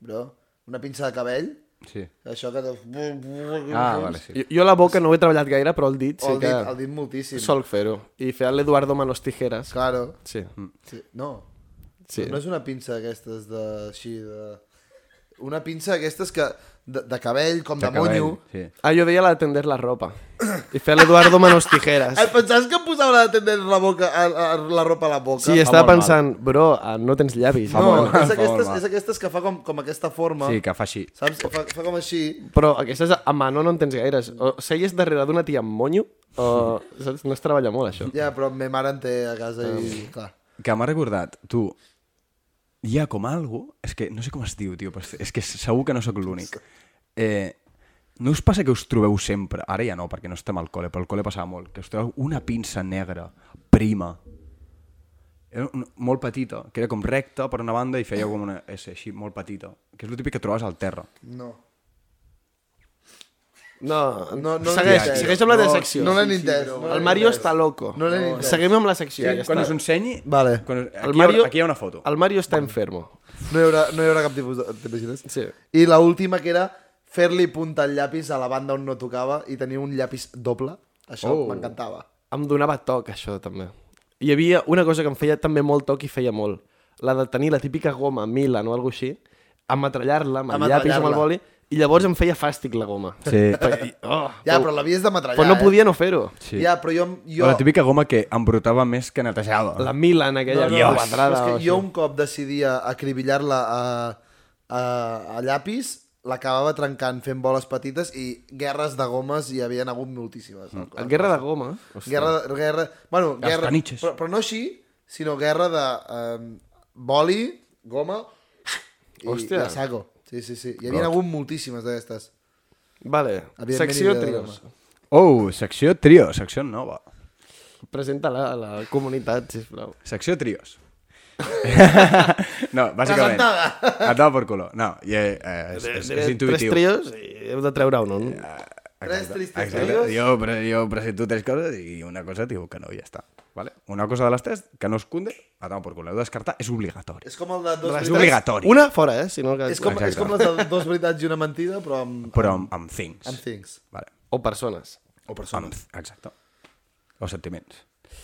[SPEAKER 5] bro. Una pinça de cabell,
[SPEAKER 2] Sí.
[SPEAKER 5] això que...
[SPEAKER 2] Ah, vale, sí.
[SPEAKER 1] Jo, jo la boca no ho he treballat gaire, però el dit
[SPEAKER 5] O
[SPEAKER 1] sí
[SPEAKER 5] el
[SPEAKER 1] que
[SPEAKER 5] dit, el dit moltíssim.
[SPEAKER 1] sol fer-ho. I fer l'Eduardo Manos Tijeras.
[SPEAKER 5] Claro.
[SPEAKER 1] Sí,
[SPEAKER 5] Sí. No,
[SPEAKER 1] sí.
[SPEAKER 5] No és una pinça d'aquestes de... així de... Una pinça d'aquestes que... De, de cabell, com de, de
[SPEAKER 2] cabell,
[SPEAKER 5] monyo.
[SPEAKER 2] Sí.
[SPEAKER 1] Ah, jo deia la de tender la ropa. I fer l'Eduardo Manos Tijeras.
[SPEAKER 5] Et pensaves Eh, que em posava la tendent la, boca, a, a, la ropa a la boca?
[SPEAKER 1] Sí, estava pensant, bro, ah, no tens llavis.
[SPEAKER 5] No,
[SPEAKER 2] molt mal,
[SPEAKER 5] és,
[SPEAKER 2] fa molt
[SPEAKER 5] aquestes,
[SPEAKER 2] mal.
[SPEAKER 5] és aquestes que fa com, com aquesta forma.
[SPEAKER 2] sí, que fa així.
[SPEAKER 5] Saps? Fa, fa com així.
[SPEAKER 1] Però aquestes a mano no en tens gaires. O seies darrere d'una tia amb monyo, o... Saps? No es treballa molt, això.
[SPEAKER 5] Ja, però me mare en té a casa i... Clar.
[SPEAKER 2] Que m'ha recordat, tu, hi ha com algo... És que no sé com es diu, tio, però és- és que segur que no sóc l'únic. Eh, no us passa que us trobeu sempre, ara ja no, perquè no estem al col·le, però al col·le passava molt, que us trobeu una pinça negra, prima, era un, molt petita, que era com recta per una banda i feia com una S així, molt petita, que és el típic que trobes al terra.
[SPEAKER 5] No.
[SPEAKER 1] No,
[SPEAKER 5] No, no
[SPEAKER 1] segueix,
[SPEAKER 5] l'he entès.
[SPEAKER 1] segueix amb la teva
[SPEAKER 5] No,
[SPEAKER 1] secció.
[SPEAKER 5] no l'he entès, no l'he
[SPEAKER 1] el Mario
[SPEAKER 5] entès.
[SPEAKER 1] està loco.
[SPEAKER 5] No l'he entès.
[SPEAKER 1] Seguim amb la secció.
[SPEAKER 2] Sí,
[SPEAKER 1] ja
[SPEAKER 2] quan
[SPEAKER 1] està.
[SPEAKER 2] us ho ensenyi...
[SPEAKER 5] Vale.
[SPEAKER 2] Quan us... aquí,
[SPEAKER 1] El
[SPEAKER 2] hi
[SPEAKER 1] Mario-
[SPEAKER 2] ha, aquí hi ha una foto.
[SPEAKER 1] El Mario està enfermo.
[SPEAKER 5] No hi haurà, no hi haurà cap tipus de... T'imagines?
[SPEAKER 1] Sí.
[SPEAKER 5] I la última que era fer-li punta al llapis a la banda on no tocava i tenir un llapis doble. Això
[SPEAKER 1] Oh.
[SPEAKER 5] m'encantava.
[SPEAKER 1] Em donava toc, això, també. Hi havia una cosa que em feia també molt toc i feia molt. La de tenir la típica goma Milan o alguna així, amatrallar-la amb el llapis amb el
[SPEAKER 5] Amatrallar-la.
[SPEAKER 1] boli, i llavors em feia fàstic la goma.
[SPEAKER 2] Sí.
[SPEAKER 1] Feia- Oh,
[SPEAKER 5] Ja, però l'havies de matrallar,
[SPEAKER 1] però no
[SPEAKER 5] eh?
[SPEAKER 1] podia no fer-ho.
[SPEAKER 2] Sí.
[SPEAKER 5] Ja, però jo... jo...
[SPEAKER 2] Jo... La típica goma que embrutava més que netejava.
[SPEAKER 1] La Milan, aquella no,
[SPEAKER 5] no, no,
[SPEAKER 1] quadrada.
[SPEAKER 5] però és que
[SPEAKER 1] o
[SPEAKER 5] jo
[SPEAKER 1] així.
[SPEAKER 5] un cop decidia acribillar-la a, a, a llapis, l'acabava trencant fent boles petites i guerres de gomes hi havien hagut moltíssimes. Mm.
[SPEAKER 1] El Guerra de goma. Hòstia.
[SPEAKER 5] Guerra, de- guerra... Bueno,
[SPEAKER 2] Les
[SPEAKER 5] guerra...
[SPEAKER 2] caniches.
[SPEAKER 5] Però, però no així, sinó guerra de um, boli, goma i,
[SPEAKER 1] Hòstia.
[SPEAKER 5] i a saco. Sí, sí, sí. Hi havia hagut moltíssimes d'aquestes.
[SPEAKER 1] Vale,
[SPEAKER 5] Evidentment,
[SPEAKER 1] secció
[SPEAKER 5] idea de
[SPEAKER 1] trios.
[SPEAKER 2] Oh, secció trio, secció nova.
[SPEAKER 1] Presenta-la a la comunitat, sisplau.
[SPEAKER 2] Secció trios. no, bàsicament.
[SPEAKER 5] Presentada.
[SPEAKER 2] Et dava per culo. No, i, eh, és, és, és intuïtiu.
[SPEAKER 1] Tres trios i heu de treure un. un.
[SPEAKER 5] Tres tristes
[SPEAKER 2] Exacte.
[SPEAKER 5] trios.
[SPEAKER 2] Jo, pre- jo presento tres coses i una cosa diu que no, i ja està. Vale? Una cosa de les tres, que no es cunde, a dama per culo. Heu de descartar, és obligatori.
[SPEAKER 5] És com el de dos
[SPEAKER 2] És
[SPEAKER 5] veritats...
[SPEAKER 2] obligatori.
[SPEAKER 1] Una fora, eh? Si no, que...
[SPEAKER 5] És com, és com les de dos veritats i una mentida, però amb,
[SPEAKER 2] Però amb, amb things.
[SPEAKER 5] amb things.
[SPEAKER 2] Vale.
[SPEAKER 1] O persones.
[SPEAKER 5] O
[SPEAKER 2] Amb,
[SPEAKER 5] persones.
[SPEAKER 2] exacte. O sentiments.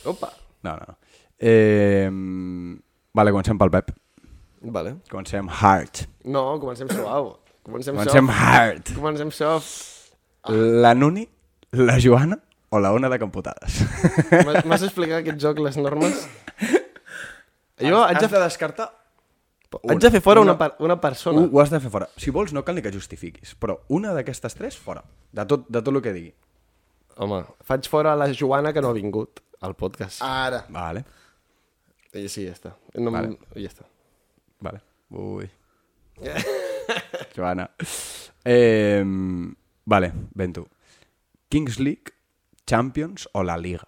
[SPEAKER 1] Opa.
[SPEAKER 2] No, no, no. Eh, vale, comencem pel Pep.
[SPEAKER 1] Vale.
[SPEAKER 2] Comencem hard.
[SPEAKER 1] No, comencem suau. Comencem,
[SPEAKER 2] Comencem
[SPEAKER 1] soft.
[SPEAKER 2] hard.
[SPEAKER 1] Comencem soft.
[SPEAKER 2] La Nuni, la Joana o la Ona de Camputades?
[SPEAKER 1] M'ha- M'has explicat aquest joc, les normes? Jo haig de,
[SPEAKER 2] de descartar...
[SPEAKER 1] haig de fer fora una, per- una persona.
[SPEAKER 2] Ho has de fer fora. Si vols, no cal ni que justifiquis, però una d'aquestes tres, fora. De tot, de tot el que digui.
[SPEAKER 1] Home, faig fora la Joana que no ha vingut al podcast.
[SPEAKER 5] Ara.
[SPEAKER 2] Vale,
[SPEAKER 1] I sí, ja està. No, vale.
[SPEAKER 2] Vale.
[SPEAKER 1] Ja està.
[SPEAKER 2] vale. Ui. Joana. Eh, vale, ben tu. Kings League, Champions o la Liga?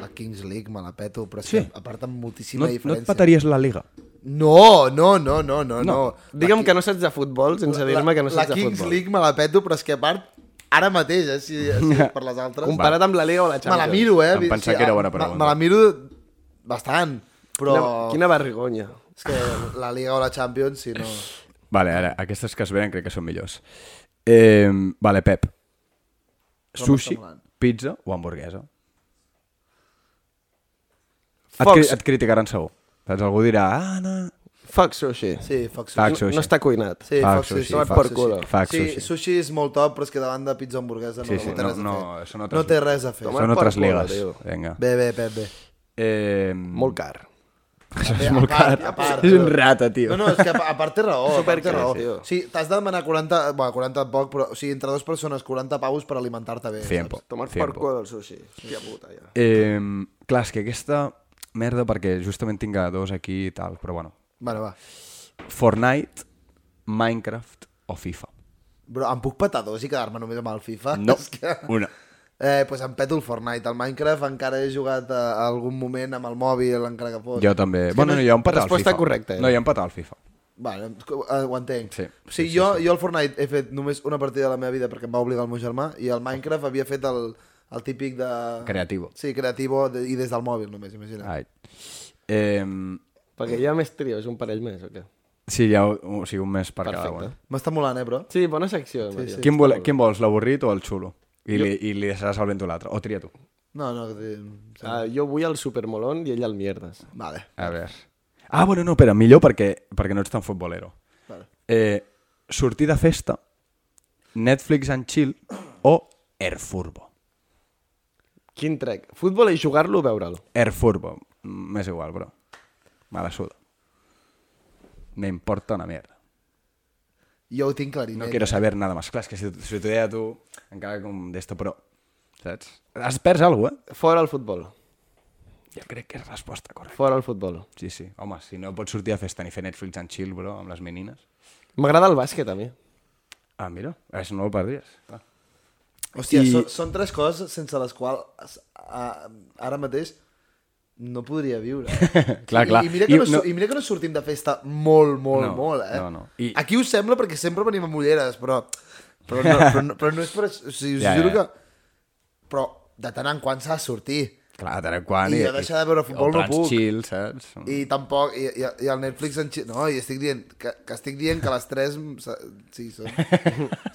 [SPEAKER 5] La Kings League me la peto, però
[SPEAKER 2] Sí.
[SPEAKER 5] sí. aparten moltíssima
[SPEAKER 2] No, no et
[SPEAKER 5] diferència.
[SPEAKER 2] pataries la Liga?
[SPEAKER 5] No, no, no, no, no, no.
[SPEAKER 1] Digue'm que no saps de futbol sense dir-me que no
[SPEAKER 5] la
[SPEAKER 1] saps de
[SPEAKER 5] Kings
[SPEAKER 1] futbol.
[SPEAKER 5] League me la peto, però és que a part, ara mateix, eh, si, si és per les altres...
[SPEAKER 1] Comparat amb la Liga o la
[SPEAKER 5] me
[SPEAKER 1] Champions.
[SPEAKER 5] la miro, eh?
[SPEAKER 2] Em pensava que era bona
[SPEAKER 5] me-
[SPEAKER 2] pregunta.
[SPEAKER 5] Me la miro bastant, però...
[SPEAKER 1] Quina, quina vergonya.
[SPEAKER 5] És que la Liga o la Champions, si no...
[SPEAKER 2] Vale, ara, aquestes que es venen crec que són millors. Eh, vale, Pep. Sushi,
[SPEAKER 5] semblant.
[SPEAKER 2] pizza o hamburguesa? Et,
[SPEAKER 1] Fox.
[SPEAKER 2] cri et criticaran segur. Saps? Algú dirà, ah, no...
[SPEAKER 1] Fuck sushi.
[SPEAKER 5] Sí, Fox
[SPEAKER 2] Fuck
[SPEAKER 1] No,
[SPEAKER 5] Sushi.
[SPEAKER 2] sushi.
[SPEAKER 1] no està cuinat.
[SPEAKER 5] Sí,
[SPEAKER 2] Fuck
[SPEAKER 5] Fox Sushi.
[SPEAKER 2] Sushi,
[SPEAKER 5] Fuck
[SPEAKER 1] Fuck
[SPEAKER 5] Sushi.
[SPEAKER 1] culo.
[SPEAKER 2] Fuck
[SPEAKER 5] sí,
[SPEAKER 2] Sushi.
[SPEAKER 5] sushi és molt top, però és que davant de pizza hamburguesa no,
[SPEAKER 2] Sí, sí,
[SPEAKER 5] no té
[SPEAKER 2] no-
[SPEAKER 5] res a
[SPEAKER 2] no,
[SPEAKER 5] fer.
[SPEAKER 2] són
[SPEAKER 5] no
[SPEAKER 2] altres-
[SPEAKER 5] té res a fer.
[SPEAKER 1] Toma. per
[SPEAKER 2] Són altres
[SPEAKER 1] culo,
[SPEAKER 2] ligues.
[SPEAKER 1] tio.
[SPEAKER 2] Vinga.
[SPEAKER 5] Bé, bé, bé, bé.
[SPEAKER 2] Eh,
[SPEAKER 1] Mm. Molt car.
[SPEAKER 2] Això
[SPEAKER 5] Bé,
[SPEAKER 2] és
[SPEAKER 5] a
[SPEAKER 2] molt
[SPEAKER 5] part,
[SPEAKER 2] car.
[SPEAKER 5] a part,
[SPEAKER 2] és un
[SPEAKER 5] però-
[SPEAKER 2] rata, tio.
[SPEAKER 5] No, no, és que a a part té raó, a part té
[SPEAKER 1] Supercar,
[SPEAKER 5] raó.
[SPEAKER 1] tio.
[SPEAKER 5] O sigui, t'has de demanar 40, bueno, 40 poc, però o sigui, entre dues persones 40 paus per alimentar-te bé.
[SPEAKER 2] Tiempo.
[SPEAKER 1] Tomar per
[SPEAKER 2] Tiempo.
[SPEAKER 1] cua del sushi. Hòstia puta, ja.
[SPEAKER 2] Eh, clar, és que aquesta merda, perquè justament tinc a dos aquí i tal, però bueno.
[SPEAKER 5] Bueno, va.
[SPEAKER 2] Fortnite, Minecraft o FIFA?
[SPEAKER 5] Bro, em puc petar dos i quedar-me només amb el FIFA?
[SPEAKER 2] No,
[SPEAKER 5] És que...
[SPEAKER 2] una.
[SPEAKER 5] Eh, pues em peto el Fortnite. El Minecraft encara he jugat a, a algun moment amb el mòbil, encara que fos.
[SPEAKER 2] Jo també. Bueno, no, jo he empatat al FIFA.
[SPEAKER 1] resposta correcta, eh?
[SPEAKER 2] No, jo he empatat al FIFA.
[SPEAKER 5] Bueno, eh, ho entenc.
[SPEAKER 2] Sí,
[SPEAKER 5] o sigui, jo, jo al Fortnite he fet només una partida de la meva vida perquè em va obligar el meu germà i el Minecraft havia fet el, el típic de...
[SPEAKER 2] Creativo.
[SPEAKER 5] Sí, creativo de, i des del mòbil només, imagina't.
[SPEAKER 2] Ai. Eh,
[SPEAKER 1] Perquè hi ha més trios, un parell més, o què?
[SPEAKER 2] sí, hi ha o sigui, un mes per cada
[SPEAKER 1] Perfecte.
[SPEAKER 2] un.
[SPEAKER 5] M'està molant, eh, bro?
[SPEAKER 1] Sí, bona secció, Maria.
[SPEAKER 2] Quin, vol, quin vols, l'avorrit o el xulo? I li, i li deixaràs el vento a l'altre. O tria tu.
[SPEAKER 5] No, no, que... sí.
[SPEAKER 1] Ah, jo vull el supermolón i ell el mierdes.
[SPEAKER 5] Vale.
[SPEAKER 2] A veure. Ah, bueno, no, espera, millor perquè, perquè no ets tan futbolero.
[SPEAKER 5] Vale.
[SPEAKER 2] Eh, sortir de festa, Netflix and chill o Er Airfurbo.
[SPEAKER 1] Quin trec? Futbol i jugar-lo o veure'l?
[SPEAKER 2] Airfurbo. M'és Mm, igual, bro. Me la suda. Me importa una mierda.
[SPEAKER 5] Jo ho tinc clarinet.
[SPEAKER 2] No quiero saber nada más. Clar, és que si, si t'ho deia tu, encara com d'esto, però... Saps? Has perds alguna cosa,
[SPEAKER 1] Fora el futbol.
[SPEAKER 2] eh? Jo crec que és resposta correcta.
[SPEAKER 1] Fora el futbol.
[SPEAKER 2] Sí, sí. Home, si no pots sortir a festa ni fer Netflix and chill, bro, amb les menines...
[SPEAKER 1] M'agrada el bàsquet, a mi.
[SPEAKER 2] Ah, mira, això no ho perdries. Ah.
[SPEAKER 5] Hòstia,
[SPEAKER 2] I-
[SPEAKER 5] I... són, són tres coses sense les quals a, ara mateix no podria viure.
[SPEAKER 2] Clar,
[SPEAKER 5] I,
[SPEAKER 2] clar.
[SPEAKER 5] I mira, que
[SPEAKER 2] I
[SPEAKER 5] no,
[SPEAKER 2] no-
[SPEAKER 5] no... I mira que no sortim de festa molt, molt,
[SPEAKER 2] No,
[SPEAKER 5] molt, eh?
[SPEAKER 2] no, no. I-
[SPEAKER 5] Aquí us sembla perquè sempre venim amb ulleres, però Però no, però no, però no és per això. O sigui, us
[SPEAKER 2] Ja,
[SPEAKER 5] ja, juro
[SPEAKER 2] ja.
[SPEAKER 5] que... Però de tant en quant s'ha de sortir.
[SPEAKER 2] Clar, de tant en quant...
[SPEAKER 5] I jo deixar de veure futbol
[SPEAKER 2] o
[SPEAKER 5] no
[SPEAKER 2] plans
[SPEAKER 5] puc.
[SPEAKER 2] chill, saps? I...
[SPEAKER 5] I tampoc... I, i, i el Netflix... En... xi- No, i estic dient... Que, que estic dient que les 3... Sí, són...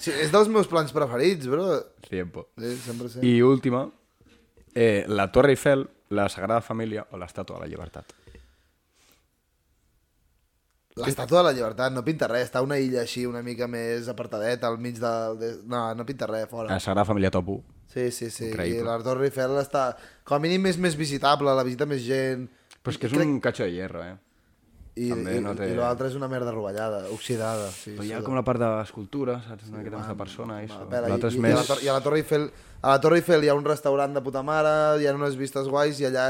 [SPEAKER 5] Sí, és dels meus plans preferits, bro.
[SPEAKER 2] Tiempo.
[SPEAKER 5] Sí, sempre sé. I...
[SPEAKER 2] I última, eh, la Torre Eiffel, la Sagrada Família o l'Estàtua de la Llibertat.
[SPEAKER 5] L'estàtua de la llibertat no pinta res. Està a una illa així una mica més apartadeta al mig del... De... No, no pinta res, fora.
[SPEAKER 2] La Sagrada Família top 1.
[SPEAKER 5] Sí, sí, sí.
[SPEAKER 2] Ah, Increïble.
[SPEAKER 5] I la Torre Eiffel està... Com a mínim és més visitable, la visita més gent...
[SPEAKER 2] Però és que és
[SPEAKER 5] Crec-
[SPEAKER 2] un cacho de hierro, eh?
[SPEAKER 5] I,
[SPEAKER 2] També
[SPEAKER 5] i,
[SPEAKER 2] no té-
[SPEAKER 5] i l'altre és una merda rovellada, oxidada. Sí,
[SPEAKER 2] Però
[SPEAKER 5] sí,
[SPEAKER 2] hi ha
[SPEAKER 5] sí.
[SPEAKER 2] com la part d'escultura, saps? Una miqueta més de persona. i
[SPEAKER 5] Va,
[SPEAKER 2] això.
[SPEAKER 5] pera,
[SPEAKER 2] L'altre
[SPEAKER 5] i,
[SPEAKER 2] és
[SPEAKER 5] i, a la,
[SPEAKER 2] més...
[SPEAKER 5] Tor- I a la Torre Eiffel... A la Torre Eiffel hi ha un restaurant de puta mare, hi ha unes vistes guais i allà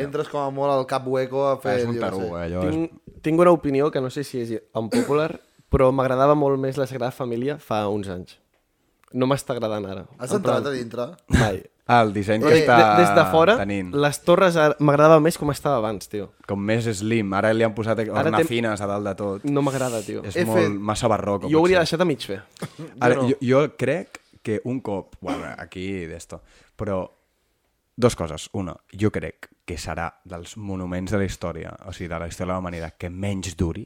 [SPEAKER 5] entres com a molt al cap hueco a fer...
[SPEAKER 2] És un
[SPEAKER 5] jo
[SPEAKER 2] tarú,
[SPEAKER 5] què sé.
[SPEAKER 2] eh, allò. és-
[SPEAKER 1] Tinc, tinc una opinió que no sé si és unpopular, però m'agradava molt més la Sagrada Família fa uns anys. No m'està agradant ara.
[SPEAKER 5] Has
[SPEAKER 1] En
[SPEAKER 5] entrat
[SPEAKER 1] plan,
[SPEAKER 5] a dintre?
[SPEAKER 1] Mai.
[SPEAKER 2] Ah, el disseny
[SPEAKER 5] Eh,
[SPEAKER 2] que
[SPEAKER 5] de-
[SPEAKER 2] està
[SPEAKER 1] De, des de fora,
[SPEAKER 2] tenint.
[SPEAKER 1] les torres ara- m'agradava més com estava abans, tio.
[SPEAKER 2] Com més slim. Ara li han posat
[SPEAKER 1] té-
[SPEAKER 2] ornafines a dalt de tot.
[SPEAKER 1] No m'agrada, tio.
[SPEAKER 2] És
[SPEAKER 5] He
[SPEAKER 2] molt
[SPEAKER 5] fet-
[SPEAKER 2] massa barroc.
[SPEAKER 1] Jo ho hauria deixat a mig fer.
[SPEAKER 2] Ara, jo, jo crec que un cop... Bueno, aquí d'esto. Però dos coses. Una, jo crec que serà dels monuments de la història, o sigui, de la història de la humanitat, que menys duri.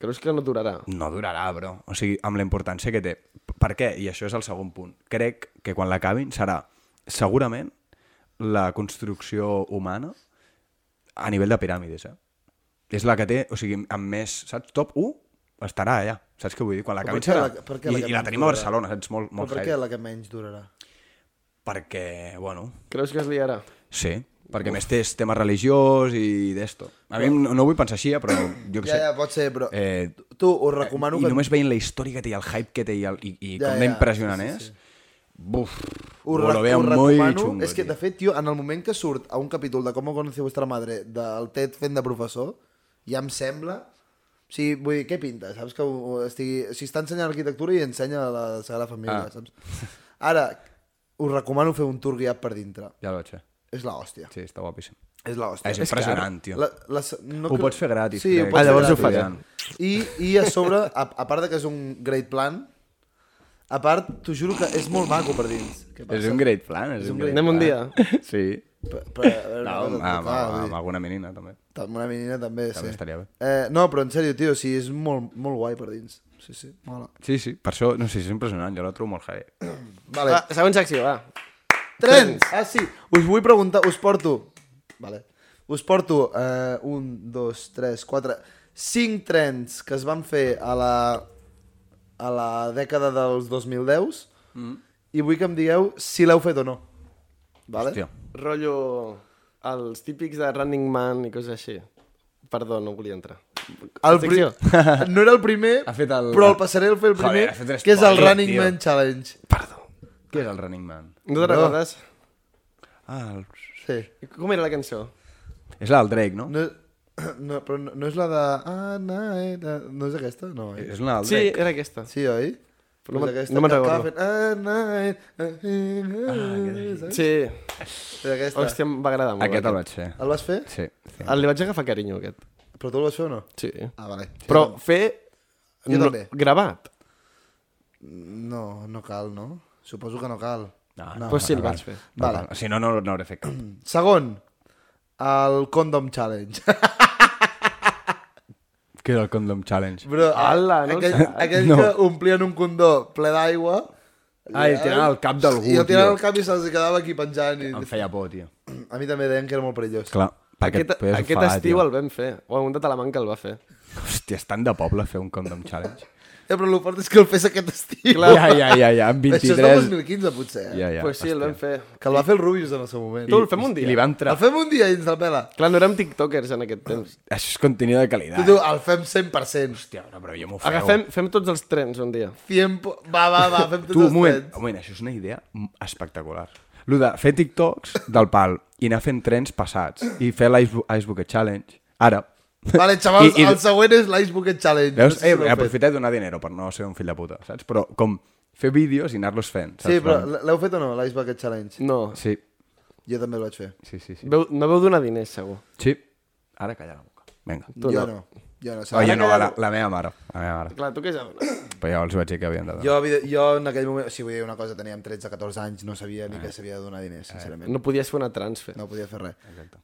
[SPEAKER 1] Creus que no durarà?
[SPEAKER 2] No durarà, bro. O sigui, amb la importància que té. P- Per què? I això és el segon punt. Crec que quan l'acabin serà segurament la construcció humana a nivell de piràmides, eh? És la que té, o sigui, amb més, saps? Top 1 estarà allà. Saps què vull dir? Quan l'acabin
[SPEAKER 5] per què
[SPEAKER 2] serà...
[SPEAKER 5] la- per què la
[SPEAKER 2] I,
[SPEAKER 5] que
[SPEAKER 2] I la
[SPEAKER 5] menys
[SPEAKER 2] tenim a
[SPEAKER 5] durarà?
[SPEAKER 2] Barcelona, saps? Molt,
[SPEAKER 5] Però
[SPEAKER 2] molt
[SPEAKER 5] per
[SPEAKER 2] heavy.
[SPEAKER 5] què la que menys durarà?
[SPEAKER 2] Perquè, bueno,
[SPEAKER 1] Creus que es liarà?
[SPEAKER 2] sí. Perquè a més té tema religiós i d'esto. A mi no, no ho vull pensar així, eh, però jo què
[SPEAKER 5] Ja,
[SPEAKER 2] sé.
[SPEAKER 5] ja, pot ser, però...
[SPEAKER 2] Eh,
[SPEAKER 5] Tu, us recomano
[SPEAKER 2] I
[SPEAKER 5] que...
[SPEAKER 2] només veient la història que té, i el hype que té i, el, i, i
[SPEAKER 5] Ja,
[SPEAKER 2] com
[SPEAKER 5] ja,
[SPEAKER 2] d'impressionant
[SPEAKER 5] sí, sí,
[SPEAKER 2] és, buf,
[SPEAKER 5] Ho,
[SPEAKER 2] lo
[SPEAKER 5] re ho
[SPEAKER 2] vean muy
[SPEAKER 5] recomano,
[SPEAKER 2] chungo,
[SPEAKER 5] és que de
[SPEAKER 2] tio.
[SPEAKER 5] fet, tio, en el moment que surt a un capítol de Com conocí vostra madre del Ted fent de professor, ja em sembla... O sigui, vull dir, què pinta? Saps que ho- ho estigui... Si està ensenyant arquitectura i ensenya la Sagrada Família,
[SPEAKER 2] Ah.
[SPEAKER 5] ah. saps? Ara, us recomano fer un tour guiat per dintre.
[SPEAKER 2] Ja el vaig fer.
[SPEAKER 5] És la hòstia. Sí.
[SPEAKER 2] Sí, està guapíssim.
[SPEAKER 5] És la hòstia.
[SPEAKER 2] És impressionant, tio.
[SPEAKER 5] La, la, no
[SPEAKER 2] Ho
[SPEAKER 5] cre-
[SPEAKER 2] pots fer gratis,
[SPEAKER 5] Sí,
[SPEAKER 2] crec.
[SPEAKER 5] ho pots
[SPEAKER 1] Ah, llavors
[SPEAKER 5] fer
[SPEAKER 1] ho faré.
[SPEAKER 5] gratis. I, I a sobre, a, a part de que és un great plan, a part, t'ho juro que és molt maco per dins. Què
[SPEAKER 2] És un great plan. És, un great
[SPEAKER 1] Anem un
[SPEAKER 2] plan. Sí.
[SPEAKER 5] Però, però, a veure,
[SPEAKER 2] No,
[SPEAKER 5] no,
[SPEAKER 2] amb, amb, amb
[SPEAKER 5] amb,
[SPEAKER 2] alguna menina, també.
[SPEAKER 5] amb una menina també, sí.
[SPEAKER 2] També estaria bé.
[SPEAKER 5] Eh, no, però en sèrio, tio, sí, és molt, molt guai per dins. Sí, sí, mola.
[SPEAKER 2] Sí, sí, per això, no sé, és impressionant, jo la trobo molt
[SPEAKER 5] Eh?
[SPEAKER 2] heavy.
[SPEAKER 5] Vale.
[SPEAKER 1] Va, següent secció, va.
[SPEAKER 5] Trens! Ah, sí, us vull preguntar, us porto... Vale. Us porto eh, un, dos, tres, quatre, cinc trens que es van fer a la, a la dècada dels 2010 mm. i vull que em digueu si l'heu fet o no. Vale?
[SPEAKER 2] Hòstia.
[SPEAKER 1] Rollo els típics de Running Man i coses així. Perdó, no volia entrar.
[SPEAKER 5] El pri...
[SPEAKER 1] Secció.
[SPEAKER 5] No era el primer,
[SPEAKER 2] Ha fet el-
[SPEAKER 5] però el passaré a fer el primer,
[SPEAKER 2] Joder, ha fet un
[SPEAKER 5] que és el
[SPEAKER 2] spoiler,
[SPEAKER 5] Running
[SPEAKER 2] tio.
[SPEAKER 5] Man Challenge.
[SPEAKER 1] Perdó.
[SPEAKER 2] Què és el Running Man?
[SPEAKER 1] No te'n recordes?
[SPEAKER 2] Ah, el...
[SPEAKER 5] Sí.
[SPEAKER 1] Com era la cançó?
[SPEAKER 2] És la del Drake, no?
[SPEAKER 5] No, no, però no, no és la de... Ah, no, eh, de... no és aquesta, no, eh?
[SPEAKER 2] És una del
[SPEAKER 1] Sí,
[SPEAKER 2] Drake.
[SPEAKER 1] era aquesta.
[SPEAKER 5] Sí, oi?
[SPEAKER 1] Però no
[SPEAKER 5] És
[SPEAKER 1] me'n-
[SPEAKER 5] aquesta
[SPEAKER 1] no me'n
[SPEAKER 5] que acaba
[SPEAKER 1] recordo.
[SPEAKER 5] fent, Ah, no, eh, eh, eh, saps?
[SPEAKER 1] Sí.
[SPEAKER 5] És aquesta.
[SPEAKER 1] Hòstia, em va agradar molt.
[SPEAKER 2] Aquest
[SPEAKER 1] aquest.
[SPEAKER 2] el vaig fer.
[SPEAKER 5] El vas fer?
[SPEAKER 2] Sí. sí.
[SPEAKER 1] El... Li vaig agafar carinyo, aquest.
[SPEAKER 5] Però tu el vas fer o no?
[SPEAKER 1] Sí.
[SPEAKER 5] Ah, vale.
[SPEAKER 1] Però fer...
[SPEAKER 5] Jo
[SPEAKER 1] no,
[SPEAKER 5] també.
[SPEAKER 1] gravat.
[SPEAKER 5] No, no cal, no? Suposo que no cal.
[SPEAKER 1] No, pues sí, el
[SPEAKER 2] val.
[SPEAKER 1] vaig fer.
[SPEAKER 2] No,
[SPEAKER 5] Vale.
[SPEAKER 2] val. Si no, no, no hauré fet cap.
[SPEAKER 5] Segon, el Condom Challenge.
[SPEAKER 2] Què és el Condom Challenge?
[SPEAKER 5] Bro,
[SPEAKER 1] Ala, no
[SPEAKER 5] aquell,
[SPEAKER 1] ho sap.
[SPEAKER 5] aquell
[SPEAKER 2] No.
[SPEAKER 5] que omplien un condó ple d'aigua...
[SPEAKER 2] Ah, i el tiraven al cap d'algú,
[SPEAKER 5] I el tiraven
[SPEAKER 2] tio.
[SPEAKER 5] al cap i se'ls quedava aquí penjant. I...
[SPEAKER 2] Em feia por, tio.
[SPEAKER 5] A mi també deien que era molt perillós.
[SPEAKER 2] Clar, perquè
[SPEAKER 1] Aquest,
[SPEAKER 2] et podies
[SPEAKER 1] aquest
[SPEAKER 2] ofegar,
[SPEAKER 1] estiu
[SPEAKER 2] tio.
[SPEAKER 1] el vam fer. O un de Talamanca el va fer.
[SPEAKER 2] Hòstia, és tan de poble fer un condom challenge.
[SPEAKER 5] Ja, Eh, però el fort és que el fes aquest estiu.
[SPEAKER 2] Ja, ja, ja, ja, amb
[SPEAKER 5] Això és del
[SPEAKER 2] 23...
[SPEAKER 5] 2015, potser. Eh?
[SPEAKER 2] Ja,
[SPEAKER 1] Ja,
[SPEAKER 2] ja,
[SPEAKER 1] pues sí, el vam fer.
[SPEAKER 5] Que el va fer el Rubius en el seu moment.
[SPEAKER 1] Tu el fem un dia.
[SPEAKER 2] I li va entrar...
[SPEAKER 5] El fem un dia i ens el pela.
[SPEAKER 1] Clar, no érem tiktokers en aquest temps.
[SPEAKER 2] Això és contenido de
[SPEAKER 5] Tu,
[SPEAKER 2] qualitat.
[SPEAKER 5] tu, el fem 100%.
[SPEAKER 2] Ah. Hòstia, però, però jo m'ho feu.
[SPEAKER 1] Agafem, fem tots els trens un dia.
[SPEAKER 5] Tiempo... Va, va, va, fem tot
[SPEAKER 2] Tu, un moment, un moment, això és una idea espectacular. Lo de fer TikToks del pal i anar fent trens passats i fer l'Ice Bu- Ice Bucket Challenge, ara...
[SPEAKER 5] Vale, xavals,
[SPEAKER 2] I- i-
[SPEAKER 5] el següent és l'Ice Bucket Challenge.
[SPEAKER 2] Veus?
[SPEAKER 5] No sé
[SPEAKER 2] Eh,
[SPEAKER 5] si l'heu fet.
[SPEAKER 2] aprofita i donar dinero per no ser un fill de puta, saps? Però com fer vídeos i anar-los fent, saps?
[SPEAKER 5] Sí, però
[SPEAKER 2] Bueno,
[SPEAKER 5] l'heu fet o no, l'Ice Bucket Challenge?
[SPEAKER 1] No.
[SPEAKER 2] Sí,
[SPEAKER 5] Jo també el vaig fer.
[SPEAKER 2] sí, sí, sí.
[SPEAKER 1] Veu, no veu donar diners, segur.
[SPEAKER 2] Sí. Ara calla la boca. Vinga.
[SPEAKER 1] Tu no.
[SPEAKER 5] jo no. Jo no sé.
[SPEAKER 2] Oh, jo no,
[SPEAKER 1] que-
[SPEAKER 2] la, la meva mare. La meva mare.
[SPEAKER 1] Clar, tu què saps?
[SPEAKER 2] Però ja els vaig dir que havien de donar.
[SPEAKER 5] Jo, evident- jo en aquell moment, o sigui, vull dir una cosa, teníem 13-14 anys, no sabia
[SPEAKER 2] Eh.
[SPEAKER 5] ni que s'havia de donar diners, sincerament.
[SPEAKER 1] No podies fer una transfer. No.
[SPEAKER 5] No podia fer res.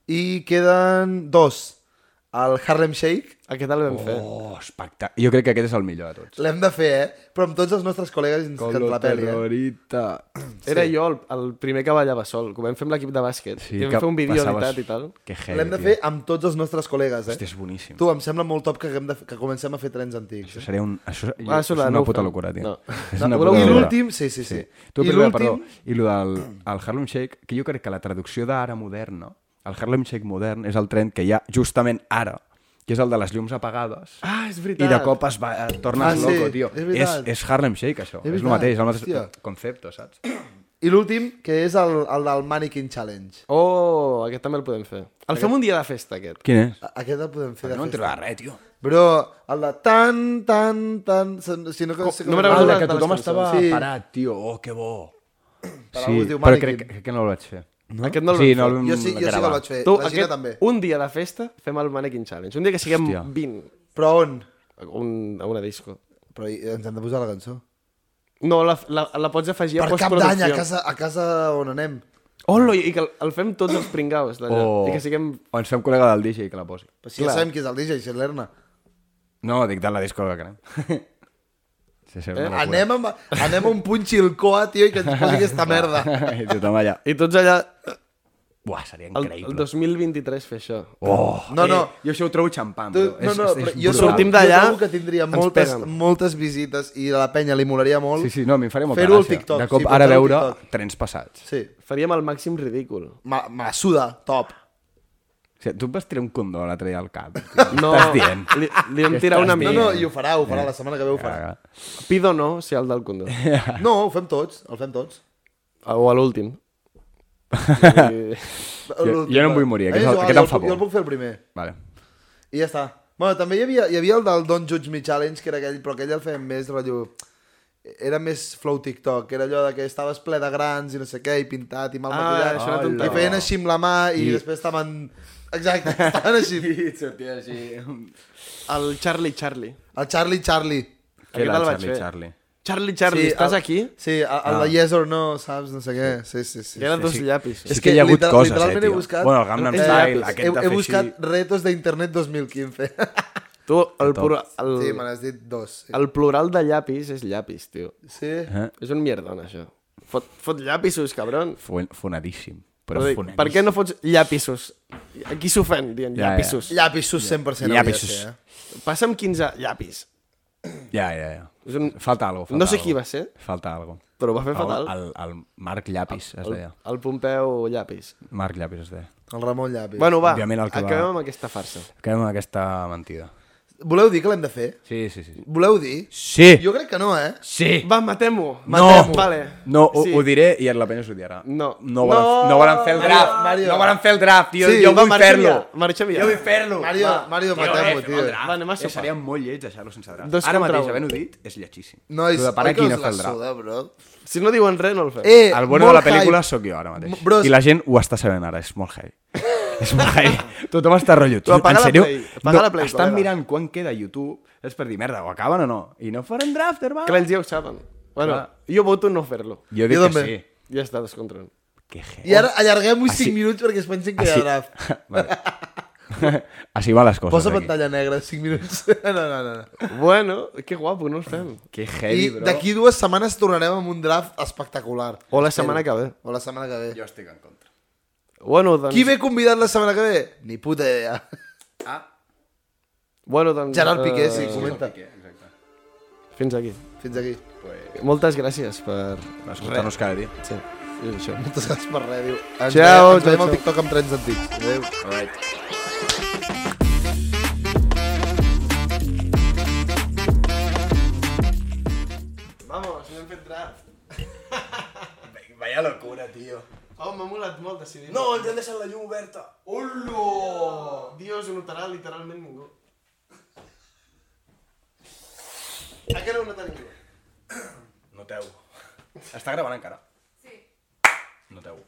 [SPEAKER 5] I queden dos. El Harlem Shake,
[SPEAKER 1] A Ah, què tal vam fer?
[SPEAKER 2] Oh, espectacle. Jo crec que aquest és el millor de tots.
[SPEAKER 5] l'hem de fer, eh? Però amb tots els nostres col·legues ens que la peli, eh?
[SPEAKER 2] terrorita.
[SPEAKER 1] Era jo el, el primer que ballava sol, que ho vam fer amb l'equip de bàsquet. Sí, I vam fer un vídeo editat i tal.
[SPEAKER 2] Que heavy,
[SPEAKER 5] L'hem de
[SPEAKER 2] tio.
[SPEAKER 5] fer amb tots els nostres col·legues, eh?
[SPEAKER 2] Hòstia, és boníssim.
[SPEAKER 5] Tu, em sembla molt top que, haguem de, que comencem a fer trens antics.
[SPEAKER 2] Això seria un... Això, jo,
[SPEAKER 1] Ah,
[SPEAKER 2] ah,
[SPEAKER 1] això
[SPEAKER 2] això
[SPEAKER 1] la
[SPEAKER 2] és una
[SPEAKER 1] no ho
[SPEAKER 2] puta
[SPEAKER 1] fem.
[SPEAKER 2] locura, tio.
[SPEAKER 1] No.
[SPEAKER 2] És
[SPEAKER 1] No,
[SPEAKER 2] una
[SPEAKER 1] voleu
[SPEAKER 2] puta
[SPEAKER 1] dir
[SPEAKER 2] locura.
[SPEAKER 5] l'últim? Sí, sí, sí.
[SPEAKER 2] Tu,
[SPEAKER 5] I
[SPEAKER 2] primer,
[SPEAKER 5] l'últim-
[SPEAKER 2] perdó. I lo del el Harlem Shake, que jo crec que la traducció d'ara modern, no? el Harlem Shake modern és el tren que hi ha justament ara, que és el de les llums apagades.
[SPEAKER 1] Ah, és
[SPEAKER 2] I
[SPEAKER 1] veritat.
[SPEAKER 2] de cop es va, et tornes
[SPEAKER 5] Ah, sí,
[SPEAKER 2] loco, tio.
[SPEAKER 5] és
[SPEAKER 2] És,
[SPEAKER 5] veritat.
[SPEAKER 2] és Harlem Shake, això. És,
[SPEAKER 5] veritat,
[SPEAKER 2] el mateix, és el mateix
[SPEAKER 5] hòstia.
[SPEAKER 2] concepte, saps?
[SPEAKER 5] I l'últim, que és el, el del Mannequin Challenge.
[SPEAKER 1] Oh, aquest també el podem fer. El fem un dia de festa, aquest.
[SPEAKER 2] Quin és?
[SPEAKER 5] A- Aquest el podem fer de
[SPEAKER 2] No
[SPEAKER 5] festa.
[SPEAKER 2] entrarà res, tio.
[SPEAKER 5] Bro, el de tan, tan, tan... Si no, que,
[SPEAKER 1] no me'n recordo
[SPEAKER 2] Ah, el de
[SPEAKER 1] de
[SPEAKER 2] que tothom
[SPEAKER 1] les
[SPEAKER 2] estava
[SPEAKER 5] cançons. Sí.
[SPEAKER 2] parat, tio. Oh, que bo. Sí,
[SPEAKER 5] algú es diu
[SPEAKER 2] però
[SPEAKER 5] Mannequin.
[SPEAKER 2] crec, crec que no el vaig fer. No?
[SPEAKER 1] Aquest no el
[SPEAKER 2] sí,
[SPEAKER 1] vam
[SPEAKER 2] no
[SPEAKER 1] fer.
[SPEAKER 2] el vam
[SPEAKER 5] Jo sí, jo sí que el
[SPEAKER 2] gravar.
[SPEAKER 5] vaig fer.
[SPEAKER 1] Tu,
[SPEAKER 5] la Gina
[SPEAKER 1] aquest,
[SPEAKER 5] també.
[SPEAKER 1] un dia de festa, fem el Mannequin Challenge. Un dia que siguem
[SPEAKER 2] Hòstia.
[SPEAKER 1] 20
[SPEAKER 5] Però on?
[SPEAKER 1] a un, a una disco.
[SPEAKER 5] Però i- ens hem de posar la cançó.
[SPEAKER 1] No, la, la, la pots afegir a
[SPEAKER 5] per cap d'any,
[SPEAKER 1] postproducció.
[SPEAKER 5] a casa, a casa on anem.
[SPEAKER 1] Hola, i que el, el fem tots els pringaus d'allà.
[SPEAKER 2] O...
[SPEAKER 1] I que siguem...
[SPEAKER 2] O ens fem col·lega del DJ que la posi.
[SPEAKER 5] Però si ja sabem qui és el DJ, si és l'Erna.
[SPEAKER 2] No, dic de la disco que anem. sí, sí, eh?
[SPEAKER 5] Anem, amb, anem a un punt xilcoa, tio, i que ens posi aquesta merda.
[SPEAKER 2] I tothom allà.
[SPEAKER 1] I tots allà,
[SPEAKER 2] Buah, seria
[SPEAKER 1] el,
[SPEAKER 2] increïble.
[SPEAKER 1] el 2023, fer això.
[SPEAKER 2] Oh,
[SPEAKER 5] No, no.
[SPEAKER 2] Eh, jo això ho trobo xampant,
[SPEAKER 5] Tu,
[SPEAKER 2] bro.
[SPEAKER 5] no, no, però
[SPEAKER 2] brutal.
[SPEAKER 5] jo trobo-
[SPEAKER 1] Sortim d'allà,
[SPEAKER 5] Jo trobo que tindria
[SPEAKER 1] ens
[SPEAKER 5] moltes,
[SPEAKER 1] peguen.
[SPEAKER 5] moltes visites i a la penya li molaria molt.
[SPEAKER 2] Sí, sí, no, a mi em faria molta
[SPEAKER 5] Fer-ho al
[SPEAKER 2] gràcia.
[SPEAKER 5] TikTok,
[SPEAKER 2] De cop,
[SPEAKER 5] sí,
[SPEAKER 2] ara
[SPEAKER 5] penjar-ho al
[SPEAKER 2] veure
[SPEAKER 5] TikTok.
[SPEAKER 2] trens passats.
[SPEAKER 5] Sí.
[SPEAKER 1] Faríem el màxim ridícul.
[SPEAKER 5] Ma, me la suda, top.
[SPEAKER 2] O sigui, tu em vas tirar un condó l'altre dia al cap. tio.
[SPEAKER 1] No,
[SPEAKER 2] Què Estàs dient.
[SPEAKER 1] li, li vam
[SPEAKER 2] Què
[SPEAKER 1] tirar
[SPEAKER 2] estàs
[SPEAKER 1] una
[SPEAKER 5] No,
[SPEAKER 1] mica.
[SPEAKER 5] no, i ho farà, ho farà, la setmana que ve ho farà.
[SPEAKER 2] Caga.
[SPEAKER 1] Pido no, si el del condó.
[SPEAKER 5] No, ho fem tots, el fem tots.
[SPEAKER 1] O a l'últim.
[SPEAKER 2] Jo- jo no em vull morir, aquest
[SPEAKER 5] A mi és
[SPEAKER 2] el-
[SPEAKER 5] igual,
[SPEAKER 2] aquest em
[SPEAKER 5] jo el
[SPEAKER 2] fa
[SPEAKER 5] puc- Jo el
[SPEAKER 2] por.
[SPEAKER 5] puc fer el primer.
[SPEAKER 2] Vale.
[SPEAKER 5] I ja està. Bueno, també hi havia, hi havia el del Don't Judge Me Challenge, que era aquell, però aquell el feien més rotllo... Era més flow TikTok, que era allò de que estaves ple de grans i no sé què, i pintat i mal
[SPEAKER 1] Ah,
[SPEAKER 5] maquillat.
[SPEAKER 1] això era
[SPEAKER 5] I
[SPEAKER 1] tonteria.
[SPEAKER 5] feien així amb la mà i, després estaven... Exacte, estaven així.
[SPEAKER 2] sortia així...
[SPEAKER 1] El Charlie Charlie.
[SPEAKER 5] El Charlie Charlie.
[SPEAKER 2] Què
[SPEAKER 1] Aquest
[SPEAKER 2] era
[SPEAKER 1] el
[SPEAKER 2] el
[SPEAKER 1] vaig
[SPEAKER 2] Charlie,
[SPEAKER 1] fer.
[SPEAKER 2] Charlie?
[SPEAKER 1] Charlie, Charlie, estàs
[SPEAKER 5] el,
[SPEAKER 1] aquí?
[SPEAKER 5] Sí, el, el de Yes or No, saps? No sé què. Sí, sí, sí.
[SPEAKER 1] Que eren dos llapis.
[SPEAKER 2] Sí que hi ha hagut
[SPEAKER 5] literal-
[SPEAKER 2] coses, eh,
[SPEAKER 5] literalment
[SPEAKER 2] tio.
[SPEAKER 5] he buscat...
[SPEAKER 2] Bueno, el Gangnam
[SPEAKER 5] eh,
[SPEAKER 2] Style,
[SPEAKER 5] he-
[SPEAKER 2] aquest de
[SPEAKER 5] He,
[SPEAKER 2] fer
[SPEAKER 5] buscat
[SPEAKER 2] així.
[SPEAKER 5] retos d'internet 2015.
[SPEAKER 1] Tu, el, plura, el,
[SPEAKER 5] sí, me n'has dit dos. Sí.
[SPEAKER 1] el plural de llapis és llapis, tio.
[SPEAKER 5] sí.
[SPEAKER 1] És un mierdon, això. Fot, fot llapisos, cabron.
[SPEAKER 2] Fuen- Fonadíssim. Però
[SPEAKER 1] Però dic,
[SPEAKER 2] fonadíssim.
[SPEAKER 1] per què no fots llapisos? Aquí s'ofèn, dient
[SPEAKER 2] Ja, ja.
[SPEAKER 1] llapisos. Ja,
[SPEAKER 5] Llapisos 100%
[SPEAKER 2] Llapisos.
[SPEAKER 5] hauria de ser, eh?
[SPEAKER 1] Passa amb 15 llapis.
[SPEAKER 2] Ja, ja, ja.
[SPEAKER 1] És un-
[SPEAKER 2] Falta algo, falta
[SPEAKER 1] No sé
[SPEAKER 2] algo.
[SPEAKER 1] qui va ser,
[SPEAKER 2] Falta algo.
[SPEAKER 1] però ho va fer fatal.
[SPEAKER 2] El, el, el Marc Llapis, es
[SPEAKER 1] El,
[SPEAKER 2] deia.
[SPEAKER 1] el Pompeu llapis.
[SPEAKER 2] Marc Llapis es deia.
[SPEAKER 5] El Ramon Llapis.
[SPEAKER 1] Bueno, va,
[SPEAKER 2] Òbviament el que va-
[SPEAKER 1] acabem amb aquesta farsa.
[SPEAKER 2] Quedem amb aquesta mentida.
[SPEAKER 5] Voleu dir que l'hem de fer?
[SPEAKER 2] Sí, sí, sí.
[SPEAKER 5] Voleu dir?
[SPEAKER 2] Sí!
[SPEAKER 5] Jo crec que no, eh?
[SPEAKER 2] Sí!
[SPEAKER 1] Va, matem-ho.
[SPEAKER 2] No!
[SPEAKER 1] Matem vale.
[SPEAKER 2] No, ho, ho diré i la penya s'ho dirà.
[SPEAKER 1] No.
[SPEAKER 2] No volen,
[SPEAKER 1] No!
[SPEAKER 2] no, no volen fer el draft.
[SPEAKER 5] Mario.
[SPEAKER 2] No volen fer el draft, tio.
[SPEAKER 5] Sí,
[SPEAKER 2] jo
[SPEAKER 5] va,
[SPEAKER 2] vull
[SPEAKER 1] marxa
[SPEAKER 2] fer-lo.
[SPEAKER 1] ja, marxa ja.
[SPEAKER 2] Jo vull fer-lo.
[SPEAKER 5] Mario,
[SPEAKER 2] va.
[SPEAKER 5] Mario,
[SPEAKER 2] Tio,
[SPEAKER 5] matem-ho,
[SPEAKER 2] eh,
[SPEAKER 5] tio.
[SPEAKER 2] fem el draft.
[SPEAKER 1] Va, anem a
[SPEAKER 2] Eh,
[SPEAKER 1] sopar.
[SPEAKER 2] Seria molt lleig deixar-lo sense draft.
[SPEAKER 1] Dos
[SPEAKER 2] Ara
[SPEAKER 1] contra
[SPEAKER 2] mateix,
[SPEAKER 1] un.
[SPEAKER 2] havent-ho dit, és lletíssim.
[SPEAKER 5] Nois,
[SPEAKER 2] Lo de parar
[SPEAKER 5] oi que
[SPEAKER 2] aquí
[SPEAKER 5] us
[SPEAKER 2] no
[SPEAKER 5] la
[SPEAKER 2] fer el draft.
[SPEAKER 5] suda, bro?
[SPEAKER 1] Si no diuen res, no el fem.
[SPEAKER 5] Eh,
[SPEAKER 2] El bueno de
[SPEAKER 5] molt
[SPEAKER 2] la pel·lícula
[SPEAKER 5] hype.
[SPEAKER 2] sóc jo ara mateix.
[SPEAKER 5] Bros.
[SPEAKER 2] I la gent ho està sabent ara, és molt heavy. és molt heavy. Tothom està rotllo.
[SPEAKER 1] Tu, apaga
[SPEAKER 2] en
[SPEAKER 1] la
[SPEAKER 2] sèrio?
[SPEAKER 1] Play, apaga la Play,
[SPEAKER 2] estan
[SPEAKER 1] col·lega.
[SPEAKER 2] mirant quan queda a YouTube, és per dir, merda, ho acaben o no? I no faran draft, hermano.
[SPEAKER 1] Que ells ja ho saben. Bueno,
[SPEAKER 2] Clar.
[SPEAKER 1] jo voto no fer-lo.
[SPEAKER 2] Jo dic
[SPEAKER 5] Jo
[SPEAKER 2] que
[SPEAKER 5] també.
[SPEAKER 2] sí.
[SPEAKER 1] Ja està, descontra.
[SPEAKER 2] Que heavy.
[SPEAKER 5] I ara allarguem-ho 5
[SPEAKER 2] Així-
[SPEAKER 5] minuts perquè es pensin que hi ha
[SPEAKER 2] Així,
[SPEAKER 5] draft.
[SPEAKER 2] vale. Així van les coses.
[SPEAKER 5] Posa
[SPEAKER 2] aquí.
[SPEAKER 5] pantalla negra, 5 minuts. No, no, no. no.
[SPEAKER 1] Bueno, que guapo, no el fem.
[SPEAKER 2] Que
[SPEAKER 5] I
[SPEAKER 2] heavy, bro.
[SPEAKER 5] d'aquí dues setmanes tornarem amb un draft espectacular.
[SPEAKER 1] O la setmana que ve.
[SPEAKER 5] O la setmana que ve.
[SPEAKER 2] Jo estic en contra.
[SPEAKER 1] Bueno, doncs...
[SPEAKER 5] Qui ve convidat la setmana que ve? Ni puta idea. Ah,
[SPEAKER 1] Bueno, doncs...
[SPEAKER 5] Gerard Piqué,
[SPEAKER 1] eh,
[SPEAKER 5] sí, comenta.
[SPEAKER 1] Fins aquí.
[SPEAKER 5] Fins aquí.
[SPEAKER 1] Moltes gràcies per...
[SPEAKER 2] Escoltar-nos cada dia.
[SPEAKER 1] Sí, és això.
[SPEAKER 5] Moltes gràcies per res, diu. Ens
[SPEAKER 1] Ciao,
[SPEAKER 5] veiem- ens veiem
[SPEAKER 1] ciao, ciao.
[SPEAKER 5] al TikTok amb trens antics. Adéu.
[SPEAKER 1] Vamos, no hem fet draft.
[SPEAKER 2] Vaya locura, tio.
[SPEAKER 1] Oh, m'ha molat molt decidir.
[SPEAKER 2] ens han deixat la llum oberta.
[SPEAKER 1] Ullo! Oh, Dios, ho notarà literalment ningú. A què no ho nota ningú?
[SPEAKER 2] Noteu. Està gravant encara?
[SPEAKER 4] Sí.
[SPEAKER 2] Noteu.